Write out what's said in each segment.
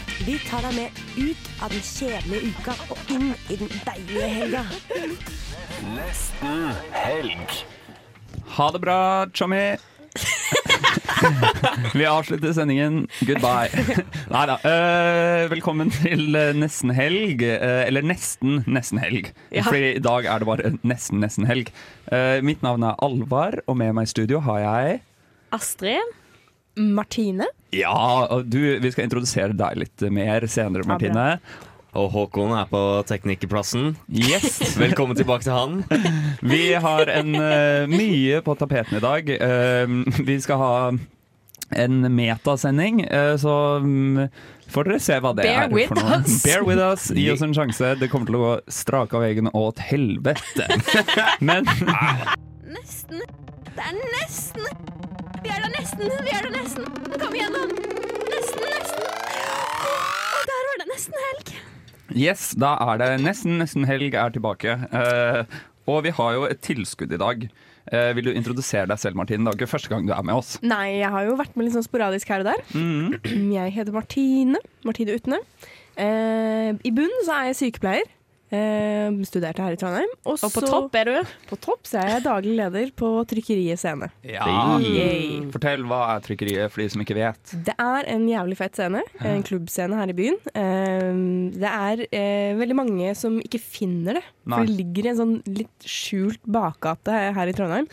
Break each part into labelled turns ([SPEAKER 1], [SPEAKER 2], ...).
[SPEAKER 1] Vi tar deg med ut av den kjedelige uka og inn i den deilige helga.
[SPEAKER 2] Ha det bra, Chommy. Vi avslutter sendingen. Goodbye. Nei da. eh, velkommen til eh, nesten helg. eh, eller nesten nesten helg.
[SPEAKER 1] Ja.
[SPEAKER 2] Fordi i dag er det bare nesten nesten helg. Eh, mitt navn er Alvar, og med meg i studio har jeg
[SPEAKER 1] Astrid. Martine.
[SPEAKER 2] Ja, og du, vi skal introdusere deg litt mer senere,
[SPEAKER 1] Ja, bra.
[SPEAKER 2] Martine.
[SPEAKER 3] Og Håkon er på teknikerplassen.
[SPEAKER 2] Yes.
[SPEAKER 3] Velkommen tilbake til han.
[SPEAKER 2] Vi har en, eh, mye på tapeten i dag. Eh, vi skal ha en metasending, eh, så mm, får dere se hva det
[SPEAKER 1] Bear
[SPEAKER 2] er.
[SPEAKER 1] with
[SPEAKER 2] for noe.
[SPEAKER 1] us.
[SPEAKER 2] Bear with us. Gi oss en sjanse. Det kommer til å gå strake av veggen og til helvete. Men
[SPEAKER 4] Nesten. Det er nesten. Vi er da nesten. Vi er da nesten. Kom igjennom. Nesten, nesten. Og der var det nesten helg.
[SPEAKER 2] yes, da er det nesten, nesten helg er tilbake. Eh, og vi har jo et tilskudd i dag. Eh, vil du introdusere deg selv, Martin? Det er jo ikke første gang du er med oss.
[SPEAKER 5] Nei, jeg har jo vært med litt sånn sporadisk her og der.
[SPEAKER 2] Mm.
[SPEAKER 5] Jeg heter Martine. Martine Utne. Eh, I bunnen så er jeg sykepleier. Eh, studerte her i Trondheim. Og,
[SPEAKER 1] på
[SPEAKER 5] så-
[SPEAKER 1] topp er du.
[SPEAKER 5] På topp så er jeg daglig leder på Trykkeriet Scene.
[SPEAKER 2] Ja.
[SPEAKER 5] Yay.
[SPEAKER 2] Fortell, hva er trykkeriet for de som ikke vet?
[SPEAKER 5] Det er en jævlig fett scene. En klubbscene her i byen. Eh, det er eh, veldig mange som ikke finner det.
[SPEAKER 2] Nei.
[SPEAKER 5] For det ligger i en sånn litt skjult bakgate her i Trondheim.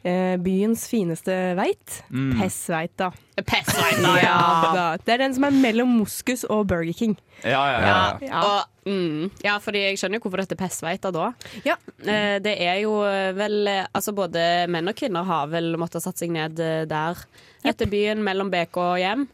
[SPEAKER 5] Eh, byens fineste veit.
[SPEAKER 2] Mm.
[SPEAKER 5] Pessveit, da.
[SPEAKER 1] Pestveina,
[SPEAKER 5] Ja da. Det er den som er mellom Moskus og Burger King.
[SPEAKER 2] Ja, ja, ja.
[SPEAKER 1] Ja. Og, mm, ja, fordi jeg skjønner jo hvorfor dette er pestveita da.
[SPEAKER 5] Ja.
[SPEAKER 1] Eh, Det er jo eh, vel eh, Altså både menn og kvinner har vel måttet satt seg ned eh, der. Etter byen mellom BK og hjem.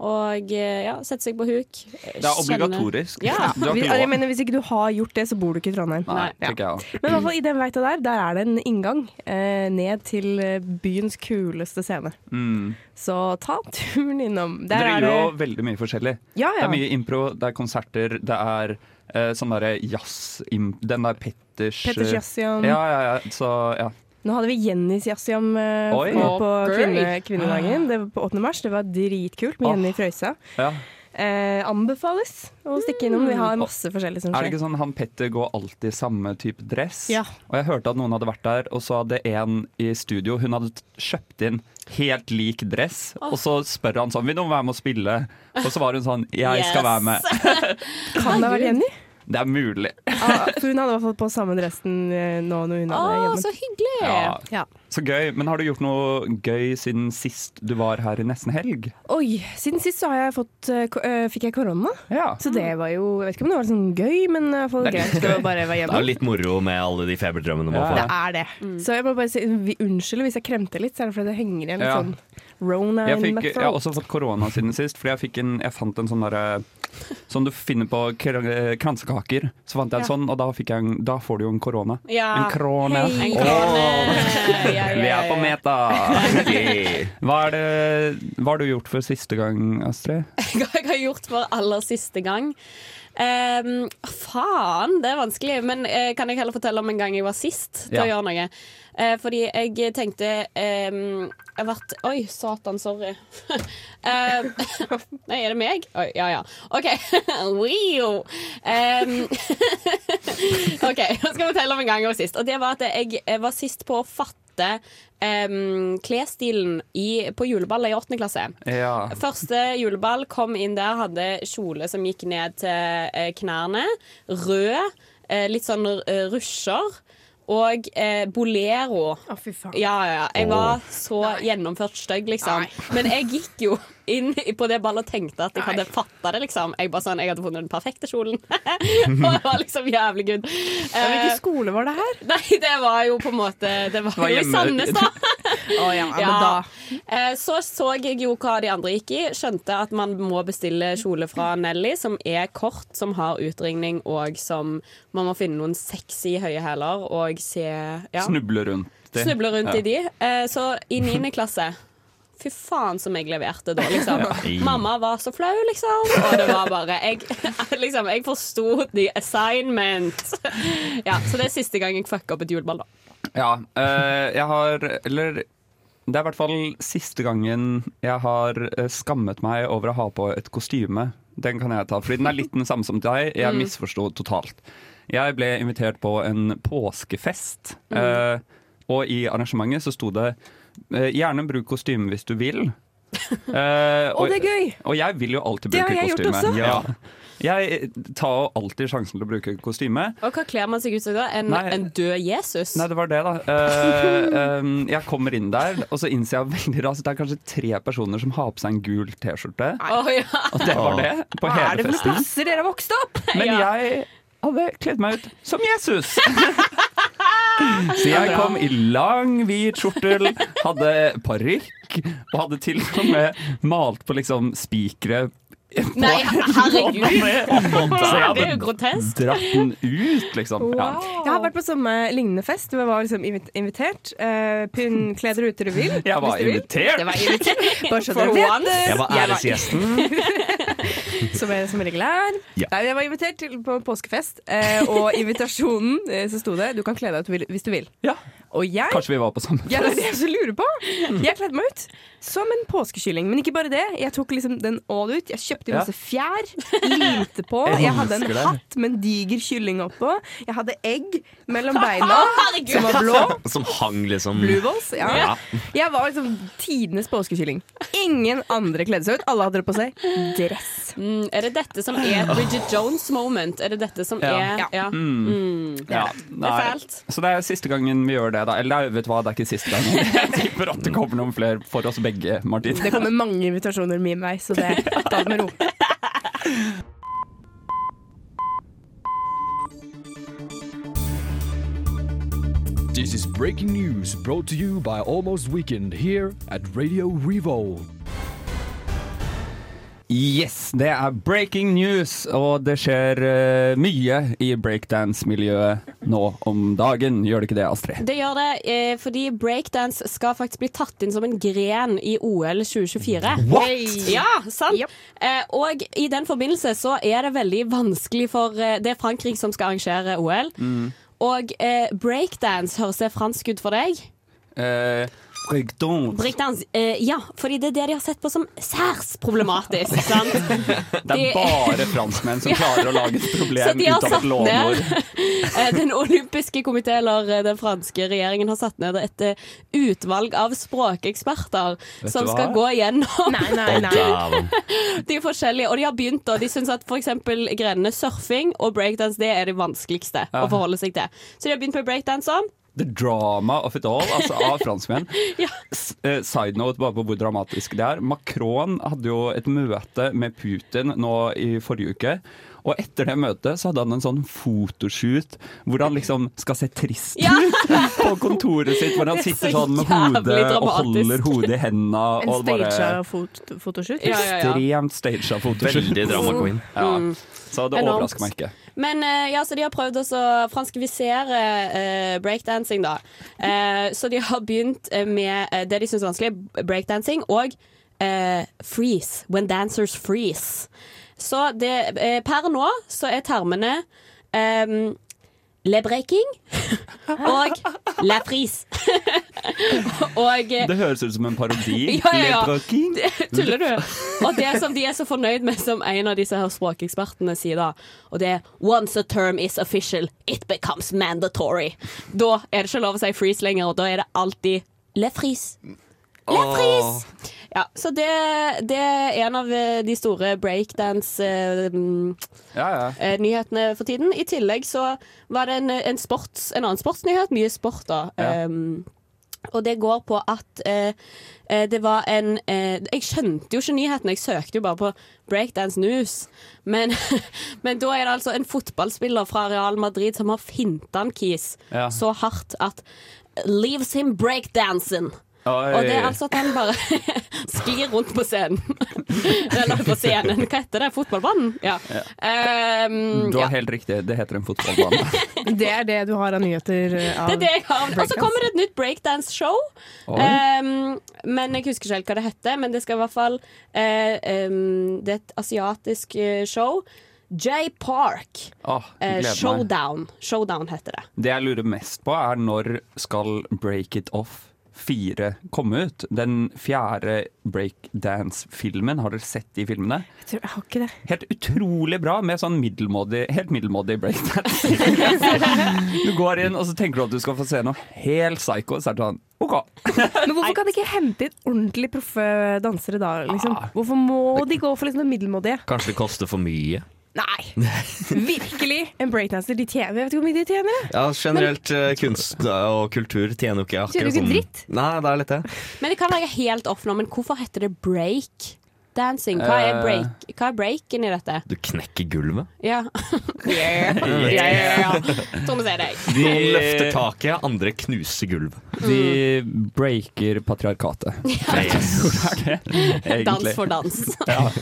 [SPEAKER 1] Og eh, ja, sette seg på huk.
[SPEAKER 2] Det er obligatorisk.
[SPEAKER 1] Ja.
[SPEAKER 2] Du har
[SPEAKER 5] Hvis,
[SPEAKER 2] ikke lov.
[SPEAKER 5] jeg mener, hvis ikke du har gjort det, så bor du ikke i Trondheim.
[SPEAKER 2] Nei,
[SPEAKER 1] Nei,
[SPEAKER 2] tenker jeg også.
[SPEAKER 5] Men i hvert fall i den veita der, der er det en inngang eh, ned til eh, byens kuleste scene.
[SPEAKER 2] Mm.
[SPEAKER 5] Så ta turen innom. Der
[SPEAKER 2] Dere
[SPEAKER 5] er
[SPEAKER 2] gjør
[SPEAKER 5] det
[SPEAKER 2] jo veldig mye forskjellig.
[SPEAKER 5] Ja,
[SPEAKER 2] Det
[SPEAKER 5] ja.
[SPEAKER 2] er mye impro, det er konserter, det er eh, sånn derre jazz im- Den der Petters eh,
[SPEAKER 5] Petters Jassiam.
[SPEAKER 2] Ja, ja, ja. Så ja.
[SPEAKER 5] Nå hadde vi Jennys Jassiam eh,
[SPEAKER 2] Oi.
[SPEAKER 5] på, på
[SPEAKER 1] Å, girl.
[SPEAKER 5] kvinne, kvinnedagen. Det var på 8. mars. Det var dritkult med
[SPEAKER 2] Åh.
[SPEAKER 5] Jenny Frøysa.
[SPEAKER 2] ja.
[SPEAKER 5] Eh, anbefales å stikke innom. Vi har masse forskjellig som
[SPEAKER 2] Er det
[SPEAKER 5] skjer.
[SPEAKER 2] ikke sånn han Petter går alltid i samme type dress?
[SPEAKER 5] Ja.
[SPEAKER 2] Og jeg hørte at noen hadde vært der, og så hadde en i studio Hun hadde t- kjøpt inn helt lik dress, og så spør han sånn Vil noen være med å spille? Og så var hun sånn Jeg skal være med.
[SPEAKER 5] Kan det ha vært Jenny?
[SPEAKER 2] Det er mulig.
[SPEAKER 5] Ah, for hun hadde i hvert fall på samme dressen eh, nå når hun
[SPEAKER 1] Å,
[SPEAKER 5] hadde jobben.
[SPEAKER 1] så hyggelig!
[SPEAKER 2] Ja.
[SPEAKER 5] Ja.
[SPEAKER 2] Så gøy. Men har du gjort noe gøy siden sist du var her i nesten helg?
[SPEAKER 5] Oi, siden sist så har jeg fått, eh, ko- eh, fikk jeg korona.
[SPEAKER 2] Ja.
[SPEAKER 5] Så det var jo Jeg vet ikke om det var sånn gøy, men i hvert fall
[SPEAKER 2] Det er
[SPEAKER 5] greit å bare være
[SPEAKER 3] Det er
[SPEAKER 5] hjemme.
[SPEAKER 3] jo litt moro med alle de feberdrømmene man
[SPEAKER 5] Det
[SPEAKER 3] får.
[SPEAKER 5] er det. Så jeg må bare si vi- unnskyld hvis jeg kremter litt, så er det fordi det henger igjen litt
[SPEAKER 2] Ja.
[SPEAKER 5] sånn rona
[SPEAKER 2] Jeg,
[SPEAKER 5] in
[SPEAKER 2] fikk,
[SPEAKER 5] my
[SPEAKER 2] jeg har
[SPEAKER 5] throat.
[SPEAKER 2] også fått korona siden sist, fordi jeg, fikk en, jeg fant en sånn derre Som du finner på kr- kransekaker. Så fant jeg en sånn, og da, fikk jeg en, da får du jo en korona.
[SPEAKER 1] Ja.
[SPEAKER 2] En krone.
[SPEAKER 1] En
[SPEAKER 2] Åh,
[SPEAKER 1] krone. Ja, ja,
[SPEAKER 2] Vi
[SPEAKER 1] ja,
[SPEAKER 2] er på
[SPEAKER 1] ja.
[SPEAKER 2] meta! Hva, er det, hva har du gjort for siste gang, Astrid?
[SPEAKER 1] hva jeg har gjort for aller siste gang. Ehm, faen, det er vanskelig. Men eh, kan jeg heller fortelle om en gang jeg var sist til å
[SPEAKER 2] Ja.
[SPEAKER 1] gjøre noe? Eh, fordi jeg tenkte ehm, Jeg har vært Oi, satan, sorry. Ehm, nei, er det meg? Oi, ja ja. OK. Wow. Ehm, OK, nå skal jeg fortelle om en gang jeg var sist. Og det var at jeg eh, var sist på å fatte ehm, klesstilen i, på juleballet i åttende klasse.
[SPEAKER 2] Ja.
[SPEAKER 1] Første juleball kom inn der, hadde kjole som gikk ned til eh, knærne. Rød. eh, Litt sånn eh, rusher. Og eh, bolero.
[SPEAKER 5] Å, fy faen.
[SPEAKER 1] Ja, ja, ja. Jeg var så gjennomført stygg, liksom. Men jeg gikk jo inn i- på det ballet og tenkte at jeg hadde fatta det, liksom. Jeg bare sånn, jeg hadde funnet den perfekte kjolen. og det var liksom jævlig good.
[SPEAKER 5] Ja, Hvilken
[SPEAKER 1] Eh,
[SPEAKER 5] skole var det her?
[SPEAKER 1] nei, det var jo på en måte Det var,
[SPEAKER 2] var
[SPEAKER 1] jo i
[SPEAKER 2] hjemme.
[SPEAKER 1] Sandnes, da.
[SPEAKER 5] Å ja, men
[SPEAKER 1] Ja.
[SPEAKER 5] da
[SPEAKER 1] Eh, Så så jeg jo hva de andre gikk i. Skjønte at man må bestille kjole fra Nelly, som er kort, som har utringning, og som man må finne noen sexy høye hæler og se ja,
[SPEAKER 2] Snuble rundt i.
[SPEAKER 1] Snuble rundt
[SPEAKER 2] Ja.
[SPEAKER 1] i de. Eh, Så i niende klasse Fy faen som jeg leverte da, liksom. Mamma var så flau, liksom. Og det var bare Jeg, liksom, jeg forsto the assignment. Ja, så det er siste gang jeg fucker opp et juleball, da.
[SPEAKER 2] Ja, eh, jeg har Eller det er i hvert fall siste gangen jeg har eh, skammet meg over å ha på et kostyme. Den kan jeg ta, fordi den er litt den samme som deg. Jeg
[SPEAKER 5] Mm.
[SPEAKER 2] misforsto totalt. Jeg ble invitert på en påskefest,
[SPEAKER 5] Mm.
[SPEAKER 2] eh, og i arrangementet så sto det eh, 'gjerne bruk kostyme hvis du vil'. Eh,
[SPEAKER 5] Å, det er gøy!
[SPEAKER 2] og jeg vil jo alltid
[SPEAKER 5] Det
[SPEAKER 2] bruke
[SPEAKER 5] har jeg gjort
[SPEAKER 2] kostyme.
[SPEAKER 5] også.
[SPEAKER 2] Ja. Jeg tar jo alltid sjansen til å bruke kostyme.
[SPEAKER 1] Og hva kler man seg ut som da? En,
[SPEAKER 2] Nei.
[SPEAKER 1] en død Jesus?
[SPEAKER 2] Nei, det var det, da. Eh, em, jeg kommer inn der, og så innser jeg veldig raskt at det er kanskje tre personer som har på seg en gul T-skjorte.
[SPEAKER 1] Å, ja.
[SPEAKER 2] Og det var det, på
[SPEAKER 5] Hva er
[SPEAKER 2] hele
[SPEAKER 5] det for noen
[SPEAKER 2] festen.
[SPEAKER 5] plasser dere har vokst opp?
[SPEAKER 2] Men
[SPEAKER 1] Ja.
[SPEAKER 2] jeg hadde kledd meg ut som Jesus! Så jeg kom i lang, hvit skjortel, hadde parykk og hadde til og med malt på liksom spikere på-
[SPEAKER 1] Nei, herregud.
[SPEAKER 2] Så jeg
[SPEAKER 1] Det er
[SPEAKER 2] hadde
[SPEAKER 1] jo grotesk.
[SPEAKER 2] dratt den ut, liksom. Ja.
[SPEAKER 5] Jeg har vært på samme lignende fest. hvor Jeg var liksom invit- invitert. Uh, Pynn, kle dere ut dere vil.
[SPEAKER 2] Jeg var
[SPEAKER 5] hvis dere vil.
[SPEAKER 2] invitert!
[SPEAKER 1] Det var irriterende.
[SPEAKER 5] Bare så
[SPEAKER 1] For
[SPEAKER 5] dere vet
[SPEAKER 1] once.
[SPEAKER 5] det.
[SPEAKER 3] Jeg var æresgjesten.
[SPEAKER 5] Som jeg som regel er.
[SPEAKER 3] Ja.
[SPEAKER 5] Nei, jeg var invitert til, på påskefest, eh, og i invitasjonen eh, så sto det 'du kan kle deg ut du vil- hvis du vil'.
[SPEAKER 2] Ja,
[SPEAKER 5] Og jeg
[SPEAKER 2] kanskje vi var på samme
[SPEAKER 5] ja, det er det jeg så lurer på. Jeg kledde meg ut som en påskekylling. Men ikke bare det. Jeg tok liksom den all ut. Jeg kjøpte masse fjær, limte på.
[SPEAKER 2] Jeg
[SPEAKER 5] Jeg hadde en
[SPEAKER 2] elsker det.
[SPEAKER 5] hatt med en diger kylling oppå. Jeg hadde egg mellom beina som var blå.
[SPEAKER 3] Som hang, liksom.
[SPEAKER 5] Blue balls, ja.
[SPEAKER 3] Ja.
[SPEAKER 5] Jeg var liksom tidenes påskekylling. Ingen andre kledde seg ut. Alle hadde det på seg dress.
[SPEAKER 1] Mm, Er det dette som er et Bridget Jones moment? Er det dette som
[SPEAKER 2] Ja.
[SPEAKER 1] er
[SPEAKER 5] Ja.
[SPEAKER 1] ja.
[SPEAKER 2] Ja, nei.
[SPEAKER 1] fælt.
[SPEAKER 2] Så det er siste gangen vi gjør det, da. Eller vet du hva, det er ikke siste gangen. Jeg tipper at det kommer noen flere for oss begge, Martin.
[SPEAKER 5] Det kommer mange invitasjoner min vei, så det, ta det med ro.
[SPEAKER 6] This is breaking news brought to you by Almost Weekend here at Radio Revolt.
[SPEAKER 2] Yes, det er breaking news, og det skjer eh, mye i breakdance-miljøet nå om dagen. Gjør det ikke det, Astrid?
[SPEAKER 1] Det gjør det, eh, fordi breakdance skal faktisk bli tatt inn som en gren i OL 2024.
[SPEAKER 5] What?!
[SPEAKER 1] Ja, sant?
[SPEAKER 5] Yep.
[SPEAKER 1] Eh, og i den forbindelse så er det veldig vanskelig for eh, Det er Frankrike som skal arrangere OL. Og eh, breakdance høres det fransk ut for deg?
[SPEAKER 2] Eh, breakdance.
[SPEAKER 1] Breakdance, eh, ja, fordi det er det de har sett på som særs problematisk. sant?
[SPEAKER 2] Det er
[SPEAKER 1] de-
[SPEAKER 2] bare franskmenn som klarer å lage et
[SPEAKER 1] Så
[SPEAKER 2] problem
[SPEAKER 1] de har
[SPEAKER 2] ut av
[SPEAKER 1] satt
[SPEAKER 2] et lånord.
[SPEAKER 1] ned Eh, Den olympiske komité, eller eh, den franske regjeringen, har satt ned et eh, utvalg av språkeksperter
[SPEAKER 2] Vet
[SPEAKER 1] som
[SPEAKER 2] du hva?
[SPEAKER 1] skal gå gjennom
[SPEAKER 5] Nei, nei, nei.
[SPEAKER 1] de forskjellige. Og de har begynt, og de syns at f.eks. grenene surfing og breakdance det er det vanskeligste å forholde seg til. Så de har begynt med sånn. breakdansene.
[SPEAKER 2] The drama of it all, altså av franskmenn.
[SPEAKER 1] Ja.
[SPEAKER 2] S- eh, Side note bare på hvor dramatisk det er. Macron hadde jo et møte med Putin nå i forrige uke. Og etter det møtet så hadde han en sånn fotoshoot hvor han liksom skal se trist ut
[SPEAKER 1] Ja.
[SPEAKER 2] på kontoret sitt. Hvor han
[SPEAKER 1] Det er
[SPEAKER 2] sitter
[SPEAKER 1] så
[SPEAKER 2] sånn med
[SPEAKER 1] jævlig
[SPEAKER 2] hodet og
[SPEAKER 1] dramatisk.
[SPEAKER 2] holder hodet i henda.
[SPEAKER 5] En
[SPEAKER 2] og bare
[SPEAKER 5] staged fot fotoshoot.
[SPEAKER 1] Ja, ja, ja.
[SPEAKER 2] Ekstremt staged fotoshoot.
[SPEAKER 3] Veldig drama queen.
[SPEAKER 2] Ja. Så det
[SPEAKER 1] Mm. Enormt.
[SPEAKER 2] overrasker meg ikke.
[SPEAKER 1] Men eh, ja, så de har prøvd også å franskifisere eh, breakdancing, da. Eh, så de har begynt eh, med eh, det de syns er vanskelig, breakdancing, og eh, freeze. When dancers freeze. Så det, eh, per nå så er termene eh, Le breaking og la frise. og eh,
[SPEAKER 2] Det høres ut som en parodi.
[SPEAKER 1] Ja, ja, ja.
[SPEAKER 2] Le Breaking.
[SPEAKER 1] Tuller du? Og det som de er så fornøyd med, som en av disse her språkekspertene sier da, og det er Once a term is official, it becomes mandatory. Da er det ikke lov å si freeze lenger, og da er det alltid le freeze. Le freeze! Ja, så det, det er en av eh, de store eh, breakdance-nyhetene
[SPEAKER 2] Ja, ja.
[SPEAKER 1] Eh, for tiden. I tillegg så var det en, en, sports, en annen sportsnyhet, mye sport da,
[SPEAKER 2] Ja.
[SPEAKER 1] em, Og det går på at eh, eh, det var en eh, Jeg skjønte jo ikke nyheten, jeg søkte jo bare på Breakdance News. Men, men da er det altså en fotballspiller fra Real Madrid som har finta en kis
[SPEAKER 2] Ja.
[SPEAKER 1] så hardt at Leaves him breakdancing. Og det er altså at han bare sklir rundt på scenen. Eller på scenen, hva heter det? Fotballbanen? Ja.
[SPEAKER 2] Ja.
[SPEAKER 1] Ehm,
[SPEAKER 2] Mm, Du har
[SPEAKER 1] ja.
[SPEAKER 2] helt riktig, det heter en fotballbane.
[SPEAKER 5] Det er det du har av nyheter eh, av
[SPEAKER 1] Det er det jeg har. Og så kommer det et nytt breakdance-show.
[SPEAKER 2] Oi.
[SPEAKER 1] Ehm, men jeg husker ikke helt hva det heter. Men det skal i hvert fall eh, ehm, Det er et asiatisk eh, show. J Park.
[SPEAKER 2] Åh,
[SPEAKER 1] Eh,
[SPEAKER 2] gleder meg.
[SPEAKER 1] showdown. Showdown heter det.
[SPEAKER 2] Det jeg lurer mest på, er når skal Break It Off 4 komme ut? Den fjerde breakdance-filmen. Har dere sett de filmene?
[SPEAKER 5] Jeg, tror, jeg har ikke det.
[SPEAKER 2] Helt utrolig bra med sånn middelmådig, helt middelmådig breakdance. du går inn og så tenker du at du skal få se noe helt psycho, så er det sånn OK.
[SPEAKER 5] Men hvorfor kan de ikke hente inn ordentlig proffe dansere da? Liksom? Hvorfor må de gå for liksom det middelmådige?
[SPEAKER 3] Kanskje det koster for mye.
[SPEAKER 5] Nei! Virkelig! En breakdancer, de tjener Jeg vet ikke hvor mye de tjener. jeg.
[SPEAKER 3] Ja, Generelt eh, kunst og kultur tjener jo ikke
[SPEAKER 4] Tjener
[SPEAKER 3] akkurat
[SPEAKER 4] ikke
[SPEAKER 3] sånn.
[SPEAKER 4] dritt.
[SPEAKER 3] Nei, det er litt det.
[SPEAKER 1] Men det kan være helt off nå, men hvorfor heter det break? Dancing. Hva er,
[SPEAKER 2] Eh.
[SPEAKER 1] break, hva er breaken i dette?
[SPEAKER 3] Du knekker gulvet.
[SPEAKER 1] Ja. yeah. Yeah, yeah, yeah. Sånn å si deg.
[SPEAKER 3] Noen løfter taket, andre knuser gulvet.
[SPEAKER 2] De breaker patriarkatet.
[SPEAKER 3] Yes.
[SPEAKER 2] Er det
[SPEAKER 1] Dans
[SPEAKER 2] egentlig?
[SPEAKER 1] for dans.
[SPEAKER 2] Ja.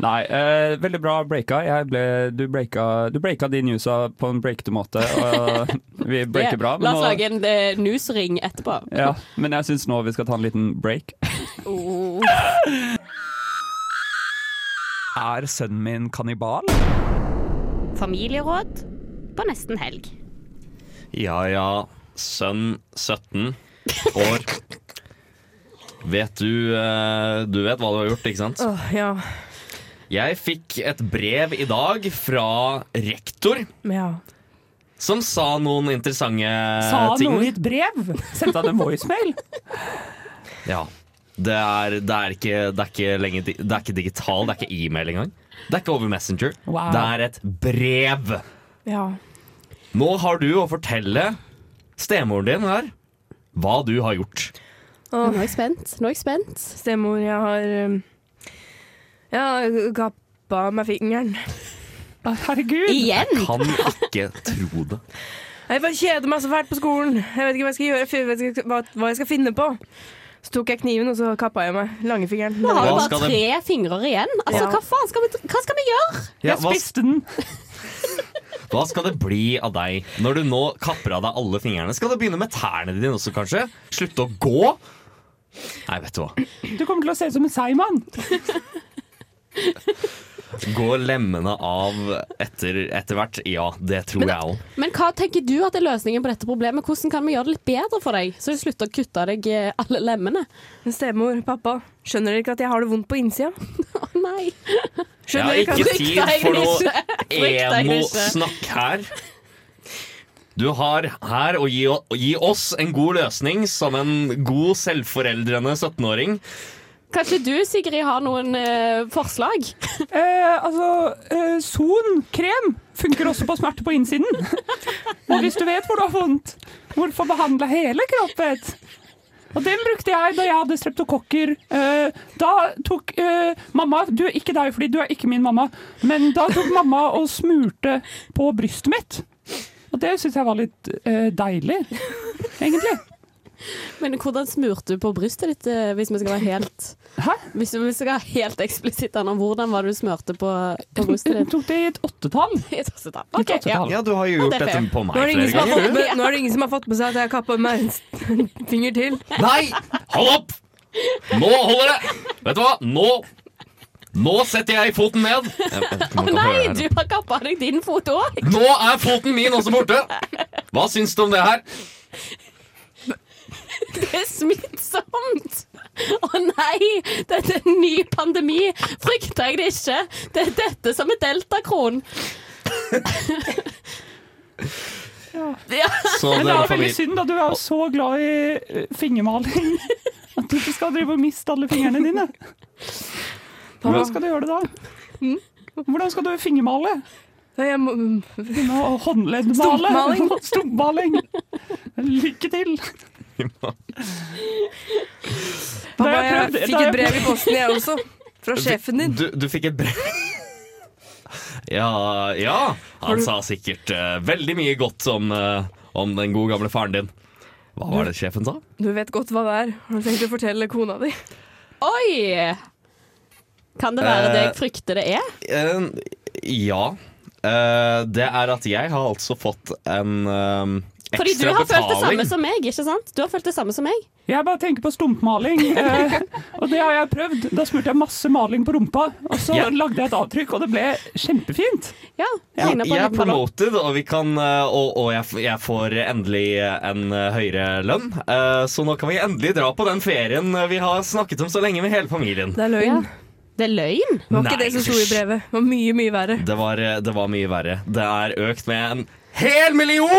[SPEAKER 2] Nei, eh, veldig bra breaka. Jeg ble, du, breaka du breaka de newsa på en breakete måte. Og vi breaker bra.
[SPEAKER 1] La oss
[SPEAKER 2] nå-
[SPEAKER 1] lage en eh, newsring etterpå.
[SPEAKER 2] ja, men jeg syns nå vi skal ta en liten break.
[SPEAKER 1] Oh.
[SPEAKER 2] Er sønnen min kannibal?
[SPEAKER 4] Familieråd på nesten helg.
[SPEAKER 3] Ja ja, sønn 17 år. Vet du eh, Du vet hva du har gjort, ikke sant?
[SPEAKER 5] Åh, ja.
[SPEAKER 3] Jeg fikk et brev i dag fra rektor
[SPEAKER 5] Men ja.
[SPEAKER 3] som sa noen interessante ting.
[SPEAKER 2] i et brev? Sendte han en voicemail?
[SPEAKER 3] Ja. Det er, det, er ikke, det, er ikke lenge, di- det er ikke digital, det er ikke e-mail engang. Det er ikke over Messenger.
[SPEAKER 2] Wow.
[SPEAKER 3] Det er et brev!
[SPEAKER 5] ja.
[SPEAKER 3] Nå har du å fortelle stemoren din her hva du har gjort.
[SPEAKER 1] Nå er jeg spent. Nå er jeg spent.
[SPEAKER 5] Stemor, jeg har um, Jeg har kappa meg fingeren.
[SPEAKER 2] Herregud!
[SPEAKER 1] Igjen?
[SPEAKER 3] Kan ikke tro det.
[SPEAKER 5] Jeg bare kjeder meg så fælt på skolen. Jeg vet ikke hva jeg skal gjøre, jeg vet ikke hva, hva jeg skal finne på. Så tok jeg kniven, og så kappa jeg meg langfingeren.
[SPEAKER 1] Nå har du
[SPEAKER 3] Hva
[SPEAKER 1] bare
[SPEAKER 3] skal det-
[SPEAKER 1] tre fingre igjen. Altså,
[SPEAKER 5] Ja.
[SPEAKER 1] hva faen skal vi, hva skal vi gjøre?
[SPEAKER 3] Ja,
[SPEAKER 2] Jeg
[SPEAKER 3] hva,
[SPEAKER 2] spiste den!
[SPEAKER 3] hva skal det bli av deg når du nå kapper av deg alle fingrene? Skal det begynne med tærne dine også, kanskje? Slutte å gå? Nei, vet du hva.
[SPEAKER 2] Du kommer til å se ut som en seigmann!
[SPEAKER 3] Går lemmene av etter, etter hvert? Ja, det tror jeg òg.
[SPEAKER 1] Men hva tenker du at er løsningen på dette problemet? Hvordan kan vi gjøre det litt bedre for deg, så du slutter å kutte av deg eh, alle lemmene?
[SPEAKER 5] Men Stemor, pappa, skjønner dere ikke at jeg har det vondt på innsida?
[SPEAKER 1] Å nei.
[SPEAKER 3] Jeg
[SPEAKER 5] Skjønner
[SPEAKER 3] har
[SPEAKER 5] dere ikke at
[SPEAKER 3] ikke tid for noe
[SPEAKER 1] Frykter jeg ikke.
[SPEAKER 3] emo-snakk her. Du har her å gi, å gi oss en god løsning som en god selvforeldrende 17-åring.
[SPEAKER 1] Kanskje du, Sigrid, har noen eh, forslag?
[SPEAKER 7] Eh, altså, eh, Son krem funker også på smerte på innsiden. Og hvis du vet hvor du har vondt, hvorfor behandle hele kroppen? Og den brukte jeg da jeg hadde streptokokker. Eh, da tok eh, mamma Du er ikke deg, fordi du er ikke min mamma. Men da tok mamma og smurte på brystet mitt. Og det syns jeg var litt eh, deilig, egentlig.
[SPEAKER 1] Men hvordan smurte du på brystet ditt, eh, hvis vi skal være helt
[SPEAKER 7] Hæ?
[SPEAKER 1] Hvis vi skal være helt eksplisitt Anna, hvordan var det du smurte på, på brystet ditt?
[SPEAKER 7] Tok det i et åttetall.
[SPEAKER 1] I et åttetall.
[SPEAKER 7] I et
[SPEAKER 1] Ok, ja.
[SPEAKER 7] åttetall.
[SPEAKER 3] Ja, du har jo
[SPEAKER 1] Ja,
[SPEAKER 3] gjort
[SPEAKER 1] det er
[SPEAKER 3] dette på meg
[SPEAKER 5] Nå er, det ingen
[SPEAKER 3] flere
[SPEAKER 5] som har
[SPEAKER 3] ganger.
[SPEAKER 5] fått med, nå er det ingen som har fått med seg at jeg har kappa meg en s- finger til.
[SPEAKER 3] Nei! Hold opp! Nå holder det! Vet du hva? Nå Nå setter jeg foten ned. Jeg vet ikke om man kan høre
[SPEAKER 1] Nei,
[SPEAKER 3] det her.
[SPEAKER 1] du har kappa deg din fot òg!
[SPEAKER 3] Nå er foten min også borte! Hva syns du om det her?
[SPEAKER 1] Det er smittsomt! Å nei! Dette er en ny pandemi. Frykter jeg det ikke? Det er dette som er deltakron. ja.
[SPEAKER 3] Så dere
[SPEAKER 7] Men det er veldig
[SPEAKER 3] familie-
[SPEAKER 7] synd, da. Du er jo så glad i eh, fingermaling. At du ikke skal drive og miste alle fingrene dine. Hvordan skal du gjøre det da?
[SPEAKER 5] Mm?
[SPEAKER 7] Hvordan skal du fingermale?
[SPEAKER 5] Nei, Jeg må,
[SPEAKER 7] Du må håndleddmale.
[SPEAKER 5] Stumpmaling.
[SPEAKER 7] Stumpmaling. Lykke til.
[SPEAKER 3] Nina.
[SPEAKER 5] Pappa,
[SPEAKER 7] Da har jeg
[SPEAKER 5] jeg
[SPEAKER 7] prøvd-
[SPEAKER 5] fikk
[SPEAKER 7] da har jeg
[SPEAKER 5] et brev i
[SPEAKER 7] prøvd-
[SPEAKER 5] posten, jeg også. Fra sjefen din.
[SPEAKER 3] Du, du fikk et brev Ja, ja.
[SPEAKER 5] Har
[SPEAKER 3] Han
[SPEAKER 5] du-
[SPEAKER 3] sa sikkert eh, veldig mye godt om, eh, om den gode gamle faren din. Hva var det sjefen sa?
[SPEAKER 5] Du vet godt hva det er. Har du tenkt å fortelle kona di?
[SPEAKER 1] Oi! Kan det være det jeg
[SPEAKER 3] Eh,
[SPEAKER 1] frykter det er?
[SPEAKER 3] Eh, ja. Eh, det er at jeg har altså fått en eh, ekstra
[SPEAKER 1] Fordi du har følt det
[SPEAKER 3] betaling.
[SPEAKER 1] samme som meg, ikke sant? Du har følt det samme som meg.
[SPEAKER 7] Jeg bare tenker på stumpmaling, eh, og det har jeg prøvd. Da smurte jeg masse maling på rumpa, og så
[SPEAKER 3] Ja.
[SPEAKER 7] lagde jeg et avtrykk, og det ble kjempefint.
[SPEAKER 1] Ja,
[SPEAKER 3] Jeg,
[SPEAKER 1] ligner på en
[SPEAKER 3] jeg er
[SPEAKER 1] liten ballong.
[SPEAKER 3] promoted, og, vi kan, eh, og, og jeg, f- jeg får endelig en eh, høyere lønn. Eh, Så nå kan vi endelig dra på den ferien vi har snakket om så lenge med hele familien.
[SPEAKER 5] Det er løgn.
[SPEAKER 1] Det er løgn.
[SPEAKER 5] Det var ikke
[SPEAKER 3] Nei,
[SPEAKER 5] det som sto i
[SPEAKER 3] hysj.
[SPEAKER 5] brevet. Det var mye, mye verre.
[SPEAKER 3] Det var, eh, det var mye verre. Det er økt med en hel million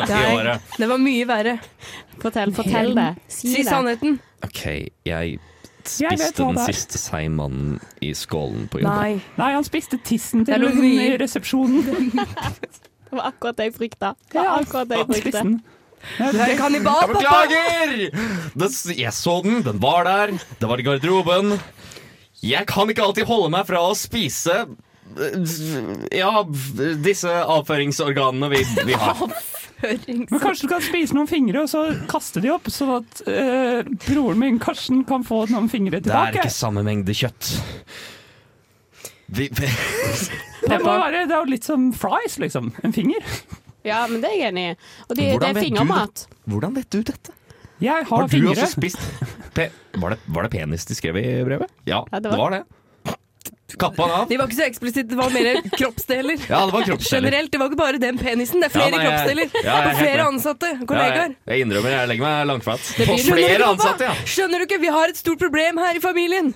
[SPEAKER 3] i
[SPEAKER 5] Nei.
[SPEAKER 3] året!
[SPEAKER 5] Det var mye verre.
[SPEAKER 1] Fortell, fortell det. sånn,
[SPEAKER 5] Si sannheten.
[SPEAKER 3] OK, jeg
[SPEAKER 7] Jeg vet
[SPEAKER 3] spiste
[SPEAKER 7] hva
[SPEAKER 3] den
[SPEAKER 7] det er.
[SPEAKER 3] siste seigmannen i skålen på jobb.
[SPEAKER 5] Nei.
[SPEAKER 7] Nei, han spiste tissen
[SPEAKER 5] Det
[SPEAKER 7] til
[SPEAKER 5] lå
[SPEAKER 7] hunden i
[SPEAKER 5] mye-
[SPEAKER 7] resepsjonen.
[SPEAKER 1] Det var akkurat det jeg frykta. Det var akkurat det jeg
[SPEAKER 7] Han spiste
[SPEAKER 1] frykta.
[SPEAKER 7] den.
[SPEAKER 5] Du er en kannibal,
[SPEAKER 3] Jeg
[SPEAKER 5] pappa!
[SPEAKER 3] beklager! Den, jeg så den, den var der. Det var i garderoben. Jeg kan ikke alltid holde meg fra å spise eh, ja, disse avføringsorganene vi, vi har.
[SPEAKER 7] Men kanskje du kan spise noen fingre, og så kaste de opp, sånn at eh, broren min, Karsten, kan få noen fingre
[SPEAKER 3] Det er
[SPEAKER 7] tilbake.
[SPEAKER 3] ikke samme mengde kjøtt. Vi, vi,
[SPEAKER 7] Det, må være, det er jo litt som fries, liksom. En finger.
[SPEAKER 1] Ja, men det er jeg enig i. Og de, det
[SPEAKER 3] Hvordan
[SPEAKER 1] er
[SPEAKER 3] vet du
[SPEAKER 1] fingermat.
[SPEAKER 3] hvordan vet du dette?
[SPEAKER 7] Jeg har,
[SPEAKER 3] Har du
[SPEAKER 7] fingre.
[SPEAKER 3] også spist pe var, det, var det penis de skrev i brevet? Ja,
[SPEAKER 1] Ja, det
[SPEAKER 3] det
[SPEAKER 1] var-
[SPEAKER 3] var det. Kappa den av.
[SPEAKER 5] De var ikke så eksplisitte, det var mer kroppsdeler.
[SPEAKER 3] Ja, det var kroppsdeler.
[SPEAKER 5] Generelt, det var ikke bare den penisen, det er flere
[SPEAKER 3] Ja, nei, jeg-
[SPEAKER 5] kroppsdeler.
[SPEAKER 3] Ja, jeg er
[SPEAKER 5] og
[SPEAKER 3] helt
[SPEAKER 5] flere
[SPEAKER 3] med.
[SPEAKER 5] ansatte,
[SPEAKER 3] Ja,
[SPEAKER 5] kollegaer.
[SPEAKER 3] jeg, jeg innrømmer, jeg legger meg langflat.
[SPEAKER 5] Det
[SPEAKER 3] På
[SPEAKER 5] blir noe
[SPEAKER 3] flere
[SPEAKER 5] nå, pappa.
[SPEAKER 3] ansatte, ja.
[SPEAKER 5] Skjønner du ikke, vi har et stort problem her i familien.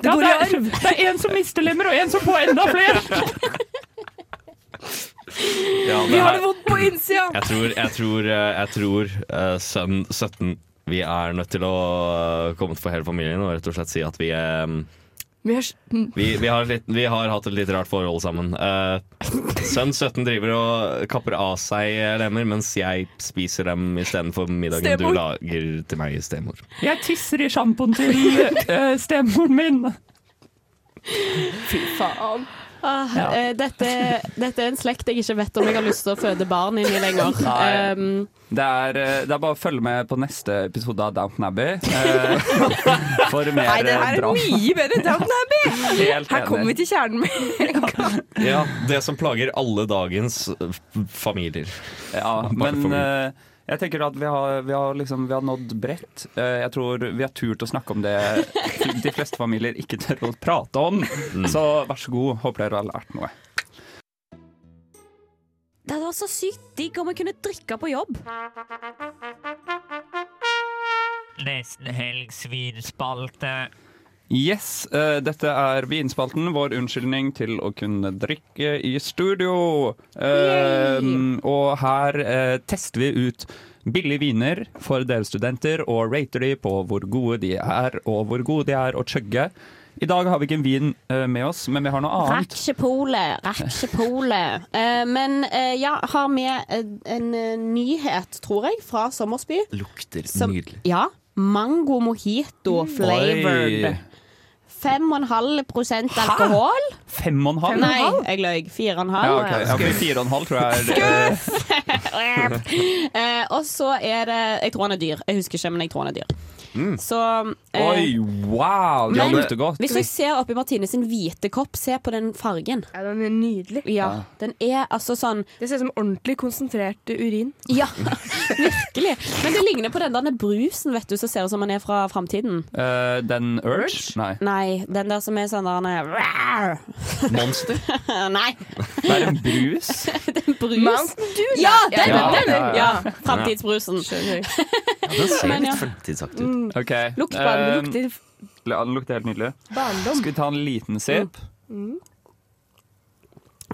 [SPEAKER 5] Det
[SPEAKER 7] Ja,
[SPEAKER 5] går
[SPEAKER 7] det,
[SPEAKER 5] i
[SPEAKER 7] er,
[SPEAKER 5] arv.
[SPEAKER 7] det er en som mister lemmer, og en som får enda flere.
[SPEAKER 3] ja
[SPEAKER 5] Vi
[SPEAKER 3] her-
[SPEAKER 5] har det vondt på innsida.
[SPEAKER 3] Jeg tror, jeg tror, eh, jeg tror eh, sønn 17 Vi er nødt til å eh, komme for hele familien og rett og slett si at vi, eh,
[SPEAKER 5] Vi har s- mm,
[SPEAKER 3] vi, vi, har, litt, vi har hatt et litt rart forhold sammen. Eh, sønn 17 driver og kapper av seg lemmer, mens jeg spiser dem istedenfor middagen
[SPEAKER 5] Stemor.
[SPEAKER 3] du lager til meg, stemor.
[SPEAKER 7] Jeg tisser i sjampoen til eh, stemoren min.
[SPEAKER 5] Fy faen.
[SPEAKER 1] Ah,
[SPEAKER 7] Ja.
[SPEAKER 1] eh, dette, dette er en slekt jeg ikke vet om jeg har lyst til å føde barn inn i lenger.
[SPEAKER 2] Nei.
[SPEAKER 1] Um,
[SPEAKER 2] Det er, eh, det er bare å følge med på neste episode av Downton Abbey. eh, For mer
[SPEAKER 5] Nei, det her er
[SPEAKER 2] drama.
[SPEAKER 5] mye bedre enn Downton Abbey.
[SPEAKER 2] Helt
[SPEAKER 5] Her kommer vi
[SPEAKER 2] enig.
[SPEAKER 5] til kjernen med en gang.
[SPEAKER 3] Ja, Det som plager alle dagens eh, f- familier.
[SPEAKER 2] Ja,
[SPEAKER 3] Bare for
[SPEAKER 2] men
[SPEAKER 3] mye.
[SPEAKER 2] eh, jeg tenker at vi har, vi har, liksom, vi har nådd bredt. Eh, jeg tror vi har turt å snakke om det de fleste familier ikke tør å prate om.
[SPEAKER 3] Mm.
[SPEAKER 2] Så vær så god, håper dere har lært noe.
[SPEAKER 4] Det hadde vært så sykt digg om jeg kunne drikke på jobb.
[SPEAKER 8] Nesten helg svinspalte.
[SPEAKER 2] Yes, eh, dette er Vinspalten, vår unnskyldning til å kunne drikke i studio. Eh, og her eh, tester vi ut billige viner for dere studenter, og rater de på hvor gode de er, og hvor gode de er å chugge. I dag har vi ikke en vin eh, med oss, men vi har noe
[SPEAKER 1] Rakk
[SPEAKER 2] annet.
[SPEAKER 1] ikke polet, rakk ikke polet. Eh, men eh, ja, har med en, en eh, nyhet, tror jeg, fra Sommersby.
[SPEAKER 3] Lukter
[SPEAKER 1] Som- Ja. Mango mojito flavored.
[SPEAKER 2] Oi,
[SPEAKER 1] 5,5 alkohol.
[SPEAKER 2] fem og en halv?
[SPEAKER 1] Nei, jeg løy. 4,5.
[SPEAKER 2] Ja, ok. ja, for fire og en halv tror jeg er eh,
[SPEAKER 1] eh, og så er det Jeg tror han er dyr. Jeg husker ikke, men jeg tror han er dyr. Så eh,
[SPEAKER 2] Mm. Oi, wow! Det
[SPEAKER 1] Men-
[SPEAKER 2] lukter godt.
[SPEAKER 1] Hvis du ser oppi Martine sin hvite kopp, se på den fargen.
[SPEAKER 5] Ja, den er nydelig.
[SPEAKER 1] Ja, Den er altså sånn
[SPEAKER 5] Det ser ut som ordentlig konsentrert urin.
[SPEAKER 1] Ja, virkelig. Men det ligner på den der brusen vet du, som ser ut som den er fra framtiden.
[SPEAKER 2] Eh, den Urge? Nei.
[SPEAKER 1] Nei, den der som er sånn der den er- Rar!
[SPEAKER 3] Monster.
[SPEAKER 1] Nei,
[SPEAKER 2] Det er en brus.
[SPEAKER 1] den brus.
[SPEAKER 5] Mount
[SPEAKER 1] Ja, den!
[SPEAKER 2] Ja,
[SPEAKER 1] den
[SPEAKER 2] ja, ja.
[SPEAKER 1] ja, framtidsbrusen.
[SPEAKER 3] Den ser
[SPEAKER 1] Men ja.
[SPEAKER 3] litt fremtidsaktig ut.
[SPEAKER 2] Ok.
[SPEAKER 1] Lukt på
[SPEAKER 3] Ehm,
[SPEAKER 1] den,
[SPEAKER 2] eh,
[SPEAKER 1] lukt
[SPEAKER 5] Lukter
[SPEAKER 2] Ja, den lukter helt nydelig.
[SPEAKER 5] barndom.
[SPEAKER 2] Skal vi ta en liten sip?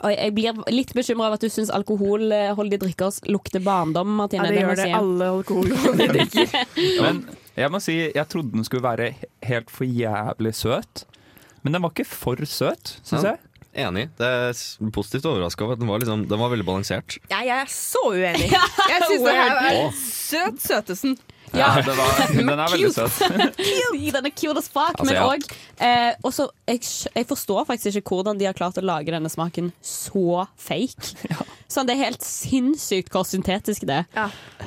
[SPEAKER 1] Oi, jeg blir litt bekymra over at du syns alkoholholdige drikker lukter barndom, Martine.
[SPEAKER 5] Ja, det
[SPEAKER 1] må
[SPEAKER 5] gjør det.
[SPEAKER 1] jeg si.
[SPEAKER 5] Alle alkoholholdige drikker.
[SPEAKER 1] Mm.
[SPEAKER 2] Men jeg må si, jeg trodde den skulle være he- helt for jævlig søt. Men den var ikke for søt, syns
[SPEAKER 3] Ja.
[SPEAKER 2] jeg.
[SPEAKER 3] Enig. Det er s- positivt overraska over at den var, liksom, den var veldig balansert.
[SPEAKER 5] Nei, jeg er så uenig. Jeg syns det her er søt søtesen.
[SPEAKER 2] Ja, det var- den er veldig
[SPEAKER 1] Cute.
[SPEAKER 2] søt.
[SPEAKER 1] Cute. den er cute as fuck,
[SPEAKER 2] Altså,
[SPEAKER 1] men
[SPEAKER 2] ja.
[SPEAKER 1] òg eh, også, jeg, skj- jeg forstår faktisk ikke hvordan de har klart å lage denne smaken så fake. Sånn, Det er helt sinnssykt hvor syntetisk det er.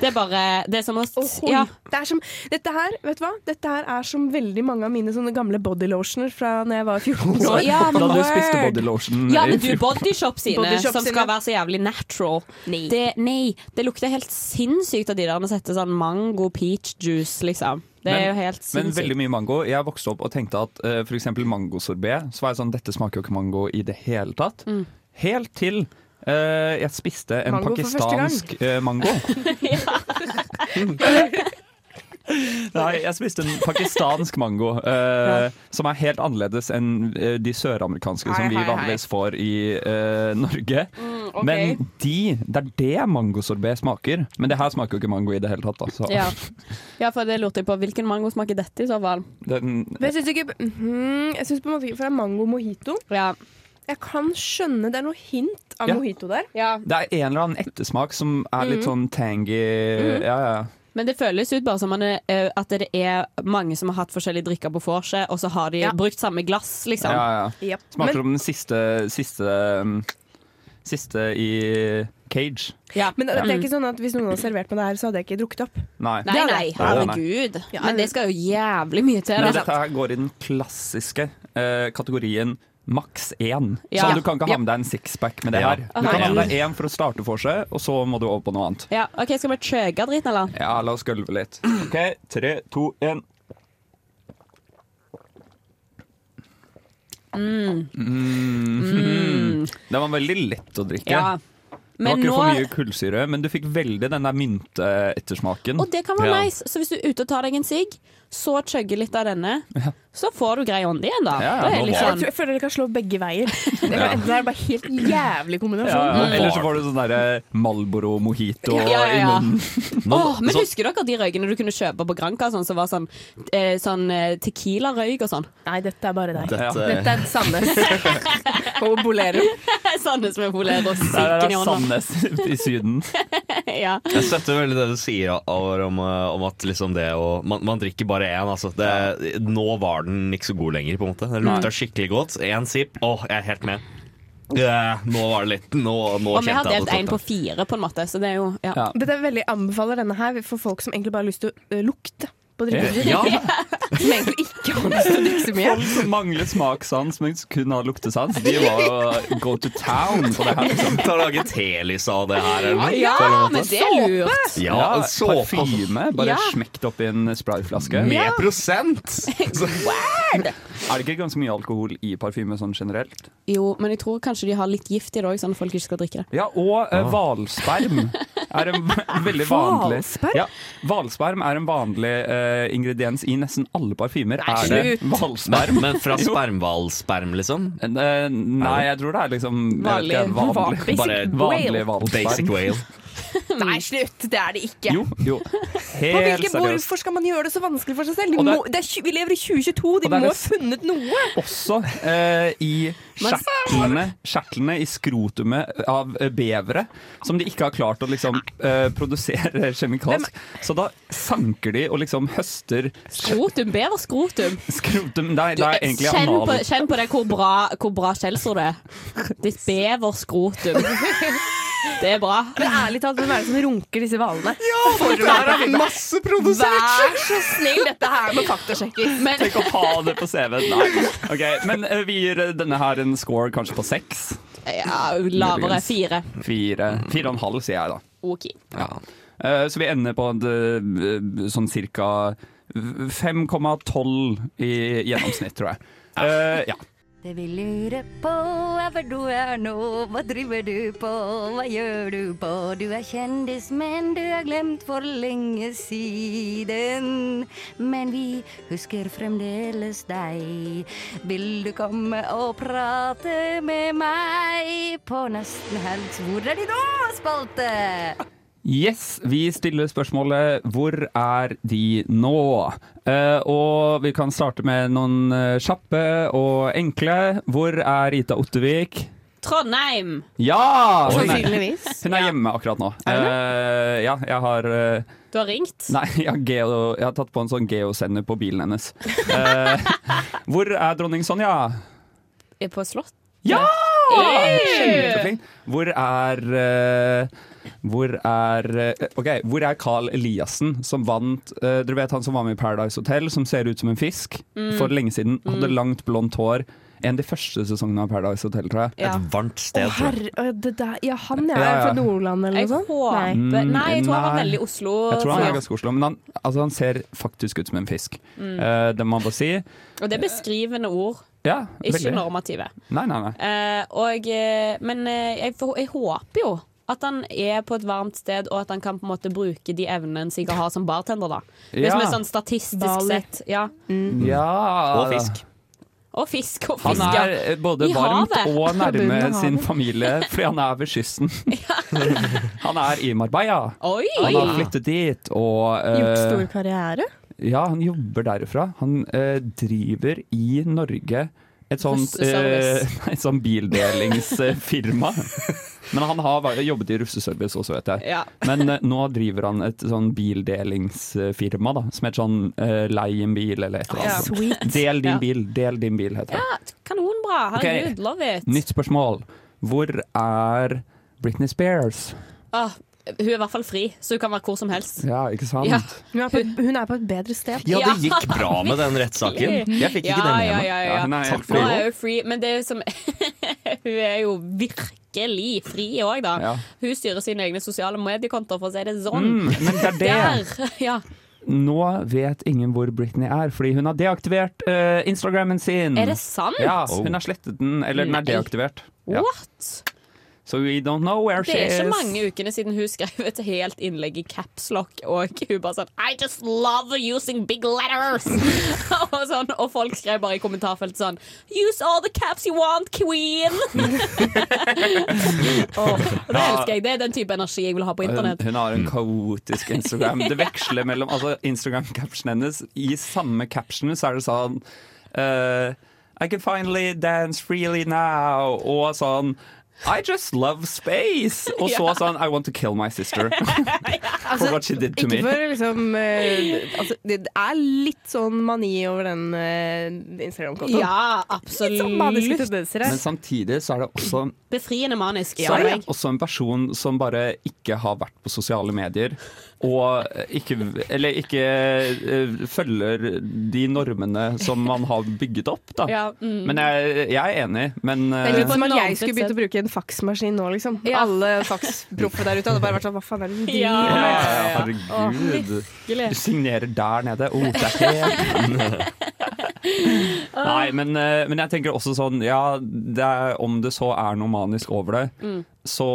[SPEAKER 1] Det er bare Det er som å
[SPEAKER 5] Ohoi.
[SPEAKER 1] ja.
[SPEAKER 5] Det er som, dette her, vet du hva? Dette her er som veldig mange av mine sånne gamle bodylotioner fra når jeg var 14 år.
[SPEAKER 2] da du spiste bodylotion.
[SPEAKER 1] Ja,
[SPEAKER 2] i
[SPEAKER 1] men du,
[SPEAKER 2] fjor.
[SPEAKER 1] Bodyshop sine,
[SPEAKER 5] Body Shop
[SPEAKER 1] som
[SPEAKER 5] sine.
[SPEAKER 1] skal være så jævlig natural. Nei. Det, nei, det lukter helt sinnssykt av de der å sette sånn mango peach juice, liksom. Det er jo helt
[SPEAKER 2] men
[SPEAKER 1] sinnssykt.
[SPEAKER 2] veldig mye mango. Jeg vokste opp og tenkte at uh, f.eks. mangosorbé så var jeg sånn, dette smaker jo ikke mango i det hele tatt.
[SPEAKER 1] Mm.
[SPEAKER 2] Helt til eh, jeg spiste en
[SPEAKER 5] Mango for første gang.
[SPEAKER 2] pakistansk eh, mango. Nei, jeg spiste en pakistansk mango eh, som er helt annerledes enn eh, de søramerikanske
[SPEAKER 1] Hei,
[SPEAKER 2] som vi
[SPEAKER 1] hei, hei.
[SPEAKER 2] vanligvis får i eh, Norge.
[SPEAKER 1] Mm, ok.
[SPEAKER 2] Men de, det er det mangosorbé smaker. Men det her smaker jo ikke mango i det hele tatt. Altså.
[SPEAKER 1] Ja. ja, for det lurte jeg på. Hvilken mango smaker dette i så fall?
[SPEAKER 2] Den,
[SPEAKER 5] Men jeg syns ikke mhm, Jeg syns på en måte ikke For det er mango mojito. Jeg kan skjønne det er noe hint av
[SPEAKER 2] Ja.
[SPEAKER 5] mojito der.
[SPEAKER 2] Det er en eller annen ettersmak som er litt
[SPEAKER 1] Mhm.
[SPEAKER 2] sånn tangy
[SPEAKER 1] Mhm.
[SPEAKER 2] Ja, ja.
[SPEAKER 1] Men det føles ut bare som man er, eh, at det er mange som har hatt forskjellige drikker på vorset, og så har de brukt samme glass, liksom.
[SPEAKER 2] ja, ja. Smaker som den siste Siste, um, siste i Cage.
[SPEAKER 5] Men det
[SPEAKER 2] Ja.
[SPEAKER 5] er ikke sånn at hvis noen hadde servert meg det her, så hadde jeg ikke drukket opp.
[SPEAKER 2] Nei.
[SPEAKER 1] Nei, nei, herregud. Men det skal jo jævlig mye til.
[SPEAKER 2] Men
[SPEAKER 1] liksom.
[SPEAKER 2] dette her går i den klassiske eh, kategorien maks én.
[SPEAKER 1] Ja.
[SPEAKER 2] Så du kan ikke ha med deg en sixpack med det
[SPEAKER 3] Ja.
[SPEAKER 2] her. Du kan ha
[SPEAKER 1] Herregud.
[SPEAKER 2] med deg én for å starte for seg, og så må du over på noe annet.
[SPEAKER 1] Ja, ok, Skal vi chøge driten, eller?
[SPEAKER 2] Ja, la oss gulve litt. OK, tre, to, én.
[SPEAKER 1] Mm.
[SPEAKER 2] Mm. Den var veldig lett å drikke.
[SPEAKER 1] Ja. Men
[SPEAKER 2] det var ikke for
[SPEAKER 1] nå-
[SPEAKER 2] mye kullsyre, men du fikk veldig den der mynteettersmaken.
[SPEAKER 1] Og det kan være nice. Så hvis du er ute og tar deg en sigg, så chugger litt av denne, så får du grei ånde igjen, da.
[SPEAKER 2] Ja,
[SPEAKER 1] da er
[SPEAKER 2] nå
[SPEAKER 1] det litt
[SPEAKER 2] var-
[SPEAKER 1] sånn-
[SPEAKER 5] Jeg, tror, jeg føler det kan slå begge veier. Det,
[SPEAKER 2] Ja.
[SPEAKER 5] det er bare helt jævlig kombinasjon.
[SPEAKER 2] Ja, ja. Eller så får du sånn derre Malboro mojito
[SPEAKER 1] Ja, ja, ja.
[SPEAKER 2] i munnen.
[SPEAKER 1] Åh, men husker dere de røykene du kunne kjøpe på Granca sånn, som var sånn, eh, sånn eh, tequila-røyk og sånn?
[SPEAKER 5] Nei, dette er bare deg.
[SPEAKER 2] Dette-
[SPEAKER 5] Dette er Sandnes. Og Bolero.
[SPEAKER 1] Sandnes med bolero og
[SPEAKER 2] Der er
[SPEAKER 1] sikken i
[SPEAKER 2] det
[SPEAKER 1] hånda.
[SPEAKER 2] Sandnes i Syden.
[SPEAKER 1] ja.
[SPEAKER 3] Jeg støtter veldig det du sier Alvar, om, eh, om at liksom det å man, man drikker bare én. Altså. Det, nå var den ikke så god lenger, på en måte. Den lukta
[SPEAKER 1] Nei.
[SPEAKER 3] skikkelig godt. Én sipp, åh, jeg er helt med. Eh, nå var det litt Nå, nå
[SPEAKER 1] Og vi har
[SPEAKER 3] kjente jeg
[SPEAKER 1] delt
[SPEAKER 3] det.
[SPEAKER 1] én på fire, på en måte, så det er jo ja.
[SPEAKER 2] Ja.
[SPEAKER 5] Dette er veldig anbefaler denne her for folk som egentlig bare har lyst til å eh, lukte på drikken.
[SPEAKER 3] Ja.
[SPEAKER 5] Som egentlig ikke har lyst til å drikke så mye.
[SPEAKER 2] Folk som mangler smakssans, men kun har luktesans, de var jo go to town på det her. Liksom.
[SPEAKER 3] Ta og lage telys av det her. eller noe,
[SPEAKER 1] Ja,
[SPEAKER 3] på en måte.
[SPEAKER 1] men det er lurt!
[SPEAKER 3] Ja, en såpe.
[SPEAKER 2] Parfyme. Bare
[SPEAKER 1] Ja.
[SPEAKER 2] smekt oppi en sprayflaske.
[SPEAKER 3] Med prosent!
[SPEAKER 1] Word!
[SPEAKER 2] Er det ikke ganske mye alkohol i parfyme sånn generelt?
[SPEAKER 1] Jo, men jeg tror kanskje de har litt gift i det òg, sånn at folk ikke skal drikke det.
[SPEAKER 2] Ja, og eh, hvalsperm er en veldig vanlig
[SPEAKER 5] Hvalsperm?
[SPEAKER 2] Ja, Hvalsperm er en vanlig eh, ingrediens i nesten alle parfymer.
[SPEAKER 1] Nei,
[SPEAKER 2] Er det
[SPEAKER 1] slutt.
[SPEAKER 2] hvalsperm?
[SPEAKER 3] Men, men fra
[SPEAKER 2] Jo.
[SPEAKER 3] spermhvalsperm, liksom?
[SPEAKER 2] Eh, Nei, jeg tror det er liksom jeg vet ikke,
[SPEAKER 1] Vanlig-
[SPEAKER 2] vanlig,
[SPEAKER 3] Bare
[SPEAKER 2] vanlig
[SPEAKER 3] basic
[SPEAKER 2] hvalsperm.
[SPEAKER 3] whale.
[SPEAKER 5] Nei, slutt! Det er det ikke.
[SPEAKER 2] Jo, jo.
[SPEAKER 5] På
[SPEAKER 2] Helt
[SPEAKER 5] hvilken,
[SPEAKER 2] seriøst.
[SPEAKER 5] hvorfor skal man gjøre det så vanskelig for seg selv? De
[SPEAKER 2] Og det er-
[SPEAKER 5] må, det er, tju- vi lever i 2022,
[SPEAKER 2] Og det
[SPEAKER 5] de
[SPEAKER 2] er
[SPEAKER 5] må
[SPEAKER 2] det
[SPEAKER 5] ha funnet noe!
[SPEAKER 2] også eh, i
[SPEAKER 1] Men-
[SPEAKER 2] skjertlene, skjertlene i skrotumet av eh, bevere, som de ikke har klart å liksom eh, produsere kjemikalsk. Så da sanker de og liksom høster
[SPEAKER 1] Skrotum, bedre skrotum.
[SPEAKER 2] skrotum Nei, det er egentlig
[SPEAKER 1] kjenn, på,
[SPEAKER 2] anal.
[SPEAKER 1] kjenn på det hvor bra, hvor bra skjellsord det er. Ditt beverskrotum. Det er bra.
[SPEAKER 5] Men ærlig talt, hvem er det som runker disse hvalene?
[SPEAKER 3] masse produsert!
[SPEAKER 5] Vær så snill, dette her må faktasjekkes.
[SPEAKER 1] Men
[SPEAKER 2] Tenk å ha det på CV-en! Nei. Ok, men eh, vi gir eh, denne her en score kanskje på seks.
[SPEAKER 1] ja, lavere. Fire.
[SPEAKER 2] Fire, fire og en halv, sier jeg da.
[SPEAKER 1] OK.
[SPEAKER 2] Eh, Så vi ender på en, eh, sånn cirka 5,12 i gjennomsnitt, tror jeg. Eh, ja.
[SPEAKER 9] Det vi lurer på er hvor du er nå, hva driver du på, hva gjør du på? Du er kjendis, men du er glemt for lenge siden. Men vi husker fremdeles deg. Vil du komme og prate med meg på nesten helg? Hvor er de nå, spalte?
[SPEAKER 2] Yes, vi stiller spørsmålet 'Hvor er de nå?' Eh, og vi kan starte med noen eh, kjappe og enkle. Hvor er Rita Ottervik?
[SPEAKER 1] Trondheim.
[SPEAKER 2] Ja! Hun er,
[SPEAKER 1] Sannsynligvis.
[SPEAKER 2] hun er hjemme akkurat nå. Eh, ja, jeg har eh,
[SPEAKER 1] Du har ringt?
[SPEAKER 2] Nei, jeg har, geo, jeg har tatt på en sånn geosender på bilen hennes. Eh, hvor er dronning Sonja?
[SPEAKER 1] Er På slott?
[SPEAKER 2] Ja!
[SPEAKER 1] Hey!
[SPEAKER 2] Kjempeflink. Hvor er eh, Hvor er eh, Ok, hvor er Carl Eliassen, som vant eh, Dere vet han som var med i Paradise Hotel, som ser ut som en fisk?
[SPEAKER 3] Mm.
[SPEAKER 2] For lenge siden. Hadde
[SPEAKER 3] Mm.
[SPEAKER 2] langt, blondt hår. En av de første sesongene av Paradise Hotel, tror jeg.
[SPEAKER 5] Ja. Et
[SPEAKER 2] varmt
[SPEAKER 5] Å, herre å, det der, Ja, han ja,
[SPEAKER 2] Ja,
[SPEAKER 5] er
[SPEAKER 2] ja.
[SPEAKER 5] fra Nordland eller noe sånt?
[SPEAKER 2] Mm,
[SPEAKER 5] Nei.
[SPEAKER 1] Nei, jeg tror han var
[SPEAKER 2] nei.
[SPEAKER 1] veldig Oslo.
[SPEAKER 2] Jeg tror han
[SPEAKER 1] før.
[SPEAKER 2] er ganske Oslo, men han, altså, han ser faktisk ut som en fisk.
[SPEAKER 1] Mm.
[SPEAKER 2] Eh, det må man bare si.
[SPEAKER 1] Og det er beskrivende ord,
[SPEAKER 2] Ja,
[SPEAKER 1] ikke
[SPEAKER 2] veldig.
[SPEAKER 1] normative.
[SPEAKER 2] Nei, nei, nei.
[SPEAKER 1] Eh, og, eh, men eh, jeg, for, jeg håper jo at han er på et varmt sted, og at han kan på en måte bruke de evnene Sigurd har som bartender. da Hvis
[SPEAKER 2] Ja.
[SPEAKER 1] vi er sånn statistisk
[SPEAKER 5] Bali.
[SPEAKER 1] sett. Ja.
[SPEAKER 2] Ja
[SPEAKER 3] Mm. Og fisk.
[SPEAKER 1] Og fisk og
[SPEAKER 2] Han
[SPEAKER 1] fisk, ja.
[SPEAKER 2] er eh, både
[SPEAKER 1] I
[SPEAKER 2] varmt
[SPEAKER 1] havet.
[SPEAKER 2] og nærme
[SPEAKER 1] Bunnen av
[SPEAKER 2] sin
[SPEAKER 1] havet.
[SPEAKER 2] familie, fordi han er ved kysten. Han er i Marbella.
[SPEAKER 1] Oi!
[SPEAKER 2] Han har flyttet dit og eh,
[SPEAKER 5] Gjort stor karriere?
[SPEAKER 2] Ja, han jobber derifra. Han eh, driver i Norge et sånt, eh,
[SPEAKER 5] Russeservice.
[SPEAKER 2] et sånt bildelingsfirma. Men han har vært- jobbet i russeservice også, vet jeg.
[SPEAKER 1] Ja.
[SPEAKER 2] Men eh, nå driver han et sånn bildelingsfirma da, som heter sånn eh, Lei en bil eller et eller
[SPEAKER 1] Ja.
[SPEAKER 2] annet. sånt.
[SPEAKER 1] Sweet.
[SPEAKER 2] Del din
[SPEAKER 1] Ja.
[SPEAKER 2] bil, del din bil, heter det.
[SPEAKER 1] ja, kanonbra. Herregud, love it.
[SPEAKER 2] Nytt spørsmål. Hvor er Britney Spears?
[SPEAKER 1] Ah, hun er i hvert fall fri, så hun kan være hvor som helst.
[SPEAKER 2] Ja, ikke sant?
[SPEAKER 1] Ja.
[SPEAKER 5] Hun er, på, hun er på et bedre sted.
[SPEAKER 3] Ja, det gikk bra med den rettssaken. Jeg fikk ikke
[SPEAKER 1] ja,
[SPEAKER 3] den med
[SPEAKER 1] ja,
[SPEAKER 3] meg.
[SPEAKER 1] ja, ja.
[SPEAKER 3] Ja, hun er helt
[SPEAKER 1] Nå
[SPEAKER 3] fri.
[SPEAKER 1] er hun free, men det er jo som Hun er jo virkelig fri òg, da.
[SPEAKER 2] Ja.
[SPEAKER 1] Hun styrer sine egne sosiale mediekontoer, for å si det sånn.
[SPEAKER 2] Mm, men det er det.
[SPEAKER 1] Der, ja.
[SPEAKER 2] Nå vet ingen hvor Britney er, fordi hun har deaktivert eh, Instagrammen sin.
[SPEAKER 1] Er det sant?
[SPEAKER 2] Ja, hun har slettet den, eller den er
[SPEAKER 1] Nei.
[SPEAKER 2] deaktivert. Ja.
[SPEAKER 1] What?
[SPEAKER 2] So we don't know where
[SPEAKER 1] Det
[SPEAKER 2] she
[SPEAKER 1] er
[SPEAKER 2] is.
[SPEAKER 1] ikke mange ukene siden hun skrev et helt innlegg i capslock, og hun bare sånn I just love using big letters! og, sånn, og folk skrev bare i kommentarfeltet sånn Use all the caps you want, queen! Åh, og det
[SPEAKER 2] Ja.
[SPEAKER 1] elsker jeg. Det er den type energi jeg vil ha på
[SPEAKER 2] Hun,
[SPEAKER 1] internett.
[SPEAKER 2] hun har en kaotisk Instagram. Det veksler mellom altså Instagram-captionen hennes. I samme caption så er det sånn eh, I can finally dance freely now. Og sånn I just love space! Og så
[SPEAKER 5] Ja.
[SPEAKER 2] sånn I want to kill my sister. For what she did to me.
[SPEAKER 5] Altså, Ikke for liksom eh, altså, Det er litt sånn mani over den eh, Instagram-kontoen.
[SPEAKER 1] Ja,
[SPEAKER 5] Litt sånn maniske
[SPEAKER 1] absolutt.
[SPEAKER 5] tendenser
[SPEAKER 2] Men
[SPEAKER 5] her.
[SPEAKER 2] samtidig så er det også
[SPEAKER 1] Befriende manisk.
[SPEAKER 2] så er det også en person som bare ikke har vært på sosiale medier, og ikke, eller ikke eh, følger de normene som man har bygget opp. Da.
[SPEAKER 5] Ja, mm.
[SPEAKER 2] Men jeg, jeg er enig, men
[SPEAKER 5] Det er litt
[SPEAKER 2] eh,
[SPEAKER 5] som at jeg skulle begynt å bruke en faksmaskin nå, liksom. Alle faksproffe der ute hadde bare vært sånn Hva faen er det du
[SPEAKER 2] ja,
[SPEAKER 5] driver med?
[SPEAKER 2] eh,
[SPEAKER 5] Åh,
[SPEAKER 2] Herregud.
[SPEAKER 5] virkelig.
[SPEAKER 2] Du signerer der nede. Oh, det er helt Nei, men, eh, men jeg tenker også sånn Ja, det er, om det så er noe manisk over det,
[SPEAKER 1] Mm.
[SPEAKER 2] så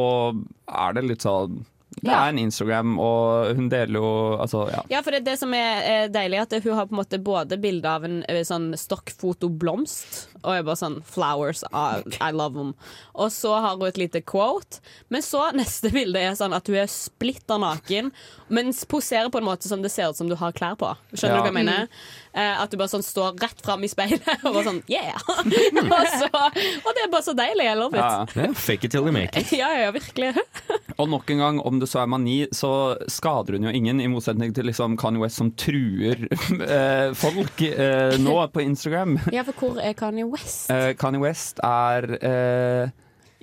[SPEAKER 2] er det litt sånn Det
[SPEAKER 1] Ja.
[SPEAKER 2] er en Instagram, og hun deler jo Altså, ja.
[SPEAKER 1] Ja, for det, er det som er eh, deilig, er at hun har på en måte både bilde av en eh, sånn stokkfotoblomst, og er bare sånn 'flowers, I, I love them'. Og så har hun et lite quote, men så neste bilde er sånn at hun er splitter naken, men poserer på en måte som det ser ut som du har klær på.
[SPEAKER 4] Ja.
[SPEAKER 1] Skjønner du hva jeg mener? Eh, at du bare sånn står rett fram i speilet og bare sånn 'yeah'. og, så, og det er bare så deilig. I love
[SPEAKER 2] Ja.
[SPEAKER 1] it.
[SPEAKER 3] Fake it till you make it.
[SPEAKER 1] Ja, ja, virkelig.
[SPEAKER 2] Og nok en gang, om det så er mani, så skader hun jo ingen, i motsetning til liksom Kanye West som truer eh, folk eh, nå på Instagram.
[SPEAKER 1] Ja, for hvor er Kanye West?
[SPEAKER 2] Eh, Kanye West er eh,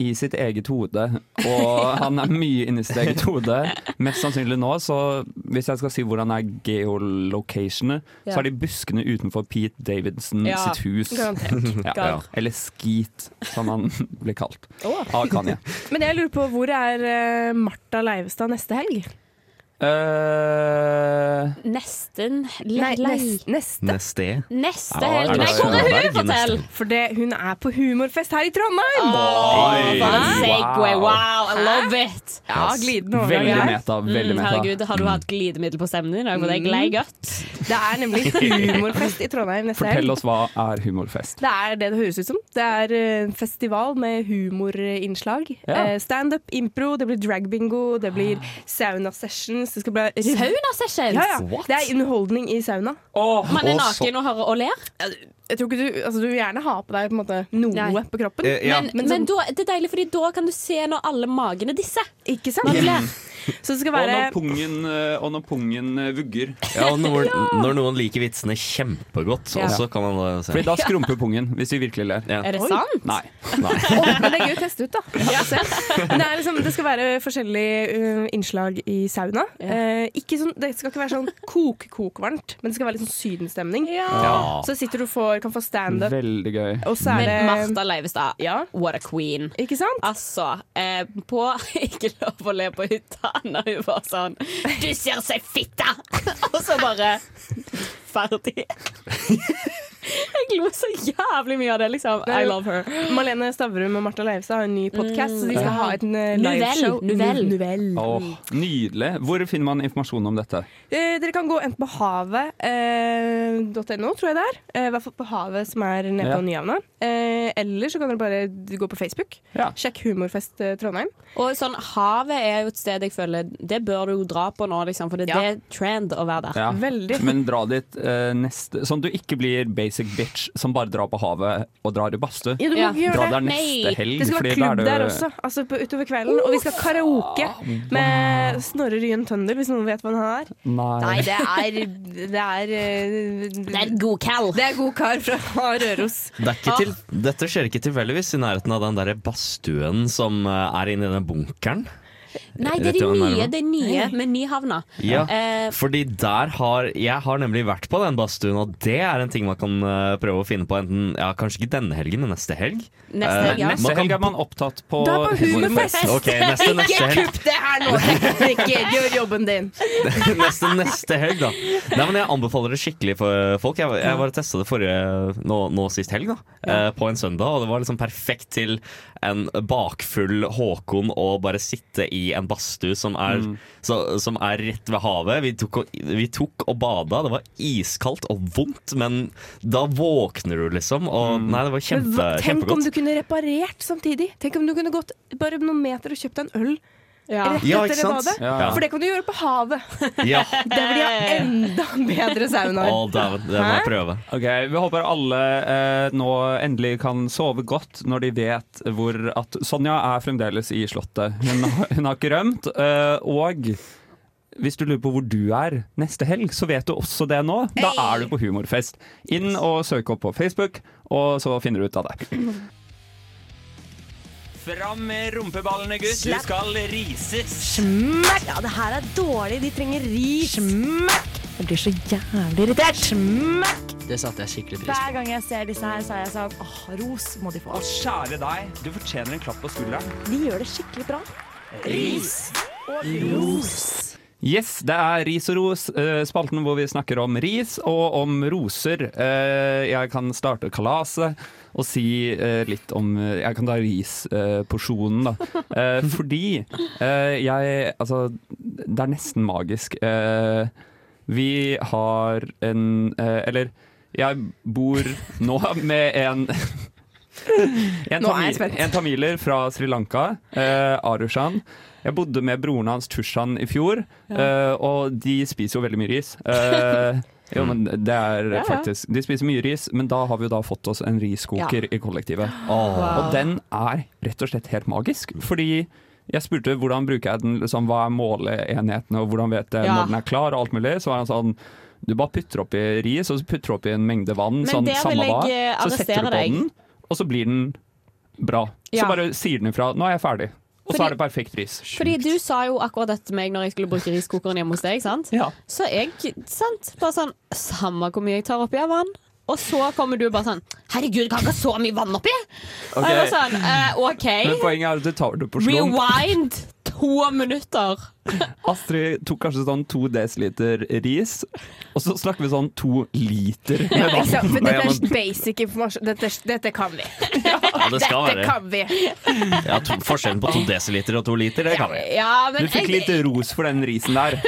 [SPEAKER 2] i sitt eget hode, og han er mye inni sitt eget hode. Mest sannsynlig nå, så hvis jeg skal si hvordan er geolocationet,
[SPEAKER 1] Ja.
[SPEAKER 2] så er de buskene utenfor Pete Davidson
[SPEAKER 1] Ja,
[SPEAKER 2] sitt hus.
[SPEAKER 5] garantert.
[SPEAKER 2] Ja,
[SPEAKER 5] Gar.
[SPEAKER 2] Eller Skeet, som han blir kalt.
[SPEAKER 5] Åh.
[SPEAKER 2] Av Kanye.
[SPEAKER 5] Men jeg lurer på, hvor er eh, Martha Leivestad neste helg?
[SPEAKER 2] Eh,
[SPEAKER 1] Nesten.
[SPEAKER 5] Nei, nes- neste.
[SPEAKER 3] Neste.
[SPEAKER 1] Neste
[SPEAKER 3] Ja,
[SPEAKER 5] helg.
[SPEAKER 3] er det
[SPEAKER 5] Nei, hvor er hun,
[SPEAKER 3] Solberg neste?
[SPEAKER 5] fortell! For det- hun er på humorfest her i Trondheim!
[SPEAKER 3] Oi.
[SPEAKER 1] For en segway,
[SPEAKER 3] Wow.
[SPEAKER 1] wow, I
[SPEAKER 5] Hæ?
[SPEAKER 1] love it! Mm,
[SPEAKER 5] Ja, Mm, glidende
[SPEAKER 2] overgang Veldig her. meta, veldig meta.
[SPEAKER 3] Mm.
[SPEAKER 1] Herregud, har du hatt glidemiddel på stemmen din? i dag? For Det er glei godt.
[SPEAKER 5] Det er nemlig humorfest i Trondheim neste
[SPEAKER 2] Fortell oss hva er humorfest.
[SPEAKER 5] Det er det det høres ut som. Det er eh, en festival med humorinnslag.
[SPEAKER 2] Ja.
[SPEAKER 5] Eh, Standup, impro, det blir dragbingo, det blir sauna-sessions. Det skal bli
[SPEAKER 1] Sauna-sessions?
[SPEAKER 5] Ja, ja.
[SPEAKER 1] What?
[SPEAKER 5] Det er underholdning i sauna.
[SPEAKER 1] Man er naken og, har, og ler?
[SPEAKER 5] Jeg tror ikke du, altså, du vil gjerne ha på deg på en måte, noe på kroppen. sånn,
[SPEAKER 1] Eh, ja. Men- men da- det er deilig, fordi da kan du se når alle magene disser.
[SPEAKER 5] Ikke
[SPEAKER 1] sant? Når du ler.
[SPEAKER 3] Mm.
[SPEAKER 5] Så det skal
[SPEAKER 2] Og
[SPEAKER 5] være
[SPEAKER 2] når pungen, eh, og når pungen eh, vugger.
[SPEAKER 3] Ja, og når, når noen liker vitsene kjempegodt,
[SPEAKER 2] Ja.
[SPEAKER 3] også kan man da se.
[SPEAKER 2] Fordi da skrumper pungen, hvis vi virkelig ler.
[SPEAKER 5] Er det Oi. sant?
[SPEAKER 2] Nei.
[SPEAKER 5] Å, men det er gøy å teste ut, da. Se. Men Det, er liksom, det skal være forskjellige uh, innslag i sauna. Eh, ikke sånn, det skal ikke være sånn kok-kokvarmt, men det skal være litt sånn sydenstemning.
[SPEAKER 1] Ja.
[SPEAKER 5] Så sitter du og får, kan få standup.
[SPEAKER 2] Veldig gøy.
[SPEAKER 5] Og så er
[SPEAKER 1] Men
[SPEAKER 5] det-
[SPEAKER 1] Martha Leivestad, what a queen.
[SPEAKER 5] Ikke sant?
[SPEAKER 1] Altså, eh, på Ikke lov å le på hytta når hun var sånn Du ser seg fitta! Og så bare Ferdig. Jeg lo så jævlig mye av det, liksom. I love her.
[SPEAKER 5] Malene Stavrum og Martha Leivestad har en ny podkast, så de skal
[SPEAKER 1] Mm.
[SPEAKER 5] ha et eh,
[SPEAKER 1] Novell,
[SPEAKER 5] liveshow.
[SPEAKER 1] novell.
[SPEAKER 5] Nu- novell.
[SPEAKER 2] Åh, nydelig. Hvor finner man informasjon om dette?
[SPEAKER 5] Eh, dere kan gå enten på havet.no, tror jeg det er. Eh, I hvert fall på Havet, som er nede
[SPEAKER 1] Ja.
[SPEAKER 5] på Nyhavna. Eh, eller så kan dere bare d- gå på Facebook. Sjekk Humorfest eh, Trondheim.
[SPEAKER 1] Og sånn, Havet er jo et sted jeg føler Det bør du jo dra på nå, liksom, for det, det er trend å være der.
[SPEAKER 2] Ja. Men dra dit eh, neste Sånn at du ikke blir basic bitch som bare drar på havet og drar i badstue.
[SPEAKER 5] Ja, du må ikke
[SPEAKER 2] Dra
[SPEAKER 5] gjøre
[SPEAKER 2] der
[SPEAKER 5] det.
[SPEAKER 2] neste helg.
[SPEAKER 5] det skal
[SPEAKER 2] fordi
[SPEAKER 5] være
[SPEAKER 2] da er
[SPEAKER 5] klubb
[SPEAKER 2] du-
[SPEAKER 5] der også, altså på, utover kvelden. og vi skal karaoke med Snorre Ryen Tønder, hvis noen vet hva han er.
[SPEAKER 2] Nei.
[SPEAKER 5] Nei, det er Det er, eh,
[SPEAKER 1] god kall.
[SPEAKER 5] Det er god kar fra Røros.
[SPEAKER 3] Det er ikke til, dette skjer ikke tilfeldigvis i nærheten av den der badstuen som eh, er inni den bunkeren.
[SPEAKER 1] Nei, det er
[SPEAKER 3] Rett
[SPEAKER 1] de
[SPEAKER 3] i den
[SPEAKER 1] nye,
[SPEAKER 3] nærheten.
[SPEAKER 1] det er nye med Nyhavna.
[SPEAKER 3] Ja,
[SPEAKER 1] Eh,
[SPEAKER 3] fordi der har Jeg har nemlig vært på den badstuen, og det er en ting man kan eh, prøve å finne på enten Ja, kanskje ikke denne helgen, men neste helg.
[SPEAKER 1] Neste helg,
[SPEAKER 3] Eh,
[SPEAKER 1] ja.
[SPEAKER 3] man
[SPEAKER 2] Neste
[SPEAKER 3] kan-
[SPEAKER 2] helg er man opptatt på
[SPEAKER 3] Da er på humorfest. Ok, neste- neste
[SPEAKER 5] Ikke
[SPEAKER 3] helg.
[SPEAKER 5] kupp det her nå, tekniker! Gjør jobben din.
[SPEAKER 3] neste, neste helg, da. Nei, men Jeg anbefaler det skikkelig for folk. Jeg, jeg var og testa det forrige nå, nå sist helg, da. eh, På en søndag. Og det var liksom perfekt til en bakfull Håkon å bare sitte i en badstue som, er-
[SPEAKER 5] Mm.
[SPEAKER 3] så- som er rett ved havet. Vi tok, og, vi tok og bada. Det var iskaldt og vondt, men da våkner du, liksom. Og nei, det var
[SPEAKER 5] Mm. Men
[SPEAKER 3] kjempe,
[SPEAKER 5] hva- Tenk om
[SPEAKER 3] kjempegodt.
[SPEAKER 5] du kunne reparert samtidig. Tenk om du kunne gått bare noen meter og kjøpt deg en øl. Rett
[SPEAKER 3] Ja,
[SPEAKER 5] etter
[SPEAKER 3] ikke sant?
[SPEAKER 5] badet.
[SPEAKER 3] Ja, ja.
[SPEAKER 5] For det kan du gjøre på havet.
[SPEAKER 3] Ja.
[SPEAKER 5] Der vil de ha enda bedre saunaer.
[SPEAKER 3] Å, dæven. Det må jeg
[SPEAKER 5] Hæ?
[SPEAKER 3] prøve.
[SPEAKER 2] Ok, Vi håper alle eh, nå endelig kan sove godt når de vet hvor at Sonja er fremdeles i Slottet. Hun, har- hun har ikke rømt. eh, og hvis du lurer på hvor du er neste helg, så vet du også det nå. Da er du på humorfest. Inn og søk opp på Facebook, og så finner du ut av det. Fram med rumpeballene, gutt. Du
[SPEAKER 10] Slapp.
[SPEAKER 2] skal rises.
[SPEAKER 10] Smekk! Ja, det her er dårlig. De trenger ris. Smekk! Jeg blir så jævlig irritert. Smekk!
[SPEAKER 11] Det satte jeg skikkelig pris
[SPEAKER 10] Hver gang jeg ser disse her, så er jeg sånn åh, ros må de få.
[SPEAKER 2] Å, kjære deg. Du fortjener en klapp på skulderen.
[SPEAKER 10] De gjør det skikkelig bra.
[SPEAKER 2] Ris.
[SPEAKER 10] og ros.
[SPEAKER 2] Yes, det er Ris og ros, eh, spalten hvor vi snakker om ris og om roser. Eh, Jeg kan starte kalaset og si eh, litt om eh, Jeg kan ta risporsjonen, da. Eh, Fordi eh, jeg Altså, det er nesten magisk. Eh, Vi har en eh, Eller, jeg bor nå med en en,
[SPEAKER 5] Nå er jeg
[SPEAKER 2] tamil-
[SPEAKER 5] spent.
[SPEAKER 2] en tamiler fra Sri Lanka, eh, Arushan. Jeg bodde med broren hans Tushan i fjor, eh, og de spiser jo veldig mye ris. Eh, jo, men det er
[SPEAKER 3] Ja, ja.
[SPEAKER 2] faktisk De spiser mye ris, men da har vi jo da fått oss en riskoker
[SPEAKER 3] Ja.
[SPEAKER 2] i kollektivet.
[SPEAKER 3] Wow.
[SPEAKER 2] Og den er rett og slett helt magisk,
[SPEAKER 1] Mm.
[SPEAKER 2] fordi jeg spurte hvordan bruker jeg den, liksom, hva er måleenhetene, og hvordan vet jeg
[SPEAKER 1] Ja.
[SPEAKER 2] når den er klar, og alt mulig. Så var han sånn du bare putter oppi ris, og så putter du oppi en mengde vann,
[SPEAKER 1] Men
[SPEAKER 2] sånn
[SPEAKER 1] der
[SPEAKER 2] samme
[SPEAKER 1] vil jeg,
[SPEAKER 2] hva.
[SPEAKER 1] eh,
[SPEAKER 2] Så setter du
[SPEAKER 1] arrestere
[SPEAKER 2] på
[SPEAKER 1] deg.
[SPEAKER 2] den, og så blir den bra.
[SPEAKER 1] Ja.
[SPEAKER 2] Så bare sier den ifra 'nå er jeg ferdig', og så
[SPEAKER 1] Fordi-
[SPEAKER 2] er det perfekt ris.
[SPEAKER 1] Fordi du sa jo akkurat dette til meg når jeg skulle bruke riskokeren hjemme hos deg, sant? Så jeg, sant, bare sånn Samme hvor mye jeg tar oppi av vann. Og så kommer du bare sånn Herregud, kan ikke ha så mye vann oppi! Og jeg var sånn, eh, OK.
[SPEAKER 2] Men poenget er at du tar det på slump.
[SPEAKER 1] Rewind to minutter.
[SPEAKER 2] Astrid tok kanskje sånn to desiliter ris, og så snakker vi sånn to liter
[SPEAKER 5] Ja,
[SPEAKER 2] med
[SPEAKER 5] ikke sant?
[SPEAKER 2] vann.
[SPEAKER 5] For
[SPEAKER 2] Nei,
[SPEAKER 5] dette
[SPEAKER 2] men-
[SPEAKER 5] er basic informasjon. Dette, dette kan vi.
[SPEAKER 3] det skal
[SPEAKER 5] dette
[SPEAKER 3] være.
[SPEAKER 5] kan vi.
[SPEAKER 3] Ja, to, forskjellen på to desiliter og to liter, det kan vi.
[SPEAKER 1] Ja, men
[SPEAKER 2] Du fikk
[SPEAKER 1] jeg-
[SPEAKER 2] litt ros for den risen der.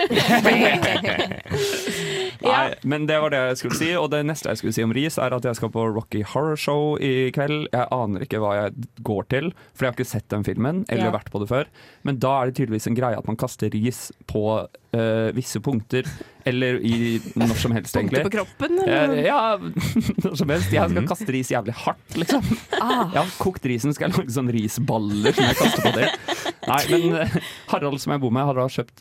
[SPEAKER 2] Nei, men det var det jeg skulle si. Og det neste jeg skulle si om ris, er at jeg skal på Rocky Horror Show i kveld. Jeg aner ikke hva jeg går til, for jeg har ikke sett den filmen eller
[SPEAKER 11] Ja.
[SPEAKER 2] vært på det før. Men da er det tydeligvis en greie at man kaster ris på eh, visse punkter, eller i når som helst, egentlig.
[SPEAKER 5] Punkter på kroppen,
[SPEAKER 2] Eh,
[SPEAKER 5] eller?
[SPEAKER 2] Ja, når som helst. Jeg skal kaste ris jævlig hardt, liksom.
[SPEAKER 5] Ah.
[SPEAKER 2] Jeg har kokt risen, skal jeg lage sånne risballer som jeg kaster på det. Nei, men eh, Harald som jeg bor med, har da kjøpt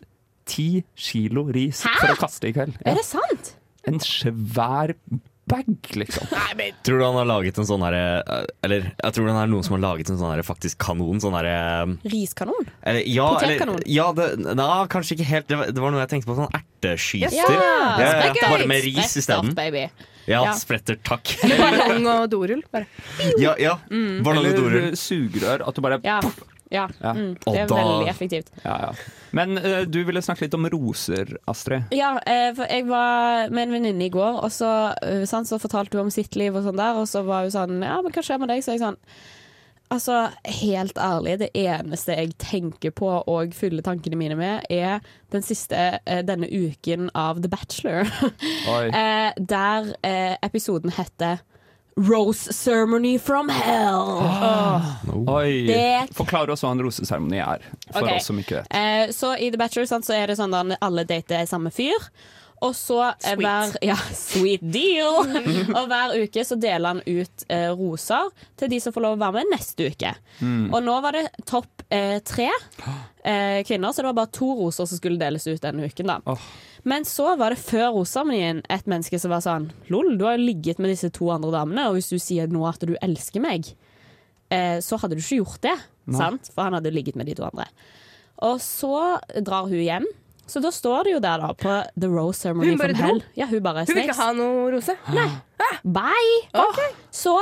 [SPEAKER 2] ti kilo ris for å kaste i kveld. Ja.
[SPEAKER 1] Er det sant?
[SPEAKER 2] En svær bag, liksom.
[SPEAKER 3] Tror du han har laget en sånn herre Eller jeg tror det er noen som har laget en sånn herre faktisk kanon. Sånn herre
[SPEAKER 1] Riskanon?
[SPEAKER 3] eller, ja, eller,
[SPEAKER 1] Potetkanon?
[SPEAKER 3] ja det, na, kanskje ikke helt. Det var, det var noe jeg tenkte på. Sånn erteskyter.
[SPEAKER 1] Ja, spretter.
[SPEAKER 3] Bare med ris isteden.
[SPEAKER 1] Spretter, baby.
[SPEAKER 3] Ja,
[SPEAKER 1] Ja.
[SPEAKER 3] spretter. Takk.
[SPEAKER 5] Eller ballong og dorull. Bare.
[SPEAKER 3] Ja, ja.
[SPEAKER 1] Mm.
[SPEAKER 3] Ballong og dorull.
[SPEAKER 2] Eller sugerør. At du bare
[SPEAKER 1] Ja. ja.
[SPEAKER 2] Ja.
[SPEAKER 1] Mm.
[SPEAKER 2] Og
[SPEAKER 1] Det er
[SPEAKER 2] da-
[SPEAKER 1] veldig effektivt.
[SPEAKER 2] Ja, ja. Men eh, du ville snakke litt om roser, Astrid.
[SPEAKER 1] Ja, eh, for jeg var med en venninne i går, og så, eh, sant, så fortalte hun om sitt liv og sånn der, og så var hun sånn Ja, men hva skjer med deg? Så jeg sånn Altså, helt ærlig, det eneste jeg tenker på og fyller tankene mine med, er den siste eh, denne uken av The Bachelor.
[SPEAKER 12] Oi.
[SPEAKER 1] eh, der eh, episoden heter Rose Ceremony from Hell.
[SPEAKER 2] Oi.
[SPEAKER 1] Det-
[SPEAKER 2] Forklar oss hva en roseseremoni er, for
[SPEAKER 1] Ok.
[SPEAKER 2] oss som ikke vet.
[SPEAKER 1] Eh, så i The Bachelor sant, så er det sånn at alle dater samme fyr. Og så eh,
[SPEAKER 12] Sweet.
[SPEAKER 1] hver, ja, sweet deal. og hver uke så deler han ut eh, roser til de som får lov å være med neste uke.
[SPEAKER 12] Mm.
[SPEAKER 1] Og nå var det topp eh, tre eh, kvinner, så det var bare to roser som skulle deles ut denne uken. da Men så var det før roseseremonien et menneske som var sånn Lol, du har jo ligget med disse to andre damene, og hvis du sier nå at du elsker meg, eh, så hadde du ikke gjort det.
[SPEAKER 12] Nei.
[SPEAKER 1] Sant? For han hadde jo ligget med de to andre. Og så drar hun hjem. Så da står det jo der, da, på The Rose Ceremony
[SPEAKER 5] Hun bare
[SPEAKER 1] from
[SPEAKER 5] dro?
[SPEAKER 1] Hell. Ja, hun bare
[SPEAKER 5] Hun vil ikke ha noe rose?
[SPEAKER 1] Nei. Bye! Så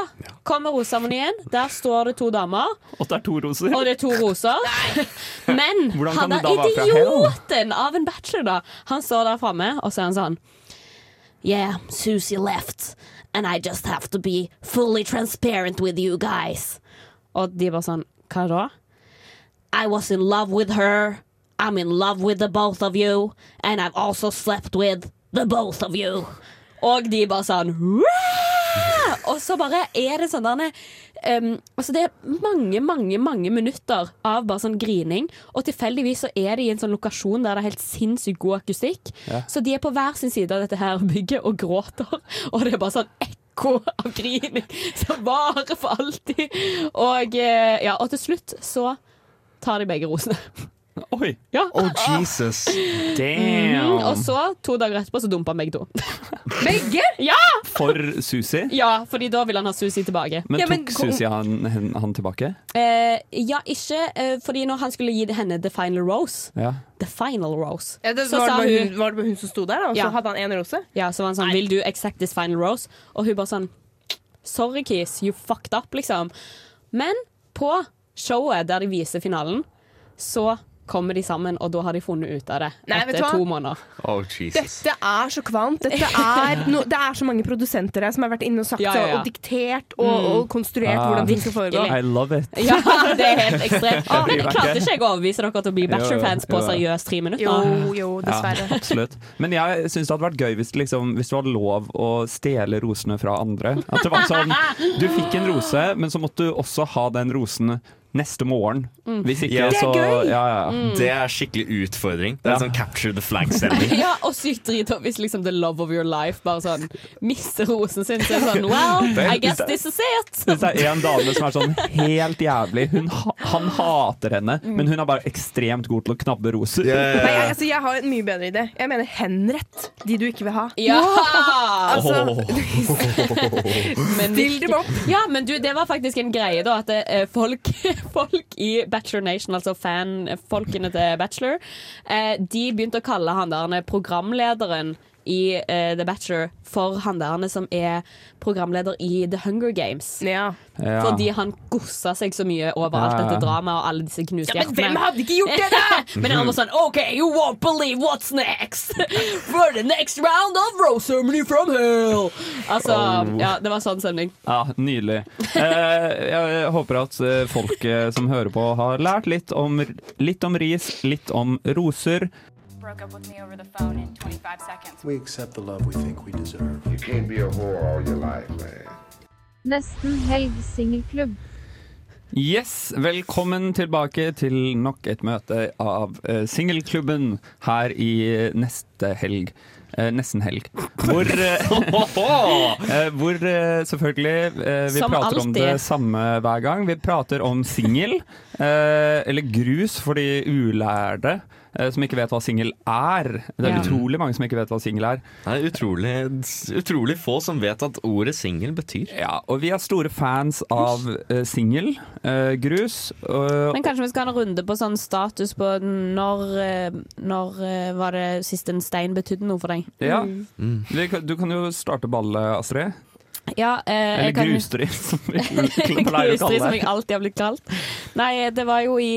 [SPEAKER 1] kommer roseseremonien. Der står det to damer,
[SPEAKER 2] Og det er to roser.
[SPEAKER 1] og det er to roser. Men
[SPEAKER 2] Hvordan kan
[SPEAKER 1] han
[SPEAKER 2] det
[SPEAKER 1] er
[SPEAKER 2] da være fra
[SPEAKER 1] idioten av en bachelor, da. Han står der framme, og så er han sånn
[SPEAKER 12] Yeah, Susie left, and I just have to be fully transparent with you guys.
[SPEAKER 1] Og de bare sånn Hva da?
[SPEAKER 12] I was in love with her. I'm in love with the both of you, and I've also slept with the both of you.
[SPEAKER 1] Og de bare sånn «Wah!» Og så bare er det sånn derne, um, altså Det er mange, mange mange minutter av bare sånn grining. Og tilfeldigvis så er de i en sånn lokasjon der det er helt sinnssykt god akustikk.
[SPEAKER 12] Ja.
[SPEAKER 1] Så de er på hver sin side av dette her bygget og gråter. Og det er bare sånn ekko av grining som varer for alltid. Og, eh, ja, og til slutt så tar de begge rosene.
[SPEAKER 2] Oi!
[SPEAKER 1] Ja.
[SPEAKER 3] Oh, Jesus.
[SPEAKER 1] Mm, og så, to dager etterpå, så dumpa han begge to. Begge? Ja!
[SPEAKER 2] For Susi.
[SPEAKER 1] Ja, fordi da vil han ha Susi tilbake.
[SPEAKER 2] Men
[SPEAKER 1] ja,
[SPEAKER 2] tok Susi han, hen- han tilbake?
[SPEAKER 1] Eh, ja, ikke eh, fordi når han skulle gi henne The Final Rose
[SPEAKER 2] Ja.
[SPEAKER 1] The Final Rose.
[SPEAKER 5] Ja, det, var, det bare hun, var det bare hun som sto der, da, og
[SPEAKER 1] Ja.
[SPEAKER 5] så hadde han én rose?
[SPEAKER 1] Ja, så var han sånn Vil du accept this final rose? Og hun bare sånn Sorry, Kis, you fucked up, liksom. Men på showet der de viser finalen, så kommer de sammen, og da har de funnet ut av det
[SPEAKER 5] Nei, vet du
[SPEAKER 1] etter
[SPEAKER 5] hva?
[SPEAKER 1] to måneder.
[SPEAKER 3] Oh, Jesus.
[SPEAKER 5] Dette er så kvalmt. Dette er no, det er så mange produsenter her som har vært inne og sagt
[SPEAKER 1] Ja, ja, ja.
[SPEAKER 5] og diktert og, og konstruert hvordan ting skal foregå.
[SPEAKER 2] I love it.
[SPEAKER 1] Ja, det er helt ekstremt.
[SPEAKER 2] Jeg
[SPEAKER 1] Men
[SPEAKER 2] blir
[SPEAKER 1] jeg
[SPEAKER 2] verdt
[SPEAKER 1] klarte
[SPEAKER 2] det.
[SPEAKER 1] ikke jeg å overbevise dere til å bli
[SPEAKER 2] Jo, jo,
[SPEAKER 1] Bachelor-fans på
[SPEAKER 2] jo, jo.
[SPEAKER 1] seriøst tre minutter.
[SPEAKER 5] Jo, jo,
[SPEAKER 2] Ja, absolutt. Men jeg syns det hadde vært gøy hvis det, liksom, hvis det var lov å stjele rosene fra andre. At det var sånn Du fikk en rose, men så måtte du også ha den rosen neste morgen.
[SPEAKER 1] Mm.
[SPEAKER 2] Hvis ikke,
[SPEAKER 3] Ja. Det er
[SPEAKER 2] så
[SPEAKER 3] gøy.
[SPEAKER 2] Ja, ja.
[SPEAKER 1] Mm.
[SPEAKER 3] Det er skikkelig utfordring. Det er sånn capture the flag-stemning.
[SPEAKER 1] Ja, og sykt drita hvis liksom the love of your life bare sånn mister rosen sin. Så er det sånn well, I guess this is it.
[SPEAKER 2] Hvis det er en dame som er sånn helt jævlig hun, ha- Han hater henne, men hun er bare ekstremt god til å knabbe roser.
[SPEAKER 5] Nei,
[SPEAKER 3] Eh,
[SPEAKER 5] jeg, altså, jeg har en mye bedre idé. Jeg mener henrett de du ikke vil ha.
[SPEAKER 1] Ja!
[SPEAKER 5] altså,
[SPEAKER 1] Men-
[SPEAKER 5] Still dem opp.
[SPEAKER 1] Ja, men du, det var faktisk en greie, da. At det, eh, folk, folk i Bachelor Nation, altså fanfolkene til Bachelor, eh, de begynte å kalle han der programlederen i eh, The Bachelor for han der som er programleder i The Hunger Games.
[SPEAKER 12] Ja.
[SPEAKER 1] Fordi han gossa seg så mye over alt
[SPEAKER 12] Ja, ja.
[SPEAKER 1] dette dramaet og alle disse knuste
[SPEAKER 12] Ja, men hvem hadde ikke gjort det da?
[SPEAKER 1] men han var sånn OK, you won't believe what's next! For the next round of Rose Ceremony from Hell! Altså,
[SPEAKER 2] Oh.
[SPEAKER 1] ja, det var sånn stemning.
[SPEAKER 2] Ja, Nydelig. Eh, jeg håper at eh, folket som hører på, har lært litt om, litt om ris, litt om roser.
[SPEAKER 11] broke up with me over the phone in 25 seconds.
[SPEAKER 13] We accept the love we think we deserve. You can't be a whore all your life, man.
[SPEAKER 14] Nesten helg singelklubb.
[SPEAKER 2] Yes, velkommen tilbake til nok et møte av eh, Singelklubben her i neste helg. Eh, nesten helg. Hvor, eh, eh, hvor eh, selvfølgelig eh, Vi
[SPEAKER 1] Som
[SPEAKER 2] prater om
[SPEAKER 1] alltid.
[SPEAKER 2] det samme hver gang. Vi prater om singel, eh, eller grus for de ulærde eh, som ikke vet hva singel er. Det er
[SPEAKER 3] Ja.
[SPEAKER 2] utrolig mange som ikke vet hva singel er.
[SPEAKER 3] Det er utrolig, utrolig få som vet at ordet singel betyr.
[SPEAKER 2] Ja, og vi er store fans av eh, singel, eh, grus. eh,
[SPEAKER 1] Men kanskje vi skal ha en runde på sånn status på når, eh, når eh, var det sist en stein betydde noe for deg?
[SPEAKER 2] Ja. Mm. Vi kan- Du kan jo starte ballet, Astrid.
[SPEAKER 1] Ja, eh,
[SPEAKER 2] Eller
[SPEAKER 1] jeg kan-
[SPEAKER 2] grustri, som vi pleier å
[SPEAKER 1] Grustri, som
[SPEAKER 2] kalle
[SPEAKER 1] jeg
[SPEAKER 2] det.
[SPEAKER 1] alltid har blitt kalt. Nei, det var jo i,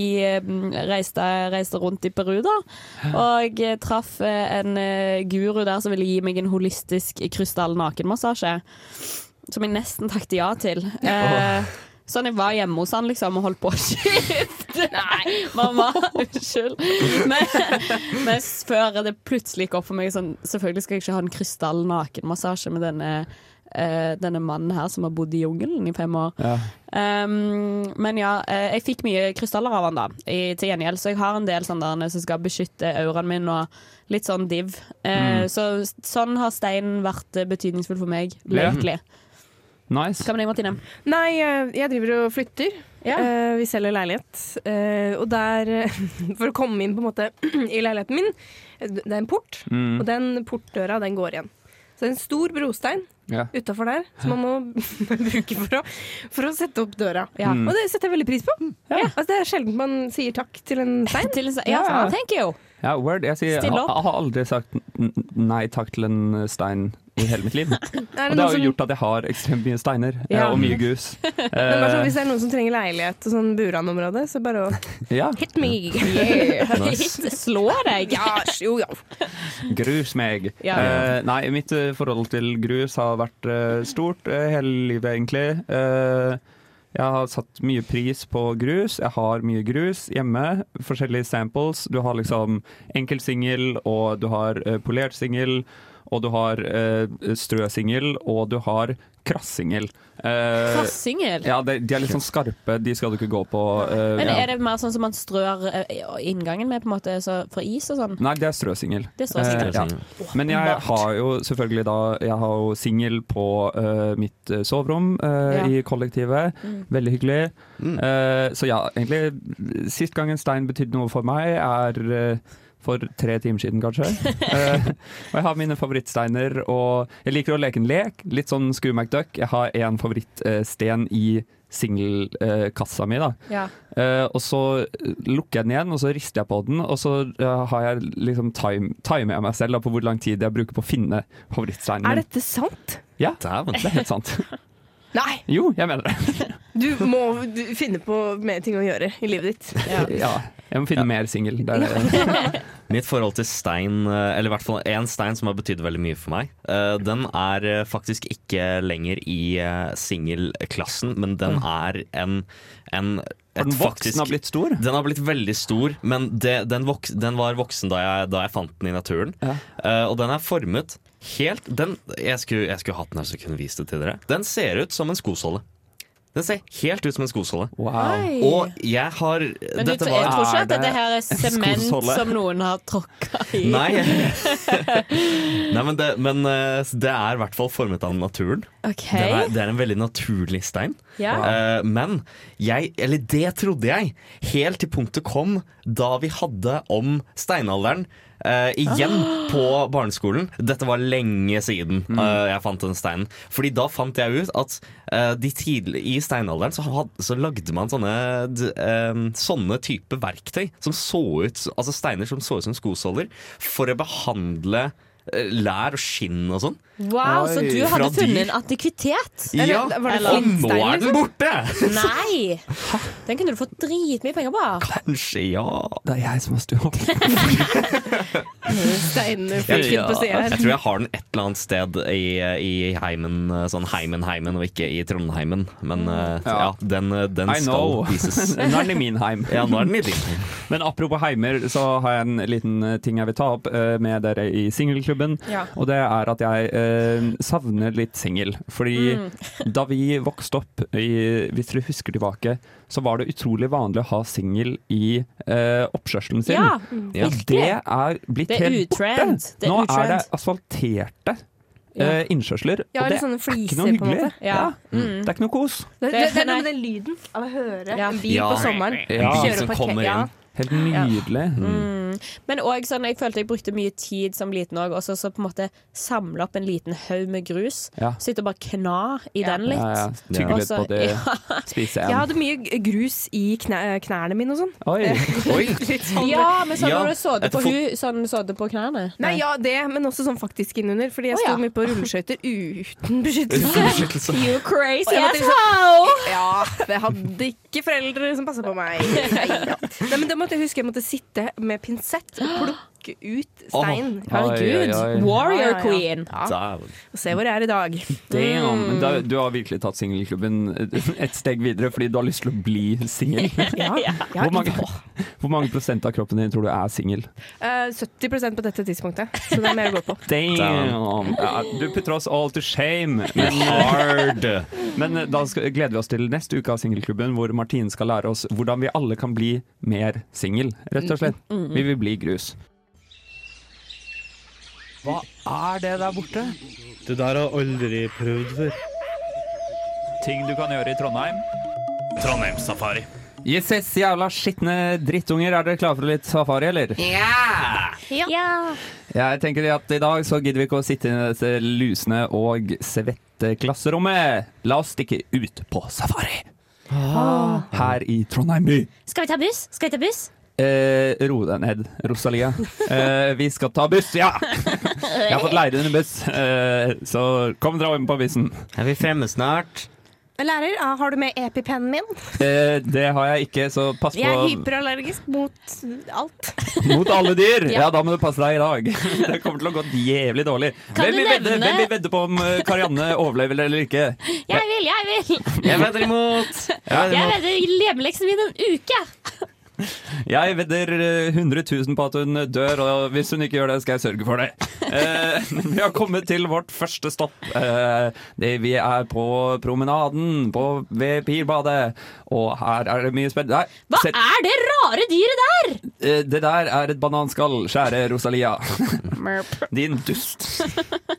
[SPEAKER 1] i mm, reiste, reiste rundt i Peru, da. Og jeg traff eh, en eh, guru der som ville gi meg en holistisk krystall-nakenmassasje. Som jeg nesten takket ja til. Eh, Sånn jeg var hjemme hos han liksom og holdt på å skifte. Nei, mamma, unnskyld. Men, men s- før det plutselig gikk opp for meg sånn, Selvfølgelig skal jeg ikke ha en krystall-nakenmassasje med denne, eh, denne mannen her som har bodd i jungelen i fem år.
[SPEAKER 2] Ja.
[SPEAKER 1] Um, men ja, eh, jeg fikk mye krystaller av han da, i, til gjengjeld, så jeg har en del sånne der som skal beskytte auraen min og litt sånn div. Eh,
[SPEAKER 2] Mm.
[SPEAKER 1] Så sånn har steinen vært eh, betydningsfull for meg
[SPEAKER 2] Ja.
[SPEAKER 1] lately.
[SPEAKER 2] Nice.
[SPEAKER 1] Hva med deg, Martine?
[SPEAKER 5] Nei, eh, jeg driver og flytter. Eh, vi selger leilighet. Eh, og der, eh, for å komme inn på en måte i leiligheten min, eh, det er en port,
[SPEAKER 2] Mm.
[SPEAKER 5] og den portdøra den går igjen. Så det er en stor brostein
[SPEAKER 2] Ja.
[SPEAKER 5] utafor der som man må bruke for å, for å sette opp døra.
[SPEAKER 1] Ja.
[SPEAKER 2] Mm.
[SPEAKER 5] Og det setter jeg veldig pris på. Altså, det er sjelden man sier takk til en stein.
[SPEAKER 1] ja, thank you.
[SPEAKER 2] Ja, word. Jeg, sier, jeg,
[SPEAKER 5] Stille
[SPEAKER 2] har-
[SPEAKER 5] opp.
[SPEAKER 2] jeg har aldri sagt n- nei takk til en eh, stein i hele mitt liv. og det har
[SPEAKER 5] noen
[SPEAKER 2] jo gjort at jeg har ekstremt mye steiner, eh,
[SPEAKER 5] Ja.
[SPEAKER 2] og mye grus.
[SPEAKER 5] Men bare sånn,
[SPEAKER 2] Eh,
[SPEAKER 5] hvis det er noen som trenger leilighet og sånn buranområde, så bare å
[SPEAKER 2] ja.
[SPEAKER 5] Hit me!
[SPEAKER 2] Nice.
[SPEAKER 1] Slå deg!
[SPEAKER 5] Ja, jo, ja.
[SPEAKER 2] Grus meg.
[SPEAKER 5] Ja.
[SPEAKER 2] Eh, nei, mitt eh, forhold til grus har vært eh, stort eh, hele livet, egentlig. Eh, jeg har satt mye pris på grus. Jeg har mye grus hjemme. Forskjellige samples. Du har liksom enkelsingel, og du har eh, polert singel, og du har eh, strøsingel, og du har krassingel. Eh,
[SPEAKER 1] Krassingel?
[SPEAKER 2] Ja, de, de er litt sånn skarpe. De skal du ikke gå på. eh,
[SPEAKER 1] Men
[SPEAKER 2] ja.
[SPEAKER 1] er det mer sånn som man strør eh, inngangen med, på en måte, så fra is og sånn?
[SPEAKER 2] Nei, det er strøsingel.
[SPEAKER 1] Det er strøsingel.
[SPEAKER 2] Eh, ja. Men jeg har jo selvfølgelig da Jeg har jo singel på eh, mitt eh, soverom eh,
[SPEAKER 1] Ja.
[SPEAKER 2] i kollektivet.
[SPEAKER 1] Mm.
[SPEAKER 2] Veldig hyggelig. Eh, så ja, egentlig Sist gang en stein betydde noe for meg, er eh, for tre timer siden, kanskje. Eh, og jeg har mine favorittsteiner, og jeg liker å leke en lek. Litt sånn Screw McDuck. Jeg har én favorittsten i singelkassa mi, da.
[SPEAKER 1] Ja.
[SPEAKER 2] Eh, og så lukker jeg den igjen, og så rister jeg på den, og så eh, har jeg liksom time, timer jeg meg selv da, på hvor lang tid jeg bruker på å finne favorittsteinen
[SPEAKER 5] Er
[SPEAKER 2] min.
[SPEAKER 5] dette sant?
[SPEAKER 2] Ja, det er helt sant.
[SPEAKER 5] Nei!
[SPEAKER 2] Jo, jeg mener det.
[SPEAKER 5] Du må du- finne på mer ting å gjøre i livet ditt.
[SPEAKER 2] Ja, jeg må finne mer singel. Det er
[SPEAKER 3] Mitt forhold til stein, eh, eller i hvert fall en stein som har betydd veldig mye for meg, eh, den er eh, faktisk ikke lenger i eh, singelklassen, men den er en, en
[SPEAKER 2] Mm. Har den vokst? Den har blitt stor?
[SPEAKER 3] Den har blitt veldig stor, men det, den, vok, den var voksen da jeg, da jeg fant den i naturen. Eh, og den er formet helt den, jeg, skulle, jeg skulle hatt den her så jeg kunne vist det til dere. Den ser ut som en skosåle. Den ser helt ut som en skosåle.
[SPEAKER 1] Oi.
[SPEAKER 3] Og jeg har
[SPEAKER 1] Men du,
[SPEAKER 3] dette
[SPEAKER 1] jeg
[SPEAKER 3] var-
[SPEAKER 1] tror ikke at dette her er sement
[SPEAKER 3] skosåle?
[SPEAKER 1] som noen har tråkka i?
[SPEAKER 3] Nei. Nei, men det, men eh, det er i hvert fall formet av naturen.
[SPEAKER 1] Ok.
[SPEAKER 3] Det, er, det er en veldig naturlig stein.
[SPEAKER 1] Ja.
[SPEAKER 3] Eh, men jeg, eller det trodde jeg, helt til punktet kom da vi hadde om steinalderen eh, igjen på barneskolen. Dette var lenge siden
[SPEAKER 1] Mm.
[SPEAKER 3] eh, jeg fant den steinen. Fordi da fant jeg ut at eh, de tidlig, i steinalderen så, had, så lagde man sånne, d- eh, sånne type verktøy, som så ut, altså steiner som så ut som skosåler, for å behandle eh, lær og skinn og sånn.
[SPEAKER 1] Wow, så du
[SPEAKER 3] Fra
[SPEAKER 1] hadde funnet
[SPEAKER 3] dyr.
[SPEAKER 1] en antikvitet?
[SPEAKER 3] Ja,
[SPEAKER 1] Eller-
[SPEAKER 3] og nå er den borte!
[SPEAKER 1] Nei! Den kunne du fått dritmye penger på.
[SPEAKER 3] Kanskje ja.
[SPEAKER 2] Det er jeg som har stua.
[SPEAKER 5] Steinfylken på sida her.
[SPEAKER 3] Jeg tror jeg har den et eller annet sted i, i heimen, sånn heimen, heimen, og ikke i Trondheimen. Men eh, ja, den, eh, den
[SPEAKER 2] I
[SPEAKER 3] skal
[SPEAKER 2] know.
[SPEAKER 3] vises.
[SPEAKER 2] nå er den i min heim.
[SPEAKER 3] Ja, nå er den i din
[SPEAKER 2] Men apropos heimer, så har jeg en liten eh, ting jeg vil ta opp eh, med dere i singelklubben.
[SPEAKER 15] Ja.
[SPEAKER 2] Og det er at jeg eh, savner litt singel. Fordi
[SPEAKER 15] Mm.
[SPEAKER 2] da vi vokste opp, i, hvis dere husker tilbake, så var det utrolig vanlig å ha singel i eh, oppkjørselen sin.
[SPEAKER 15] Ja, mm.
[SPEAKER 2] Og
[SPEAKER 15] virkelig.
[SPEAKER 2] det er blitt
[SPEAKER 15] Det er
[SPEAKER 2] helt
[SPEAKER 15] utrend.
[SPEAKER 2] borte.
[SPEAKER 15] Det er
[SPEAKER 2] Nå
[SPEAKER 15] utrend.
[SPEAKER 2] er det asfalterte.
[SPEAKER 15] Ja.
[SPEAKER 2] eh, innkjørsler.
[SPEAKER 5] Ja,
[SPEAKER 2] og
[SPEAKER 5] eller
[SPEAKER 2] det
[SPEAKER 5] sånne
[SPEAKER 2] er ikke
[SPEAKER 5] fliser,
[SPEAKER 2] noe
[SPEAKER 5] på en
[SPEAKER 2] hyggelig.
[SPEAKER 5] måte. Ja. Mm.
[SPEAKER 2] Det er ikke noe kos.
[SPEAKER 5] Det, det, det er noe
[SPEAKER 9] Nei.
[SPEAKER 5] med den lyden av å høre
[SPEAKER 9] Ja.
[SPEAKER 5] en bil på sommeren.
[SPEAKER 9] Kjøre som på et ke- kommer ja. inn.
[SPEAKER 2] Helt nydelig.
[SPEAKER 1] Mm. Men òg sånn, jeg følte jeg brukte mye tid som liten òg, og så, så på en måte samle opp en liten haug med grus.
[SPEAKER 2] Ja.
[SPEAKER 1] Sitte og bare kna i den litt.
[SPEAKER 2] Ja, ja. Tygge
[SPEAKER 1] Og
[SPEAKER 2] litt
[SPEAKER 1] så-
[SPEAKER 2] på det. Spise
[SPEAKER 5] Jeg
[SPEAKER 2] en.
[SPEAKER 5] hadde mye g- grus i knæ knærne mine og sånn.
[SPEAKER 2] Oi.
[SPEAKER 5] Litt
[SPEAKER 1] Ja.
[SPEAKER 5] sånn-
[SPEAKER 1] ja, men sånn
[SPEAKER 5] Ja,
[SPEAKER 1] når du sådde
[SPEAKER 5] etter
[SPEAKER 1] på,
[SPEAKER 5] fot-
[SPEAKER 1] hu, sånn, sådde på knærne.
[SPEAKER 5] Nei, ja, det, men også sånn faktisk innunder. Fordi jeg
[SPEAKER 1] Å,
[SPEAKER 5] sto
[SPEAKER 1] ja.
[SPEAKER 5] mye på rulleskøyter uten beskyttelse.
[SPEAKER 1] Uten beskyttelse. You crazy liksom-
[SPEAKER 5] Og jeg måtte
[SPEAKER 1] asshole!
[SPEAKER 5] Ja, det hadde ikke foreldre som passa på meg. Nei, ja. Nei, men da måtte jeg huske jeg måtte sitte med pinsett og plukke ut stein.
[SPEAKER 2] Åh. Herregud. Oi, oi, oi.
[SPEAKER 1] Warrior
[SPEAKER 5] Ja, ja, ja.
[SPEAKER 1] queen.
[SPEAKER 5] Ja. Og se hvor jeg er i dag.
[SPEAKER 2] Damn.
[SPEAKER 5] Mm.
[SPEAKER 2] Men da, du har virkelig tatt singelklubben eh, et steg videre fordi du har lyst til å bli singel.
[SPEAKER 5] Ja. Ja,
[SPEAKER 2] Hvor, mange- hvor mange prosent av kroppen din tror du er singel?
[SPEAKER 5] Eh, 70 på dette tidspunktet, så det er mer å gå på.
[SPEAKER 2] Damn! Ja, du putter oss all to shame. Men,
[SPEAKER 3] Hard.
[SPEAKER 2] men eh, da skal, gleder vi oss til neste uke av Singelklubben, hvor Martine skal lære oss hvordan vi alle kan bli mer singel, rett og slett.
[SPEAKER 15] Mm, mm.
[SPEAKER 2] Vi vil bli grus. Hva er det der borte?
[SPEAKER 16] Det der har jeg aldri prøvd før.
[SPEAKER 2] Ting du kan gjøre i Trondheim.
[SPEAKER 16] Trondheimssafari.
[SPEAKER 2] Yes, yes, jævla skitne drittunger. Er dere klare for litt safari, eller?
[SPEAKER 3] Ja!
[SPEAKER 4] Ja.
[SPEAKER 2] Jeg tenker at i dag så gidder vi ikke å sitte i dette lusende og svette klasserommet. La oss stikke ut på safari her i Trondheim by.
[SPEAKER 4] Ah. Skal vi ta buss? Skal vi ta buss?
[SPEAKER 2] Eh, ro deg ned, Rosalia. Eh, vi skal ta buss, ja! Jeg har fått leid inn en buss, eh, så kom dere med på bussen.
[SPEAKER 3] Er vi fremme snart?
[SPEAKER 5] Lærer, ah, har du med epipennen min?
[SPEAKER 2] Eh, det har jeg ikke, så pass
[SPEAKER 5] Jeg er
[SPEAKER 2] på
[SPEAKER 5] hyperallergisk mot alt.
[SPEAKER 2] mot alle dyr.
[SPEAKER 5] Ja.
[SPEAKER 2] Ja, da må du passe deg i dag. Det kommer til å gå jævlig dårlig.
[SPEAKER 5] Kan
[SPEAKER 2] Hvem
[SPEAKER 5] du
[SPEAKER 2] vil, vedde,
[SPEAKER 5] nevne-
[SPEAKER 2] hvem vil vedde på om eh, Karianne overlever eller ikke?
[SPEAKER 4] Jeg vil, jeg vil!
[SPEAKER 3] Jeg vedder imot!
[SPEAKER 4] Jeg vedder
[SPEAKER 1] liksom
[SPEAKER 4] leveleksen min en uke!
[SPEAKER 2] Jeg vedder eh, 100 000 på at hun dør, og hvis hun ikke gjør det, skal jeg sørge for det. Eh, vi har kommet til vårt første stopp. Eh, det, vi er på promenaden på, ved Pirbadet, og her er det mye spennende. Nei,
[SPEAKER 4] Hva
[SPEAKER 2] se-
[SPEAKER 4] er det rare dyret der?
[SPEAKER 2] eh, det der er et bananskall, kjære Rosalia. Din dust.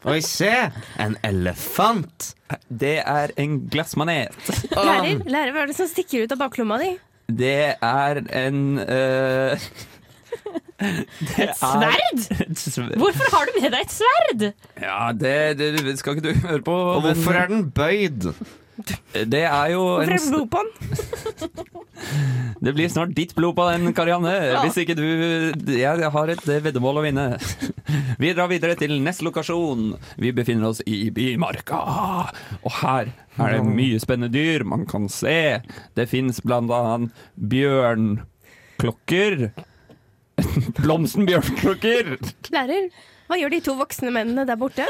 [SPEAKER 3] Oi, se! En elefant.
[SPEAKER 2] Det er en glassmanet.
[SPEAKER 5] Ah. Lærer, lærer, hva er det som stikker ut av baklomma di?
[SPEAKER 2] Det er en eh, det
[SPEAKER 4] Et
[SPEAKER 2] er-
[SPEAKER 4] sverd?
[SPEAKER 2] Et sverd.
[SPEAKER 4] Hvorfor har du med deg et sverd?
[SPEAKER 2] Ja, det, det skal ikke du høre på.
[SPEAKER 3] Og hvorfor er den bøyd?
[SPEAKER 2] Det er jo en,
[SPEAKER 5] Hvorfor er det blod på den?
[SPEAKER 2] Det blir snart ditt blod på den, Karianne.
[SPEAKER 5] Ja.
[SPEAKER 2] Hvis ikke du Jeg har et eh, veddemål å vinne. Vi drar videre til neste lokasjon. Vi befinner oss i Bymarka. Og her er
[SPEAKER 5] Mm.
[SPEAKER 2] det mye spennende dyr man kan se. Det fins blant annet bjørnklokker. Blomstenbjørnklokker.
[SPEAKER 5] Lærer, hva gjør de to voksne mennene der borte?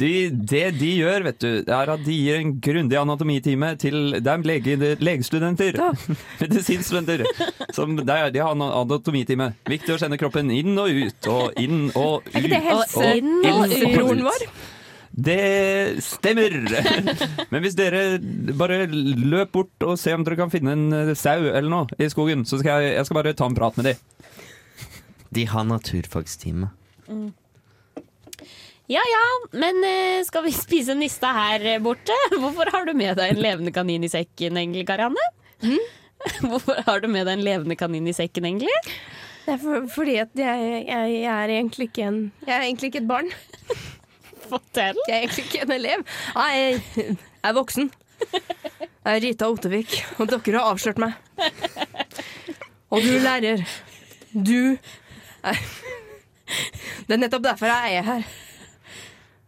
[SPEAKER 2] De, det de gjør, vet du, det er at de gir en grundig anatomitime til Det er lege, legestudenter. Medisinstudenter. Som det er, de har en anatomitime. Viktig å kjenne kroppen inn og ut, og inn og ut.
[SPEAKER 5] Er ikke det
[SPEAKER 2] og inn og
[SPEAKER 5] helsebroren
[SPEAKER 2] ut.
[SPEAKER 5] vår?
[SPEAKER 2] Det stemmer. Men hvis dere bare løp bort og se om dere kan finne en eh, sau eller noe i skogen, så skal jeg, jeg skal bare ta en prat med de.
[SPEAKER 3] De har naturfagstime.
[SPEAKER 4] Ja ja, men eh, skal vi spise nista her eh, borte? Hvorfor har du med deg en levende kanin i sekken, egentlig, Karianne?
[SPEAKER 5] Hmm?
[SPEAKER 4] Hvorfor har du med deg en levende kanin i sekken, egentlig?
[SPEAKER 5] Det er for, fordi at jeg, jeg, jeg er egentlig ikke en Jeg er egentlig ikke et barn.
[SPEAKER 4] Fortell.
[SPEAKER 5] Jeg er egentlig ikke en elev. Nei, jeg er voksen. Jeg er Rita Ottervik, og dere har avslørt meg. Og du, lærer, du er Det er nettopp derfor jeg er her.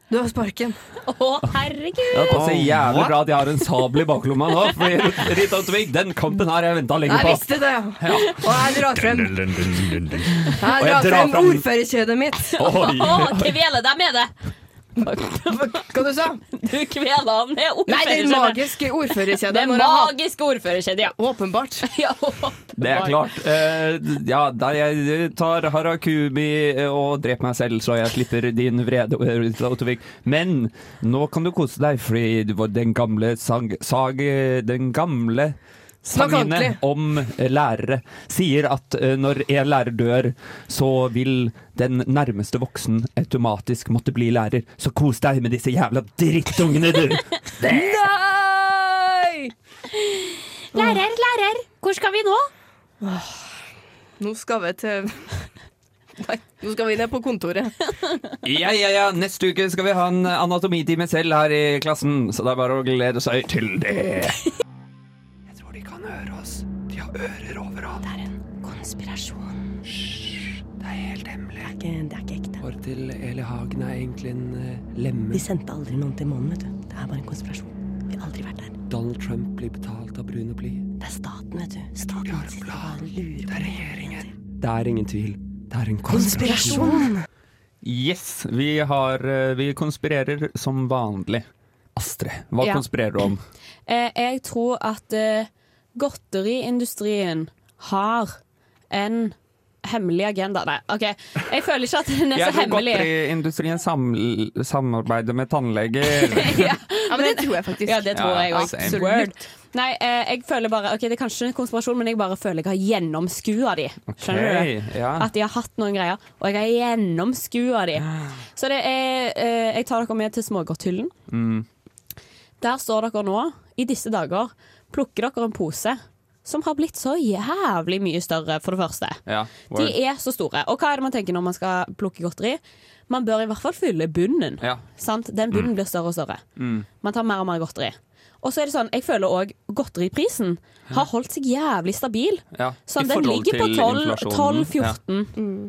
[SPEAKER 5] Du har sparken.
[SPEAKER 4] Å, herregud!
[SPEAKER 2] Det passer jævlig bra at jeg har en sabel i baklomma nå. For Rita Utvik, den kampen her har jeg venta lenge
[SPEAKER 5] Jeg
[SPEAKER 2] på.
[SPEAKER 5] visste det, ja. Og jeg drar frem,
[SPEAKER 2] Og
[SPEAKER 5] jeg drar frem ordførerkjedet mitt.
[SPEAKER 2] Oi.
[SPEAKER 4] Å, kvele deg med det!
[SPEAKER 5] Hva du sa
[SPEAKER 4] Du kvela han med
[SPEAKER 5] Nei, det er
[SPEAKER 4] ordførerkjedet.
[SPEAKER 5] magisk ordførerkjede.
[SPEAKER 4] Det
[SPEAKER 5] når jeg har-
[SPEAKER 4] magiske ordførerkjedet, ja.
[SPEAKER 5] Åpenbart.
[SPEAKER 4] ja.
[SPEAKER 2] Det er klart. Eh, ja, der jeg tar harakumi og dreper meg selv, så jeg slipper din vrede, Rita Ottervik. Men nå kan du kose deg, fordi du var den gamle sang... Sag, den gamle
[SPEAKER 5] Snakk
[SPEAKER 2] sangene
[SPEAKER 5] ordentlig.
[SPEAKER 2] om lærere sier at eh, når en lærer dør, så vil den nærmeste voksen automatisk måtte bli lærer. Så kos deg med disse jævla drittungene, du!
[SPEAKER 5] Nei!
[SPEAKER 4] Lærer, lærer, hvor skal vi nå?
[SPEAKER 5] Nå skal vi til Nei, nå skal vi ned på kontoret.
[SPEAKER 2] Ja, ja, ja. Neste uke skal vi ha en anatomitime selv her i klassen, så det er bare å glede seg til det.
[SPEAKER 17] Jeg tror de kan høre oss. De har ører overalt. Det er en konspirasjon. Hysj. Det er helt hemmelig.
[SPEAKER 10] Det er ikke ekte.
[SPEAKER 17] For til Eli Hagen er egentlig en eh,
[SPEAKER 10] Vi
[SPEAKER 17] lemme.
[SPEAKER 10] sendte aldri noen til månen, vet du. Det er bare en konspirasjon. Vi har aldri vært der.
[SPEAKER 17] Donald Trump blir betalt av brune bly.
[SPEAKER 10] Det er staten, vet du. Staten sitter bare og lurer på regjeringen.
[SPEAKER 2] Det er ingen tvil. Det er en konspirasjon.
[SPEAKER 10] Konspirasjon!
[SPEAKER 2] Yes, vi, har, eh, vi konspirerer som vanlig. Astrid, hva
[SPEAKER 1] Ja.
[SPEAKER 2] konspirerer du om?
[SPEAKER 1] Eh, jeg tror at eh, godteriindustrien har en hemmelig agenda. Nei, OK. Jeg føler ikke at den er
[SPEAKER 2] Jeg
[SPEAKER 1] så
[SPEAKER 2] tror
[SPEAKER 1] hemmelig.
[SPEAKER 2] godteriindustrien saml- samarbeider med tannleger.
[SPEAKER 1] Ja, men det tror jeg faktisk. Ja, det tror
[SPEAKER 2] Ja,
[SPEAKER 1] jeg også.
[SPEAKER 2] same.
[SPEAKER 1] Absolutt. Nei, eh, jeg føler bare OK, det er kanskje en konspirasjon, men jeg bare føler jeg har gjennomskua de. Skjønner du?
[SPEAKER 2] Ok, ja.
[SPEAKER 1] At de har hatt noen greier, og jeg har gjennomskua de.
[SPEAKER 2] Ah.
[SPEAKER 1] Så det er eh, Jeg tar dere med til smågodthyllen.
[SPEAKER 17] Mm.
[SPEAKER 1] Der står dere nå, i disse dager, plukker dere en pose som har blitt så jævlig mye større, for det første.
[SPEAKER 17] Ja,
[SPEAKER 1] De er så store. Og hva er det man tenker når man skal plukke godteri? Man bør i hvert fall fylle bunnen.
[SPEAKER 17] Ja.
[SPEAKER 1] Sant? Den bunnen
[SPEAKER 17] Mm.
[SPEAKER 1] blir større og større.
[SPEAKER 17] Mm.
[SPEAKER 1] Man tar mer og mer godteri. Og så er det sånn, jeg føler òg godteriprisen har holdt seg jævlig stabil.
[SPEAKER 2] Ja,
[SPEAKER 1] Sånn,
[SPEAKER 2] i
[SPEAKER 1] den
[SPEAKER 2] forhold
[SPEAKER 1] ligger på
[SPEAKER 2] til
[SPEAKER 1] 12,
[SPEAKER 2] inflasjonen.
[SPEAKER 1] 12
[SPEAKER 2] Ja.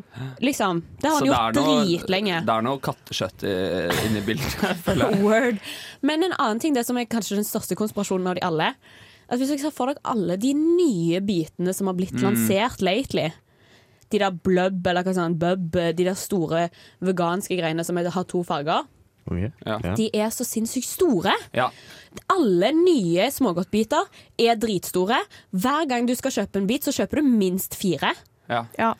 [SPEAKER 1] 14 Liksom. Det har
[SPEAKER 2] Så
[SPEAKER 1] den gjort
[SPEAKER 2] det er noe-
[SPEAKER 1] dritlenge.
[SPEAKER 2] Det er noe kattekjøtt eh, inne i bildet, føler jeg.
[SPEAKER 1] Word. Men en annen ting, det som er kanskje den største konspirasjonen av de alle at Hvis dere ser for dere alle de nye bitene som har blitt
[SPEAKER 4] Mm.
[SPEAKER 1] lansert lately De der bløbb, eller hva sånn, bøbb, de der store veganske greiene som er- har to farger
[SPEAKER 2] Ja.
[SPEAKER 1] De er så sinnssykt store.
[SPEAKER 2] Ja.
[SPEAKER 1] Alle nye smågodtbiter er dritstore. Hver gang du skal kjøpe en bit, så kjøper du minst fire.
[SPEAKER 2] Ja. Ja.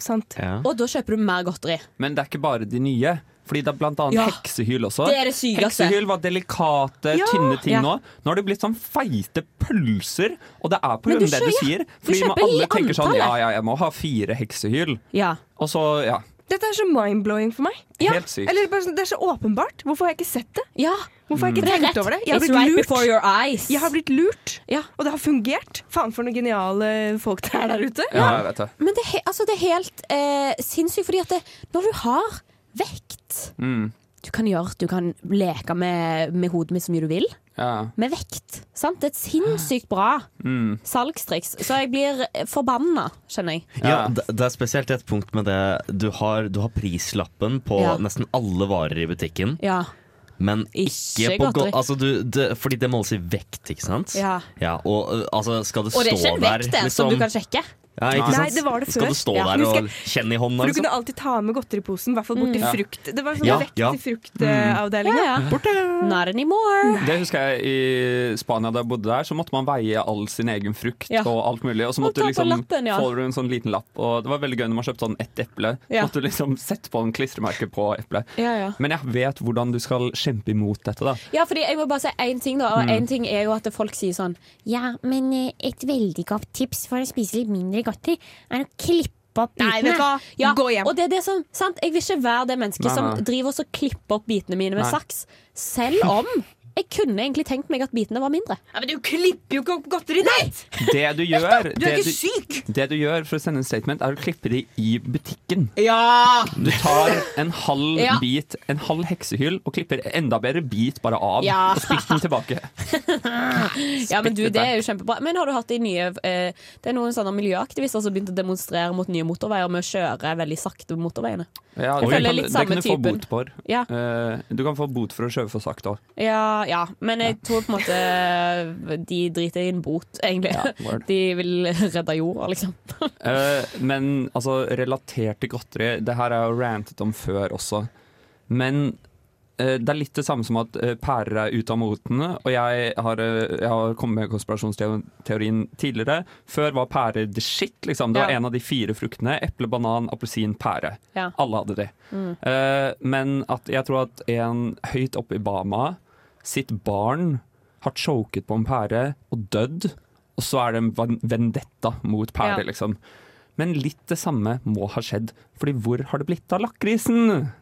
[SPEAKER 1] Og da kjøper du mer godteri.
[SPEAKER 2] Men det er ikke bare de nye. Fordi det er blant annet
[SPEAKER 1] Ja.
[SPEAKER 2] heksehyl også.
[SPEAKER 1] Det er det sykeste.
[SPEAKER 2] Heksehyl var delikate,
[SPEAKER 1] Ja.
[SPEAKER 2] tynne ting
[SPEAKER 1] Ja.
[SPEAKER 2] nå. Nå har det blitt sånn feite pølser, og det er på
[SPEAKER 1] Men
[SPEAKER 2] grunn
[SPEAKER 1] du
[SPEAKER 2] av det du
[SPEAKER 1] skjø- ja.
[SPEAKER 2] sier.
[SPEAKER 1] Du
[SPEAKER 2] Fordi man
[SPEAKER 1] kjøper i
[SPEAKER 2] alle tenker sånn
[SPEAKER 1] antallet.
[SPEAKER 2] ja, ja, jeg må ha fire heksehyl.
[SPEAKER 1] Ja.
[SPEAKER 2] Og så, ja.
[SPEAKER 5] Dette er så mind-blowing for meg.
[SPEAKER 2] Ja. Helt sykt.
[SPEAKER 5] Eller bare sånn, det er så åpenbart. Hvorfor har jeg ikke sett det? Hvorfor har
[SPEAKER 1] Mm.
[SPEAKER 5] jeg ikke
[SPEAKER 1] Det er
[SPEAKER 5] tenkt
[SPEAKER 1] rett.
[SPEAKER 5] over det? Jeg har
[SPEAKER 1] It's
[SPEAKER 5] blitt
[SPEAKER 1] right
[SPEAKER 5] lurt.
[SPEAKER 1] before your eyes.
[SPEAKER 5] Jeg har blitt lurt,
[SPEAKER 1] Ja.
[SPEAKER 5] og det har fungert. Faen for noen geniale folk det er der ute.
[SPEAKER 2] Ja, jeg vet det.
[SPEAKER 1] Men det, er he- altså, det er helt eh, sinnssykt, fordi at det, når du har vekt
[SPEAKER 2] Mm.
[SPEAKER 1] Du kan gjøre, du kan leke med, med hodet mitt så mye du vil.
[SPEAKER 2] Ja.
[SPEAKER 1] Med vekt. Sant? Det er et sinnssykt bra
[SPEAKER 3] Mm.
[SPEAKER 1] salgstriks. Så jeg blir forbanna, skjønner jeg.
[SPEAKER 3] Ja, det, det er spesielt et punkt med det Du har, du har prislappen på
[SPEAKER 1] Ja.
[SPEAKER 3] nesten alle varer i butikken.
[SPEAKER 1] Ja.
[SPEAKER 3] Men
[SPEAKER 1] Ikke
[SPEAKER 3] ikke, på
[SPEAKER 1] godteri.
[SPEAKER 3] godteri. Altså du, det, fordi det måles i vekt, ikke sant?
[SPEAKER 1] Ja.
[SPEAKER 3] og ø, altså, skal det
[SPEAKER 1] Og
[SPEAKER 3] stå
[SPEAKER 1] det er ikke en
[SPEAKER 3] der liksom.
[SPEAKER 1] vekt det, som du kan sjekke.
[SPEAKER 3] Ja, ikke sant?
[SPEAKER 5] Nei, det var det
[SPEAKER 3] Skal
[SPEAKER 5] før.
[SPEAKER 3] du stå
[SPEAKER 5] Ja.
[SPEAKER 3] der
[SPEAKER 5] Men skal-
[SPEAKER 3] og kjenne i hånda?
[SPEAKER 5] For du
[SPEAKER 3] Liksom?
[SPEAKER 5] kunne alltid ta med godteriposen, i hvert fall bort
[SPEAKER 3] Mm.
[SPEAKER 5] til
[SPEAKER 3] Ja.
[SPEAKER 5] frukt. Det var sånn
[SPEAKER 3] Ja,
[SPEAKER 5] vekt
[SPEAKER 3] ja.
[SPEAKER 5] til
[SPEAKER 1] Mm.
[SPEAKER 5] fruktavdelinga.
[SPEAKER 1] Ja, ja. Not anymore.
[SPEAKER 2] Det husker jeg i Spania da jeg bodde der, så måtte man veie all sin egen frukt
[SPEAKER 1] Ja.
[SPEAKER 2] og alt mulig. Og så
[SPEAKER 1] Og
[SPEAKER 2] måtte
[SPEAKER 1] ta
[SPEAKER 2] du
[SPEAKER 1] på
[SPEAKER 2] liksom
[SPEAKER 1] lappen, ja.
[SPEAKER 2] få du en sånn liten lapp, og det var veldig gøy når man kjøpte sånn ett eple.
[SPEAKER 1] Ja.
[SPEAKER 2] Så måtte du liksom sette på en klistremerke på eplet.
[SPEAKER 1] Ja, ja.
[SPEAKER 2] Men jeg vet hvordan du skal kjempe imot dette, da.
[SPEAKER 1] Ja, fordi jeg må bare si én ting, da. Og
[SPEAKER 2] Mm.
[SPEAKER 1] én ting er jo at folk sier sånn
[SPEAKER 15] Ja, men eh, et veldig godt tips for å spise litt mindre godteri er å klippe opp bitene.
[SPEAKER 1] Nei, vet du hva? Ja,
[SPEAKER 15] Gå hjem.
[SPEAKER 1] Og det er det som, sant? Jeg vil ikke være det mennesket
[SPEAKER 15] Nei, nei.
[SPEAKER 1] som driver og så klipper opp bitene mine med
[SPEAKER 15] Nei.
[SPEAKER 1] saks. Selv om Jeg kunne egentlig tenkt meg at bitene var mindre.
[SPEAKER 18] Ja, men du klipper jo ikke opp godteri ditt!
[SPEAKER 2] Det du gjør
[SPEAKER 18] Du er
[SPEAKER 2] det
[SPEAKER 18] ikke syk!
[SPEAKER 2] Det du gjør for å sende en statement, er å klippe de i butikken.
[SPEAKER 18] Ja!
[SPEAKER 2] Du tar en halv
[SPEAKER 1] Ja.
[SPEAKER 2] bit, en halv heksehyll, og klipper enda bedre bit bare av.
[SPEAKER 1] Ja.
[SPEAKER 2] Og spiser den tilbake.
[SPEAKER 1] Ja, men du, det er jo kjempebra. Men har du hatt de nye eh, Det er noen sånne miljøaktivister som begynte å demonstrere mot nye motorveier med å kjøre veldig sakte på motorveiene.
[SPEAKER 2] Ja,
[SPEAKER 1] jeg
[SPEAKER 2] det,
[SPEAKER 1] føler
[SPEAKER 2] kan,
[SPEAKER 1] litt
[SPEAKER 2] det kan
[SPEAKER 1] samme
[SPEAKER 2] du få
[SPEAKER 1] typen.
[SPEAKER 2] bot for.
[SPEAKER 1] Ja.
[SPEAKER 2] Eh, du kan få bot for å kjøpe for sakte òg.
[SPEAKER 1] Ja, ja, men jeg tror på en måte de driter i en bot, egentlig.
[SPEAKER 2] Ja, word.
[SPEAKER 1] de vil redde jorda, liksom.
[SPEAKER 2] men altså, relatert til godteri Det her er jo rantet om før også. Men eh, det er litt det samme som at eh, pærer er ute av motene. Og jeg har, eh, jeg har kommet med konspirasjonsteorien tidligere. Før var pærer the shit. Liksom. Det var
[SPEAKER 1] Ja.
[SPEAKER 2] en av de fire fruktene. Eple, banan, appelsin, pære.
[SPEAKER 1] Ja.
[SPEAKER 2] Alle hadde de.
[SPEAKER 1] Mm.
[SPEAKER 2] Eh, men at jeg tror at en høyt oppe i Bama sitt barn har choket på en pære og dødd, og så er det en van- vendetta mot pære,
[SPEAKER 1] Ja.
[SPEAKER 2] liksom. Men litt det samme må ha skjedd, Fordi hvor har det blitt av lakrisen?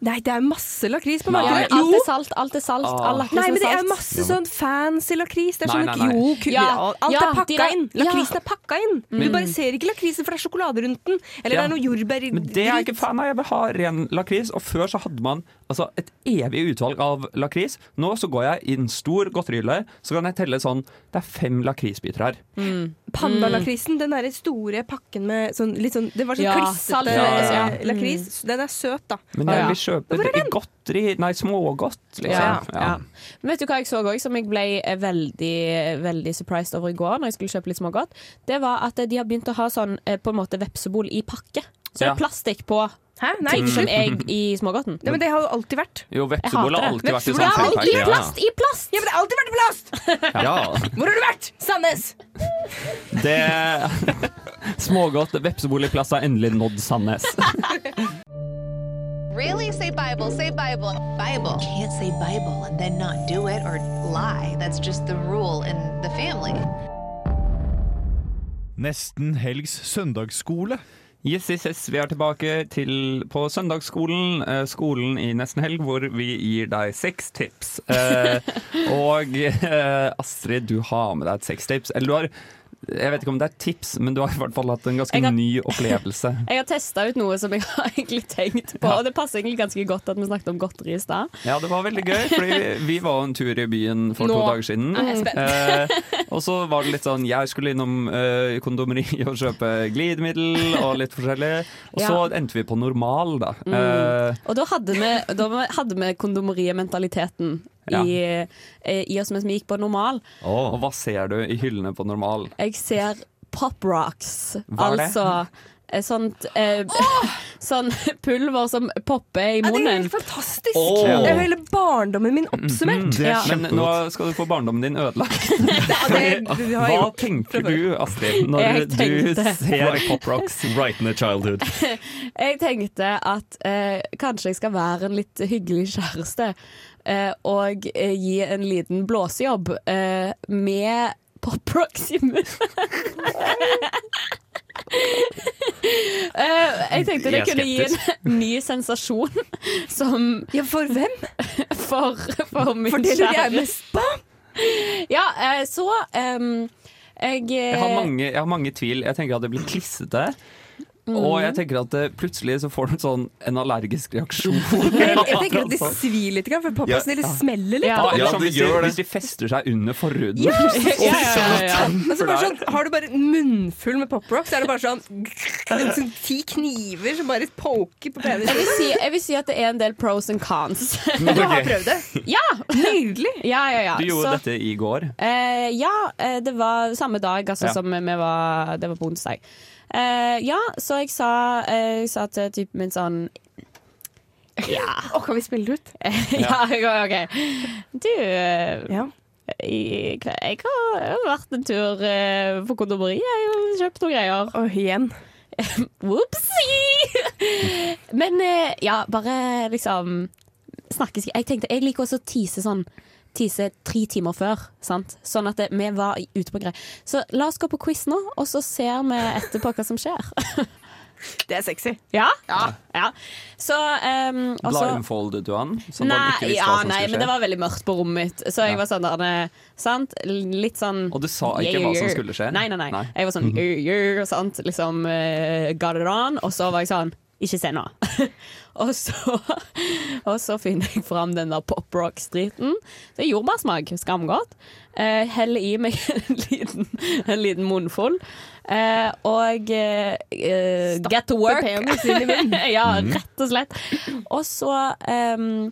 [SPEAKER 5] Nei, det er masse lakris på
[SPEAKER 2] Nei.
[SPEAKER 5] markedet.
[SPEAKER 2] Ja, men alt
[SPEAKER 1] er salt, alt er salt.
[SPEAKER 2] Ah. all lakris
[SPEAKER 5] nei,
[SPEAKER 2] er
[SPEAKER 5] men det er
[SPEAKER 2] salt.
[SPEAKER 5] masse sånn fancy lakris. Det er
[SPEAKER 2] Nei,
[SPEAKER 5] sånn
[SPEAKER 2] nei, nei.
[SPEAKER 5] Jo, ku,
[SPEAKER 1] Ja,
[SPEAKER 5] alt
[SPEAKER 1] ja,
[SPEAKER 5] er
[SPEAKER 1] de
[SPEAKER 5] pakka
[SPEAKER 1] der-
[SPEAKER 5] inn.
[SPEAKER 1] ja.
[SPEAKER 5] Lakrisen er pakka inn.
[SPEAKER 2] Mm.
[SPEAKER 5] Du bare ser ikke lakrisen, for det er sjokolade rundt den. Eller
[SPEAKER 2] Ja.
[SPEAKER 5] det er noe jordbær
[SPEAKER 2] Men det er jeg ikke fan av. Jeg vil ha ren lakris. Og før så hadde man altså, et evig utvalg av lakris. Nå så går jeg i en stor godterihylle, så kan jeg telle sånn Det er fem lakrisbiter her.
[SPEAKER 5] Pandalakrisen, den derre store pakken med sånn litt sånn Det var sånn
[SPEAKER 1] Mm. Ja, Mm. salt,
[SPEAKER 5] klissete
[SPEAKER 2] ja, ja.
[SPEAKER 5] eh, lakris. Den er søt, da.
[SPEAKER 2] Men jeg vil kjøpe det i godteri Nei, smågodt,
[SPEAKER 1] Ja,
[SPEAKER 2] liksom.
[SPEAKER 1] ja. Men vet du hva jeg så òg, som jeg ble eh, veldig, veldig surprised over i går, når jeg skulle kjøpe litt smågodt? Det var at eh, de har begynt å ha sånn eh, på en måte vepsebol i pakke. Så det
[SPEAKER 2] Ja.
[SPEAKER 1] er plastikk på
[SPEAKER 5] Nei,
[SPEAKER 1] ting som
[SPEAKER 5] slutt.
[SPEAKER 1] er i smågodten.
[SPEAKER 5] Nei, men det har jo alltid vært.
[SPEAKER 2] Jo, vepsebol har alltid vært i sånn
[SPEAKER 5] Vepsebol har alltid
[SPEAKER 2] feilpakke.
[SPEAKER 5] vært plast,
[SPEAKER 1] I plast!
[SPEAKER 5] Ja, men det har alltid vært i plast!
[SPEAKER 2] Ja.
[SPEAKER 5] Hvor har du vært? Sandnes!
[SPEAKER 2] Det Smågodt vepseboligplass har endelig nådd Sandnes.
[SPEAKER 19] Really? Say Bible, say Bible, Bible. Can't say Bible and then not do it or lie. That's just the rule in the family.
[SPEAKER 2] Nesten helgs søndagsskole. Yes, yes, yes. Vi er tilbake til på søndagsskolen, eh, skolen i nesten helg, hvor vi gir deg seks tips. Eh, og eh, Astrid, du har med deg et seks tips. Eller du har Jeg vet ikke om det er tips, men du har i hvert fall hatt en ganske
[SPEAKER 1] Jeg har-
[SPEAKER 2] ny opplevelse.
[SPEAKER 1] Jeg har testa ut noe som jeg har egentlig tenkt på, og det passer egentlig ganske godt at vi snakket om godteri i stad.
[SPEAKER 2] Ja, det var veldig gøy, fordi vi- vi var en tur i byen for
[SPEAKER 1] Nå
[SPEAKER 2] to dager siden.
[SPEAKER 1] er jeg spent.
[SPEAKER 2] Eh, og så var det litt sånn Jeg skulle innom eh, kondomeriet og kjøpe glidemiddel og litt forskjellig. Og så endte vi på normal, da.
[SPEAKER 1] Mm.
[SPEAKER 2] Eh,
[SPEAKER 1] Og da hadde vi, da hadde vi kondomeriet-mentaliteten
[SPEAKER 2] Ja.
[SPEAKER 1] i, eh, i oss mens vi gikk på normal.
[SPEAKER 2] Og hva ser du i hyllene på normal?
[SPEAKER 1] Jeg ser Pop Rocks.
[SPEAKER 2] Hva er det?
[SPEAKER 1] altså eh, sånt eh, Sånn pulver som popper i
[SPEAKER 5] Ja, det er
[SPEAKER 1] munnen.
[SPEAKER 5] helt fantastisk!
[SPEAKER 2] Åh. Mm,
[SPEAKER 5] Det er jo hele barndommen min oppsummert.
[SPEAKER 2] Men nå skal du få barndommen din ødelagt. Hva tenker du, Astrid, når
[SPEAKER 1] Jeg
[SPEAKER 2] du
[SPEAKER 1] tenkte-
[SPEAKER 2] ser
[SPEAKER 1] Right.
[SPEAKER 2] Pop Rocks?
[SPEAKER 3] Right in the childhood.
[SPEAKER 1] Jeg tenkte at eh, kanskje jeg skal være en litt hyggelig kjæreste eh, og eh, gi en liten blåsejobb eh, med Pop Rocks i munnen. Eh, jeg tenkte det
[SPEAKER 5] Jeg er
[SPEAKER 1] kunne gi en ny sensasjon som
[SPEAKER 5] Ja, for hvem?
[SPEAKER 1] For, for min
[SPEAKER 5] For det lurer jeg mest
[SPEAKER 1] på. Ja, eh, så ehm, jeg, eh,
[SPEAKER 2] Jeg har, mange, jeg har mange tvil. Jeg tenker at det blir klissete.
[SPEAKER 1] mm.
[SPEAKER 2] Og jeg tenker at eh, plutselig så får du en sånn en allergisk reaksjon.
[SPEAKER 5] Jeg, jeg tenker at det svir litt, for
[SPEAKER 2] Ja.
[SPEAKER 5] pappasen eller
[SPEAKER 2] Ja.
[SPEAKER 5] smeller litt.
[SPEAKER 2] Ja,
[SPEAKER 5] da.
[SPEAKER 2] eller sånn hvis, de, hvis de fester seg under forhuden.
[SPEAKER 5] Ja,
[SPEAKER 2] Og
[SPEAKER 5] ja, ja, ja, ja.
[SPEAKER 2] sånn
[SPEAKER 5] Men så bare
[SPEAKER 2] for
[SPEAKER 5] sånn,
[SPEAKER 2] deg.
[SPEAKER 5] har du bare en munnfull med pop rock, så er det bare sånn, sånn ti kniver som bare poker på
[SPEAKER 1] jeg, vil
[SPEAKER 5] penisen.
[SPEAKER 1] si, jeg vil si at det er en del pros and cons.
[SPEAKER 5] Du har prøvd det?
[SPEAKER 1] Ja! Nydelig. Ja, ja, ja.
[SPEAKER 2] Du gjorde
[SPEAKER 1] Så-
[SPEAKER 2] dette i går.
[SPEAKER 1] Eh, ja, eh, det var samme dag altså,
[SPEAKER 2] Ja.
[SPEAKER 1] som vi var Det var på onsdag. Eh, ja, så jeg sa, eh, jeg sa til typen min sånn Ja.
[SPEAKER 5] Å, kan vi spille det ut?
[SPEAKER 1] ja, OK. Du, eh, i, kveld- jeg har jeg har vært en tur eh, på kondomeriet. Jeg har kjøpt noen greier.
[SPEAKER 5] Og igjen.
[SPEAKER 1] Whoopsie! Men eh, ja, bare liksom snakkes Jeg tenkte, jeg liker også å tease sånn Tease tre timer før, sant? Sånn at det, vi var ute på greier. Så la oss gå på quiz nå, og så ser vi etterpå hva som skjer.
[SPEAKER 5] Det er sexy.
[SPEAKER 1] Ja? ja. Så um, også,
[SPEAKER 2] Blindfoldet du han? Sånn at
[SPEAKER 1] Nei,
[SPEAKER 2] han ikke visste
[SPEAKER 1] ja,
[SPEAKER 2] hva som
[SPEAKER 1] nei
[SPEAKER 2] skulle
[SPEAKER 1] men
[SPEAKER 2] skje?
[SPEAKER 1] det var veldig mørkt på rommet mitt. Så jeg var sånn der, eh, sant? Litt sånn
[SPEAKER 2] Og du sa ikke hva som skulle skje?
[SPEAKER 1] Nei, nei, nei.
[SPEAKER 2] Nei. Mhm.
[SPEAKER 1] Jeg var sånn "Yo, yo", sant? Liksom eh, got it on. Og så var jeg sånn ikke se nå. og, så, og så finner jeg fram den der poprock-striten. Det er jordbærsmak. Skamgodt. Eh, heller i meg en liten, en liten munnfull. Eh, og eh, eh, get to work.
[SPEAKER 5] penis inn i munnen.
[SPEAKER 1] ja,
[SPEAKER 5] Mm.
[SPEAKER 1] rett og slett. Og så ehm,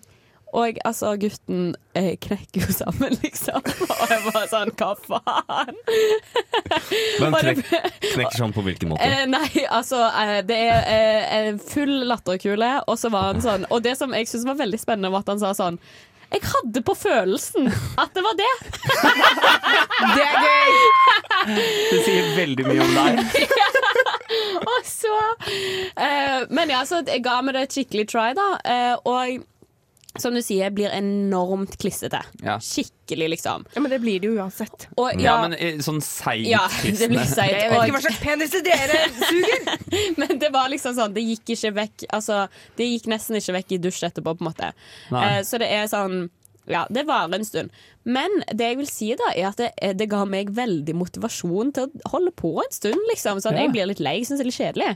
[SPEAKER 1] Og altså, gutten eh, knekker jo sammen, liksom. Og jeg var sånn, hva faen?
[SPEAKER 3] Men
[SPEAKER 1] Var
[SPEAKER 3] knek,
[SPEAKER 1] det-
[SPEAKER 3] knekker sånn på hvilken måte?
[SPEAKER 1] Eh, nei, altså eh, Det er eh, en full latterkule, og så var han sånn Og det som jeg syns var veldig spennende, var at han sa sånn jeg hadde på følelsen at det var det. det er gøy!
[SPEAKER 2] Det sier veldig mye om deg.
[SPEAKER 1] og så eh, Men ja, så jeg ga meg det et skikkelig try, da. eh, og som du sier, blir enormt klissete.
[SPEAKER 2] Ja.
[SPEAKER 1] Skikkelig, liksom.
[SPEAKER 5] Ja, Men det blir det jo uansett.
[SPEAKER 1] Og,
[SPEAKER 2] Ja,
[SPEAKER 1] ja,
[SPEAKER 2] men eh, sånn seigt
[SPEAKER 1] Ja, det blir seigt.
[SPEAKER 5] Jeg vet ikke hva slags penis dere suger!
[SPEAKER 1] Men det var liksom sånn, det gikk ikke vekk Altså, det gikk nesten ikke vekk i dusj etterpå, på en måte.
[SPEAKER 5] Nei.
[SPEAKER 1] Eh, så det er sånn ja, det varer en stund. Men det jeg vil si da er at det, eh, det ga meg veldig motivasjon til å holde på en stund. liksom sånn,
[SPEAKER 5] Ja.
[SPEAKER 1] Jeg blir litt lei, jeg syns det er litt kjedelig.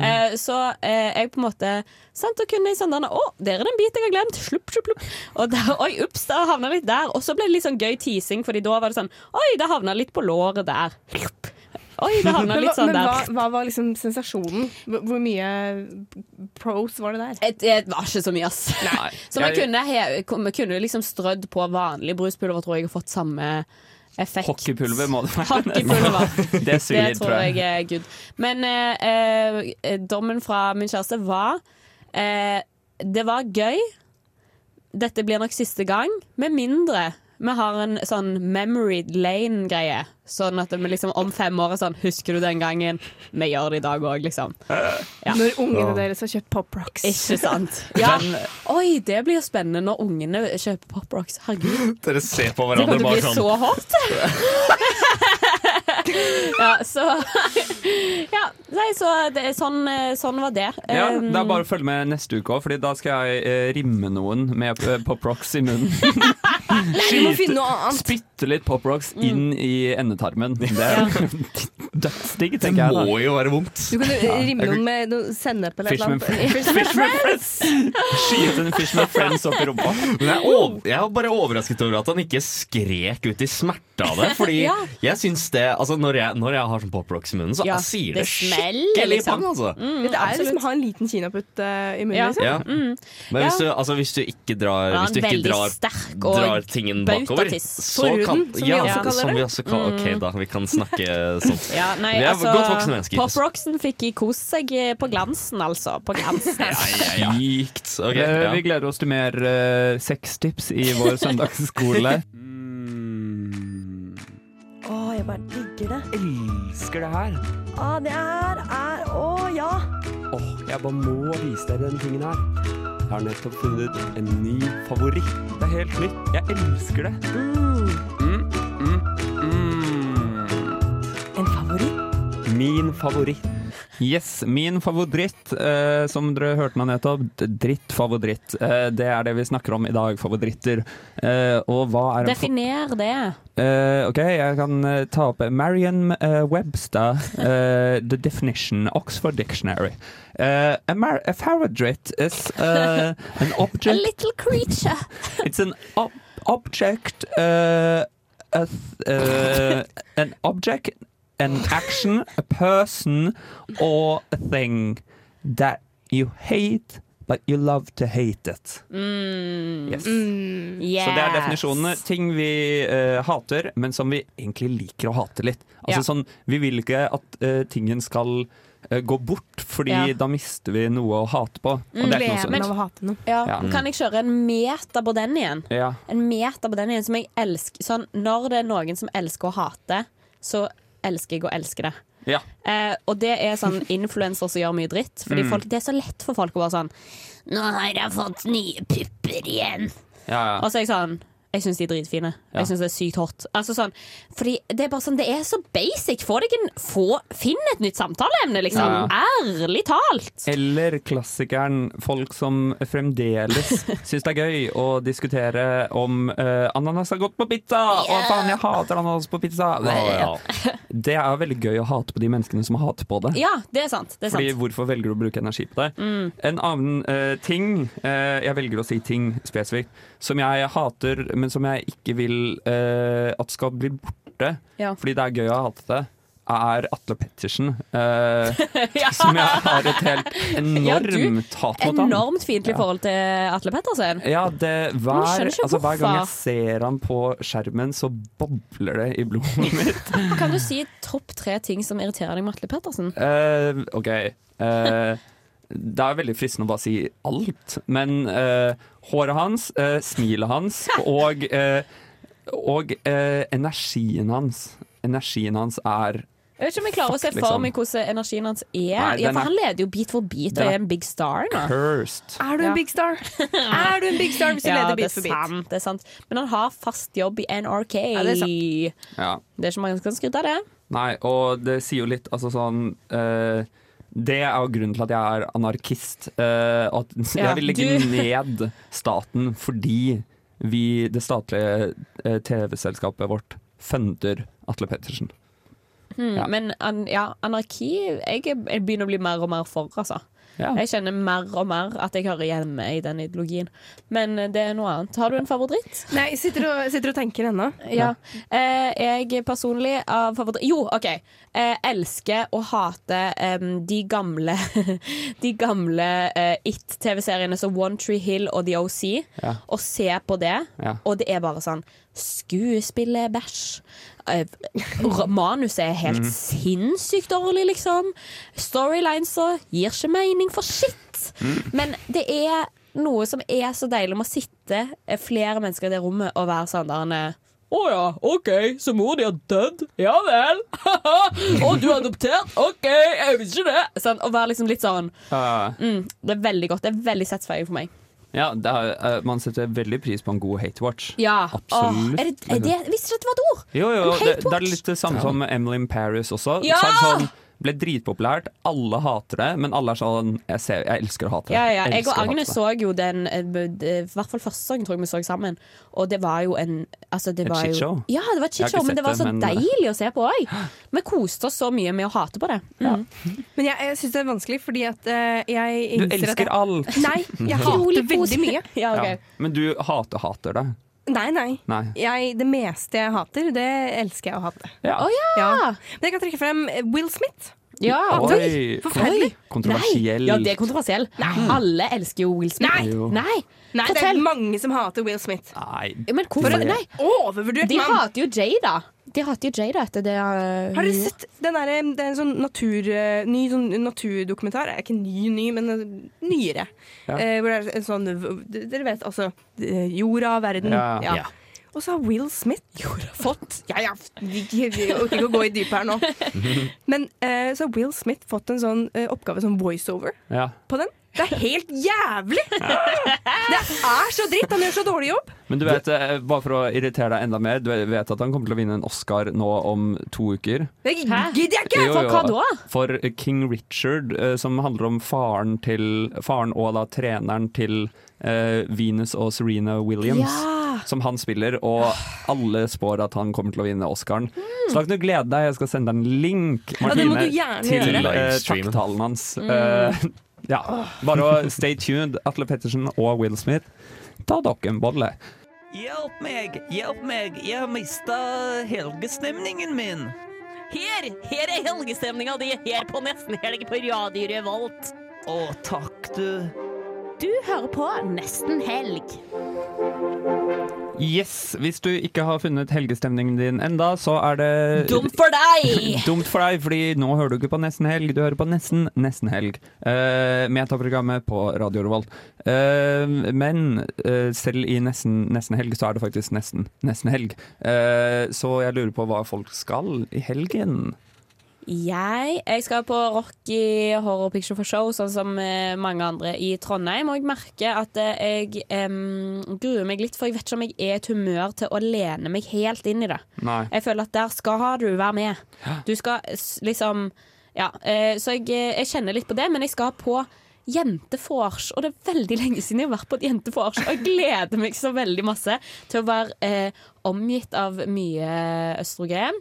[SPEAKER 1] Eh, så eh, jeg på en måte sant, Da kunne jeg sånn der, Å, der er det en bit jeg har glemt! Slupp, slupp, slupp. Og der, oi, ups, da havna litt der. Og så ble det litt sånn gøy teasing, Fordi da var det sånn Oi, det havna litt på låret der. Oi, det havna
[SPEAKER 5] Men hva-
[SPEAKER 1] litt sånn
[SPEAKER 5] men
[SPEAKER 1] der.
[SPEAKER 5] hva, hva var liksom sensasjonen? Hvor hvor mye pros var det der?
[SPEAKER 1] Det var ikke så mye, ass. Så man
[SPEAKER 5] Jeg-
[SPEAKER 1] kunne, he- kunne- kunne liksom strødd på vanlig bruspulver, tror jeg, og fått samme effekt.
[SPEAKER 2] Hockeypulver må det være.
[SPEAKER 1] Hockeypulver.
[SPEAKER 2] Det er solid,
[SPEAKER 1] Det tror jeg er good. Men eh, eh, dommen fra min kjæreste var eh, Det var gøy. Dette blir nok siste gang, med mindre vi har en sånn memory lane-greie. Sånn at vi liksom om fem år er sånn Husker du den gangen? Vi gjør det i dag òg, liksom. Ja.
[SPEAKER 5] Når ungene
[SPEAKER 1] Ja.
[SPEAKER 5] deres har kjøpt Pop Rocks.
[SPEAKER 1] Ikke sant? Ja. Oi, det blir spennende når ungene kjøper Pop Rocks. Herregud.
[SPEAKER 3] Dere ser på
[SPEAKER 1] Det
[SPEAKER 3] hverandre
[SPEAKER 1] kommer til å
[SPEAKER 3] bare
[SPEAKER 1] bli så
[SPEAKER 3] sånn.
[SPEAKER 1] hot! ja, så Ja, nei, så det, er sånn, eh, sånn var det.
[SPEAKER 2] Ja,
[SPEAKER 1] Um,
[SPEAKER 2] det er bare å følge med neste uke òg, Fordi da skal jeg eh, rimme noen med eh, pop rocks i munnen.
[SPEAKER 5] du må
[SPEAKER 2] Skyte-
[SPEAKER 5] finne noe annet.
[SPEAKER 2] Spytte litt pop rocks
[SPEAKER 1] Mm.
[SPEAKER 2] inn i endetarmen. Det er dødsdigg,
[SPEAKER 3] Det
[SPEAKER 2] tenker jeg. da.
[SPEAKER 3] må jo være vondt.
[SPEAKER 5] Du kan
[SPEAKER 2] Ja.
[SPEAKER 5] rimme
[SPEAKER 2] Jeg kan
[SPEAKER 5] noen med noe sennep eller et
[SPEAKER 3] Fishman
[SPEAKER 5] eller annet.
[SPEAKER 3] Friends. Fishman
[SPEAKER 2] Skyte en fish med friends opp i rumpa.
[SPEAKER 3] Men jeg er, over, jeg er bare overrasket over at han ikke skrek ut i smerte av det. Fordi
[SPEAKER 1] Ja.
[SPEAKER 3] jeg syns det altså når, jeg, når jeg har sånn poprocks i munnen, så
[SPEAKER 1] Ja,
[SPEAKER 3] jeg sier det,
[SPEAKER 1] det smeller,
[SPEAKER 3] skikkelig
[SPEAKER 1] liksom.
[SPEAKER 3] pang, altså.
[SPEAKER 1] Mm,
[SPEAKER 5] det er liksom
[SPEAKER 1] absolutt.
[SPEAKER 5] å ha en liten kinaputt eh, i munnen,
[SPEAKER 1] Ja.
[SPEAKER 5] liksom.
[SPEAKER 3] Ja.
[SPEAKER 1] Mm.
[SPEAKER 3] Men hvis
[SPEAKER 1] Ja.
[SPEAKER 3] du, altså, hvis du ikke drar,
[SPEAKER 1] Ja,
[SPEAKER 3] hvis du ikke
[SPEAKER 1] veldig
[SPEAKER 3] drar,
[SPEAKER 1] sterk og
[SPEAKER 3] drar tingen bakover,
[SPEAKER 1] bautatiss.
[SPEAKER 3] så kan
[SPEAKER 1] Forhuden, som vi
[SPEAKER 3] ja,
[SPEAKER 1] også kaller
[SPEAKER 3] som vi
[SPEAKER 1] det.
[SPEAKER 3] også kaller Ok,
[SPEAKER 1] Mm.
[SPEAKER 3] da. Vi kan snakke sånn.
[SPEAKER 1] Ja, nei,
[SPEAKER 3] vi er
[SPEAKER 1] altså,
[SPEAKER 3] godt voksne
[SPEAKER 1] Pop
[SPEAKER 3] mennesker.
[SPEAKER 1] Rocksen fikk i kost seg eh, på glansen, altså. På glansen.
[SPEAKER 3] Sykt. Ok,
[SPEAKER 2] Eh,
[SPEAKER 3] ja.
[SPEAKER 2] Vi gleder oss til mer eh, sextips i vår søndagsskole.
[SPEAKER 20] Mm.
[SPEAKER 21] Å, jeg bare digger det.
[SPEAKER 2] Elsker det her.
[SPEAKER 21] Å, det her er Å, ja.
[SPEAKER 20] Åh, jeg bare må vise deg denne tingen her. Jeg har nettopp funnet en ny favoritt. Det er helt nytt. Jeg elsker det. Mm, mm,
[SPEAKER 21] En favoritt?
[SPEAKER 2] Min favoritt. Yes, min favoritt, eh, som dere hørte nå nettopp, d- drittfavoritt. Eh, det er det vi snakker om i dag, favoritter. Eh, og hva er en fa-
[SPEAKER 1] Definer det.
[SPEAKER 2] Eh, ok, jeg kan eh, ta opp Marion eh, Webster, eh, The Definition, Oxford Dictionary. Eh, a, mar- a favorite is eh, an
[SPEAKER 1] A
[SPEAKER 2] object
[SPEAKER 1] little creature.
[SPEAKER 2] It's an ob- object, uh, a th- uh, an object, an action, a person, or a thing that you hate, but you love to hate it.
[SPEAKER 1] Mm.
[SPEAKER 2] Yes.
[SPEAKER 1] Mm.
[SPEAKER 2] Så det er
[SPEAKER 1] Yes.
[SPEAKER 2] definisjonene. Ting vi eh, hater, men som vi egentlig liker å hate litt. Altså
[SPEAKER 1] Ja.
[SPEAKER 2] sånn, Vi vil ikke at eh, tingen skal eh, gå bort, fordi
[SPEAKER 1] Ja.
[SPEAKER 2] da mister vi noe å hate på. Og det er ikke noe sånn-
[SPEAKER 1] Men-
[SPEAKER 2] sunt.
[SPEAKER 1] Ja.
[SPEAKER 2] Ja.
[SPEAKER 1] Kan jeg kjøre en meter på den igjen?
[SPEAKER 2] Ja.
[SPEAKER 1] En meter på den igjen som jeg elsker sånn, Når det er noen som elsker å hate, så elsker jeg å elske det.
[SPEAKER 2] Ja.
[SPEAKER 1] Eh, og det er sånn influenser som gjør mye dritt. Fordi
[SPEAKER 2] Mm.
[SPEAKER 1] folk, Det er så lett for folk å være sånn 'Nå har jeg fått nye pupper igjen'.
[SPEAKER 2] Ja, ja.
[SPEAKER 1] Og så er jeg sånn Jeg syns de er dritfine.
[SPEAKER 22] Ja.
[SPEAKER 1] Jeg syns det er sykt hot. Altså sånn, fordi det er bare sånn, det er så basic. Få deg en få, Finn et nytt samtaleemne, liksom.
[SPEAKER 2] Ja.
[SPEAKER 1] Ærlig talt.
[SPEAKER 2] Eller klassikeren folk som fremdeles syns det er gøy å diskutere om eh, ananas har gått på pizza! Å faen, jeg hater ananas på pizza! Det er veldig gøy å hate på de menneskene som hater på det.
[SPEAKER 1] Ja, det er sant. Det er
[SPEAKER 2] Fordi
[SPEAKER 1] sant.
[SPEAKER 2] Hvorfor velger du å bruke energi på det?
[SPEAKER 1] Mm.
[SPEAKER 2] En annen eh, ting eh, Jeg velger å si ting spesifikt. Som jeg hater, men som jeg ikke vil eh, at skal bli borte.
[SPEAKER 1] Ja.
[SPEAKER 2] Fordi det er gøy å hate det. Er Atle Pettersen. eh, Som jeg har et helt
[SPEAKER 1] Ja, du-
[SPEAKER 2] enormt hat mot. han.
[SPEAKER 1] Enormt fiendtlig forhold til Atle Pettersen.
[SPEAKER 2] Ja, det,
[SPEAKER 1] Man
[SPEAKER 2] hver,
[SPEAKER 1] skjønner ikke
[SPEAKER 2] altså, hver gang jeg
[SPEAKER 1] hvorfor.
[SPEAKER 2] ser han på skjermen, så bobler det i blodet mitt.
[SPEAKER 1] Kan du si topp tre ting som irriterer deg med Atle Pettersen?
[SPEAKER 2] Eh, OK. eh, det er veldig fristende å bare si alt, men eh, håret hans, eh, smilet hans og, eh, og eh, energien hans. Energien hans er
[SPEAKER 1] Jeg vet ikke om jeg klarer å se
[SPEAKER 2] Fuck,
[SPEAKER 1] for
[SPEAKER 2] liksom.
[SPEAKER 1] meg hvordan energien hans er.
[SPEAKER 2] Nei,
[SPEAKER 1] ja,
[SPEAKER 2] den
[SPEAKER 1] for
[SPEAKER 2] er-
[SPEAKER 1] Han leder jo bit for bit og
[SPEAKER 2] den er
[SPEAKER 1] er en big star nå.
[SPEAKER 2] cursed.
[SPEAKER 5] Er du en big star? Er du en big star hvis du
[SPEAKER 1] ja, det er
[SPEAKER 5] leder bit for bit?
[SPEAKER 1] Sant, det er sant. Men han har fast jobb i NRK.
[SPEAKER 5] Ja, det er
[SPEAKER 1] det
[SPEAKER 2] Ja.
[SPEAKER 1] er ikke mange som kan skryte av det.
[SPEAKER 2] Nei, og det sier jo litt Altså sånn eh, Det er jo grunnen til at jeg er anarkist. eh, og at
[SPEAKER 1] Ja,
[SPEAKER 2] jeg vil legge
[SPEAKER 1] du-
[SPEAKER 2] ned staten fordi vi, det statlige eh, TV-selskapet vårt, funder Atle Pettersen.
[SPEAKER 1] Hmm,
[SPEAKER 2] Ja.
[SPEAKER 1] Men an, ja, anarki jeg, er- jeg begynner å bli mer og mer for, altså.
[SPEAKER 2] Ja.
[SPEAKER 1] Jeg kjenner mer og mer at jeg hører hjemme i den ideologien. Men eh, det er noe annet. Har du en favoritt?
[SPEAKER 5] Nei, jeg sitter og, sitter og tenker ennå.
[SPEAKER 1] Ja. Eh, jeg personlig av favoritt... Jo, OK. Eh, elsker og hater em, de gamle De gamle eh, It-TV-seriene som One Tree Hill og The OC.
[SPEAKER 22] Ja.
[SPEAKER 1] Og ser på det,
[SPEAKER 22] Ja.
[SPEAKER 1] og det er bare sånn Skuespillerbæsj. Eh, r- Manuset er helt
[SPEAKER 22] Mhm.
[SPEAKER 1] sinnssykt dårlig, liksom. Storylinesa gir ikke mening for shit.
[SPEAKER 22] Mhm.
[SPEAKER 1] Men det er noe som er så deilig med å sitte eh, flere mennesker i det rommet og være sånn der eh, Å ja, OK, så mor di har dødd? Ja vel? og du er adoptert? OK, jeg visste ikke det. Sånn, og være liksom litt sånn
[SPEAKER 2] Eh,
[SPEAKER 1] mm, Det er veldig godt. Det er veldig satisfying for meg.
[SPEAKER 2] ja, det er, eh, man setter veldig pris på en god hate-watch.
[SPEAKER 1] Ja.
[SPEAKER 2] Absolutt.
[SPEAKER 1] Åh, er det, er det, visste ikke at det var et ord!
[SPEAKER 2] Jo, jo,
[SPEAKER 1] En
[SPEAKER 2] det, det er
[SPEAKER 1] hate-watch.
[SPEAKER 2] litt det samme som Emily in Paris også.
[SPEAKER 1] Ja!
[SPEAKER 2] Så er det sånn, ble dritpopulært. Alle hater det, men alle er sånn Jeg, ser, jeg elsker å hate det.
[SPEAKER 1] Ja, ja. Jeg og
[SPEAKER 2] elsker å hate
[SPEAKER 1] Agnes
[SPEAKER 2] det.
[SPEAKER 1] så jo den eh, b- eh, I hvert fall første sesongen tror jeg vi så sammen. Og det var jo en altså det
[SPEAKER 2] Et
[SPEAKER 1] var jo,
[SPEAKER 2] shitshow?
[SPEAKER 1] Ja, det var et
[SPEAKER 2] Jeg har
[SPEAKER 1] shitshow,
[SPEAKER 2] ikke
[SPEAKER 1] men det var
[SPEAKER 2] sett
[SPEAKER 1] så
[SPEAKER 2] det, men-
[SPEAKER 1] deilig å se på òg. Vi koste oss så mye med å hate på det. Mm.
[SPEAKER 5] Men jeg, jeg syns det er vanskelig, fordi at eh, jeg
[SPEAKER 2] Du
[SPEAKER 5] innser at
[SPEAKER 2] elsker
[SPEAKER 5] jeg,
[SPEAKER 2] alt.
[SPEAKER 5] Nei, jeg hater veldig mye.
[SPEAKER 2] Ja, Men du hater-hater det.
[SPEAKER 5] Nei, nei.
[SPEAKER 2] Nei.
[SPEAKER 5] Jeg, det meste jeg hater, det elsker jeg å hate.
[SPEAKER 2] Ja. Å,
[SPEAKER 5] Men jeg kan trekke frem Will Smith.
[SPEAKER 1] Ja.
[SPEAKER 2] Oi.
[SPEAKER 1] Forferdelig.
[SPEAKER 2] Kontroversiell.
[SPEAKER 1] Nei. Ja, det er kontroversiell. Mm. Alle elsker jo Will Smith.
[SPEAKER 5] Nei. Jo.
[SPEAKER 1] Nei.
[SPEAKER 5] Nei, det er mange som hater Will Smith.
[SPEAKER 2] Nei.
[SPEAKER 1] Men hvorfor
[SPEAKER 5] For-
[SPEAKER 1] Nei.
[SPEAKER 5] Overvurdert
[SPEAKER 1] De
[SPEAKER 5] mann.
[SPEAKER 1] hater jo Jada. De hater jo Jada etter det eh,
[SPEAKER 5] Har dere
[SPEAKER 1] hun-
[SPEAKER 5] sett den der, det er en sånn natur, ny sånn naturdokumentar? Det er ikke ny, ny, men eh, nyere.
[SPEAKER 1] Ja.
[SPEAKER 5] Eh, hvor det er en sånn Dere vet altså eh, Jorda, verden.
[SPEAKER 1] Ja. Ja.
[SPEAKER 5] Og så har Will Smith fått Ja, ja, vi vi orker ikke å gå i dypet her nå. Men eh, så har Will Smith fått en sånn eh, oppgave som voiceover
[SPEAKER 2] Ja.
[SPEAKER 5] på den. Det er helt jævlig! Det er så dritt! Han gjør så dårlig jobb.
[SPEAKER 2] Men du vet, eh, bare for å irritere deg enda mer, du vet at han kommer til å vinne en Oscar nå om to uker.
[SPEAKER 5] Det gidder jeg ikke!
[SPEAKER 2] Jo, jo, For King Richard, eh, som handler om faren til Faren og da treneren til eh, Venus og Serena Williams.
[SPEAKER 1] Ja.
[SPEAKER 2] Som han spiller, og alle spår at han kommer til å vinne Oscaren. Så da kan du glede deg, jeg skal sende deg en link
[SPEAKER 5] Ja, det må
[SPEAKER 2] Martine,
[SPEAKER 5] du gjerne
[SPEAKER 2] til
[SPEAKER 5] gjøre.
[SPEAKER 2] eh,
[SPEAKER 5] Livestreamen.
[SPEAKER 2] takktalen hans.
[SPEAKER 5] Mm.
[SPEAKER 2] Eh, ja. Bare å stay tuned, Atle Pettersen og Will Smith. Ta dere en bolle.
[SPEAKER 23] Hjelp meg, hjelp meg, jeg har mista helgestemningen min.
[SPEAKER 22] Her, her er helgestemninga di, her på Nesten Helg på Radio Revolt.
[SPEAKER 23] Å, takk, du.
[SPEAKER 22] Du hører på Nesten Helg.
[SPEAKER 2] Yes, Hvis du ikke har funnet helgestemningen din enda, så er det
[SPEAKER 22] Dumt for deg!
[SPEAKER 2] Dumt for deg, fordi nå hører du ikke på Nesten Helg, du hører på Nesten Nesten Helg. Uh, Metaprogrammet på Radio Revolt. Eh, men eh, selv i Nesten Nesten Helg så er det faktisk Nesten Nesten Helg. Eh, så jeg lurer på hva folk skal i helgen.
[SPEAKER 1] Jeg, jeg skal på Rocky Horror Picture for Show, sånn som eh, mange andre i Trondheim. Og jeg merker at eh, jeg em, gruer meg litt, for jeg vet ikke om jeg er i et humør til å lene meg helt inn i det.
[SPEAKER 24] Nei.
[SPEAKER 1] Jeg føler at der skal du være med. Du skal s- liksom Ja. eh, Så jeg, eh, jeg kjenner litt på det, men jeg skal på Jentefors, og det er veldig lenge siden jeg har vært på et jentefors. Og jeg gleder meg så veldig masse til å være eh, omgitt av mye østrogen.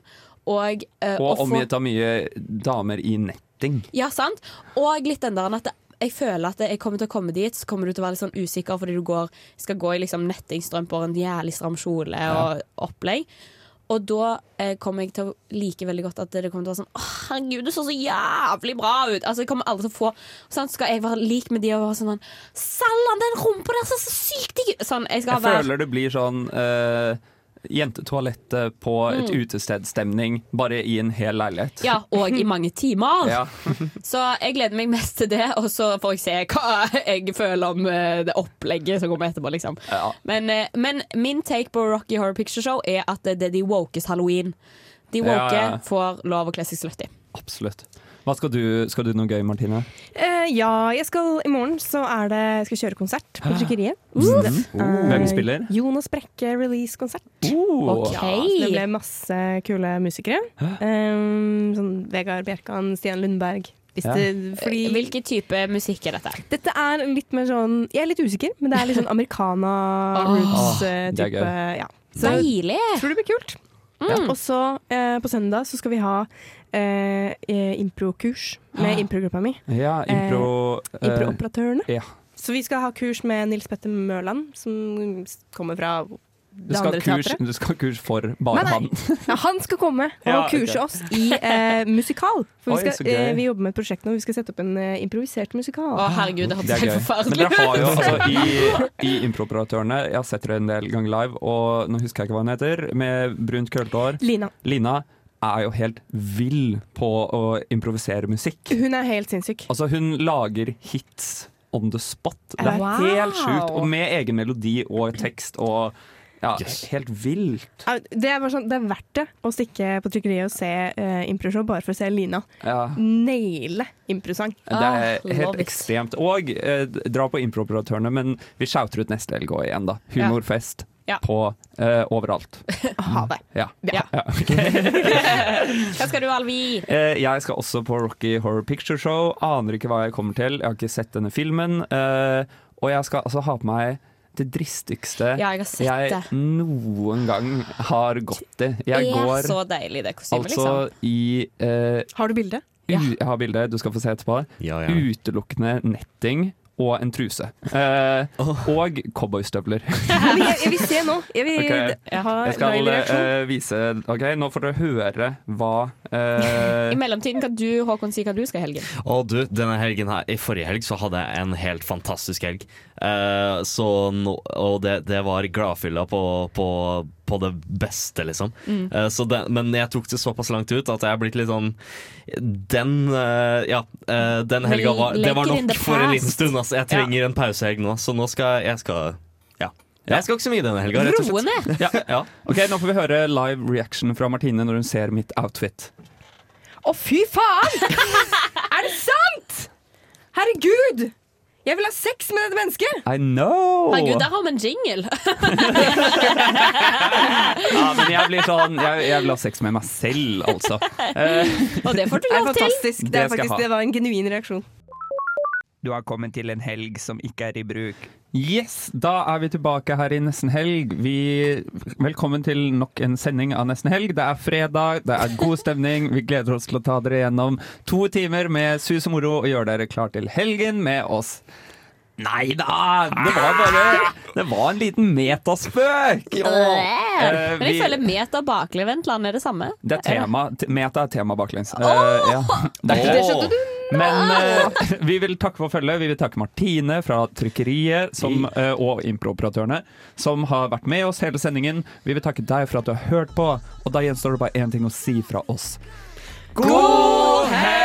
[SPEAKER 1] Og, eh, å
[SPEAKER 2] Og
[SPEAKER 1] få-
[SPEAKER 2] omgitt av mye damer i netting.
[SPEAKER 1] ja, sant? Og litt den der at jeg føler at jeg kommer til å komme dit, så kommer du til å være litt sånn usikker fordi du går, skal gå i liksom nettingstrømper, en jævlig stram kjole og opplegg. Og da eh, kommer jeg til å like veldig godt at det kommer til å være sånn Å, herregud, det så så jævlig bra ut! Altså, jeg kommer aldri til å få sant? Skal jeg være lik med de og være sånn sånn, Sallan, den rumpa der ser så sykt digg ut! Sånn, jeg skal
[SPEAKER 2] Jeg
[SPEAKER 1] være
[SPEAKER 2] føler det blir sånn eh, jentetoalettet på et
[SPEAKER 1] Mm.
[SPEAKER 2] utestedstemning, bare i en hel leilighet.
[SPEAKER 1] Ja, og i mange timer.
[SPEAKER 2] Ja.
[SPEAKER 1] Så jeg gleder meg mest til det, og så får jeg se hva jeg føler om eh, det opplegget som kommer etterpå, liksom.
[SPEAKER 2] Ja.
[SPEAKER 1] Men, eh, men min take på Rocky Horror Picture Show er at eh, det er de wokes halloween. De woke
[SPEAKER 2] Ja, ja, ja.
[SPEAKER 1] får lov å kle seg slutty.
[SPEAKER 2] Absolutt. Hva skal du, skal du noe gøy, Martine?
[SPEAKER 5] Eh, ja, jeg skal i morgen så er det, jeg skal kjøre konsert på Trykkeriet.
[SPEAKER 2] Mm.
[SPEAKER 5] Det er
[SPEAKER 2] Hvem spiller?
[SPEAKER 5] Jonas Brekke release-konsert.
[SPEAKER 2] Oh.
[SPEAKER 5] Ja, så det ble masse kule musikere. Um, sånn Vegard Bjerkan, Stian Lundberg. Hvis
[SPEAKER 1] Ja. Eh,
[SPEAKER 5] det, fordi
[SPEAKER 1] Hvilken type musikk er dette?
[SPEAKER 5] dette er litt mer sånn Jeg er litt usikker, men det er litt sånn americana roots eh,
[SPEAKER 1] Åh, det er
[SPEAKER 5] type.
[SPEAKER 1] gøy.
[SPEAKER 5] Ja.
[SPEAKER 1] Deilig!
[SPEAKER 5] Tror det blir kult. Og så eh, på søndag så skal vi ha eh, eh, improkurs med improgruppa mi.
[SPEAKER 2] Ja, impro...
[SPEAKER 5] Eh, improoperatørene.
[SPEAKER 2] eh, ja.
[SPEAKER 5] Så vi skal ha kurs med Nils Petter Mørland, som kommer fra
[SPEAKER 2] Du
[SPEAKER 5] det
[SPEAKER 2] skal,
[SPEAKER 5] andre
[SPEAKER 2] ha kurs,
[SPEAKER 5] teatret.
[SPEAKER 2] du skal ha kurs for bare
[SPEAKER 5] Nei, nei.
[SPEAKER 2] han.
[SPEAKER 5] Ja, han skal komme og
[SPEAKER 2] Ja, ok.
[SPEAKER 5] kurse oss i eh, musikal. For
[SPEAKER 2] Oi,
[SPEAKER 5] vi,
[SPEAKER 2] så
[SPEAKER 5] skal,
[SPEAKER 2] gøy. Ah.
[SPEAKER 5] eh, vi jobber med et prosjekt nå, vi skal sette opp en eh, improvisert musikal.
[SPEAKER 1] Å, herregud, det hørtes
[SPEAKER 2] Det er
[SPEAKER 1] helt
[SPEAKER 2] gøy. Men
[SPEAKER 1] forferdelig
[SPEAKER 2] dere har jo altså, i, i Improoperatørene Jeg har sett dere en del ganger live, og nå husker jeg ikke hva hun heter, med brunt, krøllete hår.
[SPEAKER 5] Lina.
[SPEAKER 2] Lina er jo helt vill på å improvisere musikk.
[SPEAKER 5] Hun er helt sinnssyk.
[SPEAKER 2] Altså, hun lager hits on the spot. Det er
[SPEAKER 5] Wow.
[SPEAKER 2] helt sjukt. Og med egen melodi og tekst og ja, helt vilt.
[SPEAKER 5] Ja, Det er, bare sånn, det er verdt det å stikke på trykkeriet og se eh, improshow bare for å se Lina
[SPEAKER 2] Ja.
[SPEAKER 5] naile improsang.
[SPEAKER 2] Det
[SPEAKER 1] Ah,
[SPEAKER 2] er helt ekstremt. Og eh, dra på improoperatørene, men vi shouter ut neste helg òg igjen, da. Humorfest
[SPEAKER 1] Ja.
[SPEAKER 2] på eh, overalt.
[SPEAKER 5] Ha det.
[SPEAKER 2] Ja.
[SPEAKER 1] Ja.
[SPEAKER 2] Ja, ok.
[SPEAKER 1] Hva skal du, Alvi?
[SPEAKER 2] Eh, Jeg skal også på Rocky Horror Picture Show. Aner ikke hva jeg kommer til. Jeg har ikke sett denne filmen. Eh, Og jeg skal altså ha på meg det dristigste
[SPEAKER 1] Ja, jeg har sett det.
[SPEAKER 2] noen gang har gått i.
[SPEAKER 1] er
[SPEAKER 2] Jeg går
[SPEAKER 1] så deilig, det kostymet, liksom.
[SPEAKER 2] altså i
[SPEAKER 5] Har du bilde?
[SPEAKER 2] Ja. Jeg har bilde, du skal få se etterpå. Utelukkende netting og en truse. Eh, Og cowboystøvler.
[SPEAKER 5] Jeg vil, jeg vil se nå. Jeg vil
[SPEAKER 2] Ok.
[SPEAKER 5] ha
[SPEAKER 2] Jeg skal
[SPEAKER 5] live reaksjon.
[SPEAKER 2] eh, vise OK, nå får dere høre hva
[SPEAKER 1] liksom.
[SPEAKER 2] eh,
[SPEAKER 1] I mellomtiden kan du, Håkon, si hva du skal i helgen.
[SPEAKER 3] Og du, denne helgen her, I forrige helg så hadde jeg en helt fantastisk helg. Eh, så nå, og det, det var gladfylla på, på, på det beste, liksom.
[SPEAKER 25] Mm.
[SPEAKER 3] Eh, så det, men jeg tok det såpass langt ut at jeg er blitt litt sånn Den eh, ja, eh, den
[SPEAKER 25] Men
[SPEAKER 3] helga var, det var
[SPEAKER 25] legger in
[SPEAKER 3] nok
[SPEAKER 25] the
[SPEAKER 3] for en liten
[SPEAKER 25] past.
[SPEAKER 3] stund. Altså. Jeg
[SPEAKER 25] Ja.
[SPEAKER 3] trenger en pausehelg nå, så nå skal jeg skal, ja. Jeg skal ikke så mye denne helga, rett og slett. Ja, ja.
[SPEAKER 2] Ok, Nå får vi høre live reaction fra Martine når hun ser mitt outfit.
[SPEAKER 5] Å, fy faen! er det sant?! Herregud! Jeg vil ha sex med dette mennesket!
[SPEAKER 2] I know!
[SPEAKER 1] Herregud, der har vi en jingle!
[SPEAKER 2] Ja, men jeg blir sånn Jeg, jeg vil ha sex med meg selv, altså. Eh,
[SPEAKER 1] Og det får du
[SPEAKER 5] Det er
[SPEAKER 1] lov til.
[SPEAKER 5] fantastisk. Det,
[SPEAKER 2] Det
[SPEAKER 5] er
[SPEAKER 2] skal jeg
[SPEAKER 5] faktisk,
[SPEAKER 2] ha.
[SPEAKER 5] det var en genuin reaksjon.
[SPEAKER 2] Du har kommet til en helg som ikke er i bruk. Yes, da er vi tilbake her i Nesten helg. Vi, velkommen til nok en sending av Nesten helg. Det er fredag, det er god stemning. Vi gleder oss til å ta dere gjennom to timer med sus og moro og gjøre dere klar til helgen med oss. Nei da! Det var bare Det var en liten metaspøk! Eh,
[SPEAKER 1] Men jeg
[SPEAKER 2] vi-
[SPEAKER 1] føler meta baklevendtland er det samme.
[SPEAKER 2] Det er tema. T- Meta er tema baklengs. Eh, ja. Det er ikke
[SPEAKER 1] Det skjønte du.
[SPEAKER 2] Men eh, vi vil takke for følget. Vi vil takke Martine fra Trykkeriet som, eh, og improoperatørene, som har vært med oss hele sendingen. Vi vil takke deg for at du har hørt på, og da gjenstår det bare én ting å si fra oss.
[SPEAKER 26] God helg!